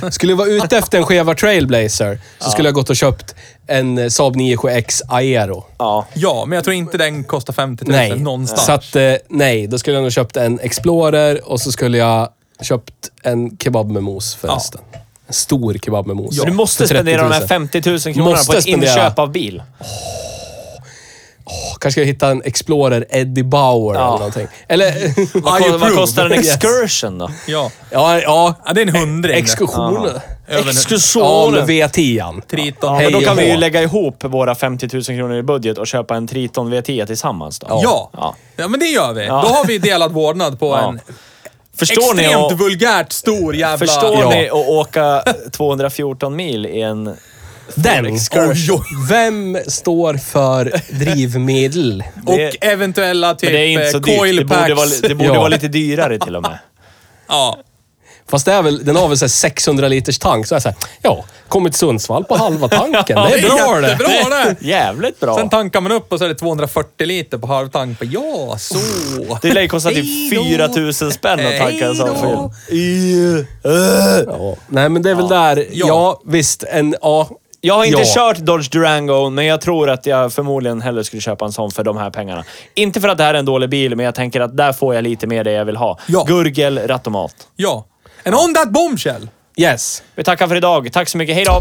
D: Zoe.
C: Skulle jag vara ute efter en skeva trailblazer så skulle jag gått och köpt en eh, Saab 97X Aero.
D: Ja.
A: Ja, men jag tror inte den kostar 50 000
C: Nej.
A: någonstans.
C: Så att, eh, nej. Då skulle jag nog köpt en Explorer och så skulle jag köpt en kebab med mos förresten. En stor kebab med mos.
D: Så du måste
C: För 30 000.
D: spendera de här 50 000 kronorna
C: Måste
D: på ett
C: spendera.
D: inköp av bil.
C: Kanske ska jag hitta en Explorer Eddie Bauer
D: Ja.
C: eller någonting. Eller...
A: Vad
D: Kolla, vad kostar en
C: Yes.
D: excursion då?
A: Ja.
C: ja, ja.
A: ja, det är en hundring. det.
C: Exkursion.
A: Över-
C: Ja, med
D: Exkursionen!
C: V10.
A: Triton.
D: Ja, men
C: Hej
D: då
C: och
D: kan vi ju
C: hå.
D: lägga ihop våra 50 000 kronor i budget och köpa en Triton V10 tillsammans då.
A: Ja.
D: Ja.
A: ja. men det gör vi.
D: Ja.
A: Då har vi delad vårdnad på
D: Ja.
A: en
D: Förstår ni
A: extremt
D: att,
A: vulgärt stor jävla...
D: förstår
C: Ja.
D: ni att åka 214 mil i en...
C: Den!
D: Excursion.
C: Oj, oj. Vem står för drivmedel?
A: Och
D: Det-
A: eventuella typ
D: Men det är inte så
A: eh, coil
D: dyrt. Det borde,
A: packs.
D: vara, det borde
C: Ja.
D: vara lite dyrare till och med.
A: Ja.
C: Fast det är väl, den har väl så här 600 liters tank, så jag säger ja, kommer till Sundsvall på halva tanken. Det är bra det!
A: Jättebra det!
D: Jävligt bra.
A: Sen tankar man upp och så är det 240 liter på halvtank. Ja, så.
D: Det lär ju kosta typ
A: Hej då.
D: 4 000 spänn att tanka en sån
A: Hej då.
D: film.
C: Ja. Nej, men det är väl där, ja, visst, en, ja.
D: Jag har inte
C: ja.
D: kört Dodge Durango, men jag tror att jag förmodligen hellre skulle köpa en sån för de här pengarna. Inte för att det här är en dålig bil, men jag tänker att där får jag lite mer det jag vill ha.
A: Ja.
D: Gurgel, rattomat.
A: Ja. And on that bombshell!
C: Yes.
D: Vi tackar för idag. Tack så mycket. Hej då!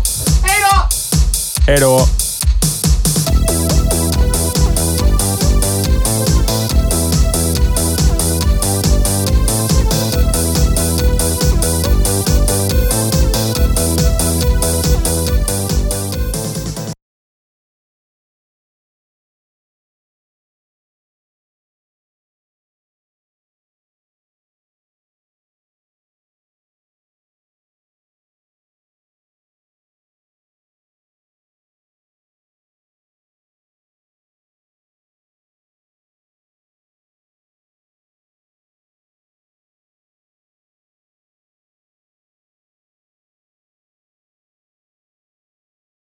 C: Hej då!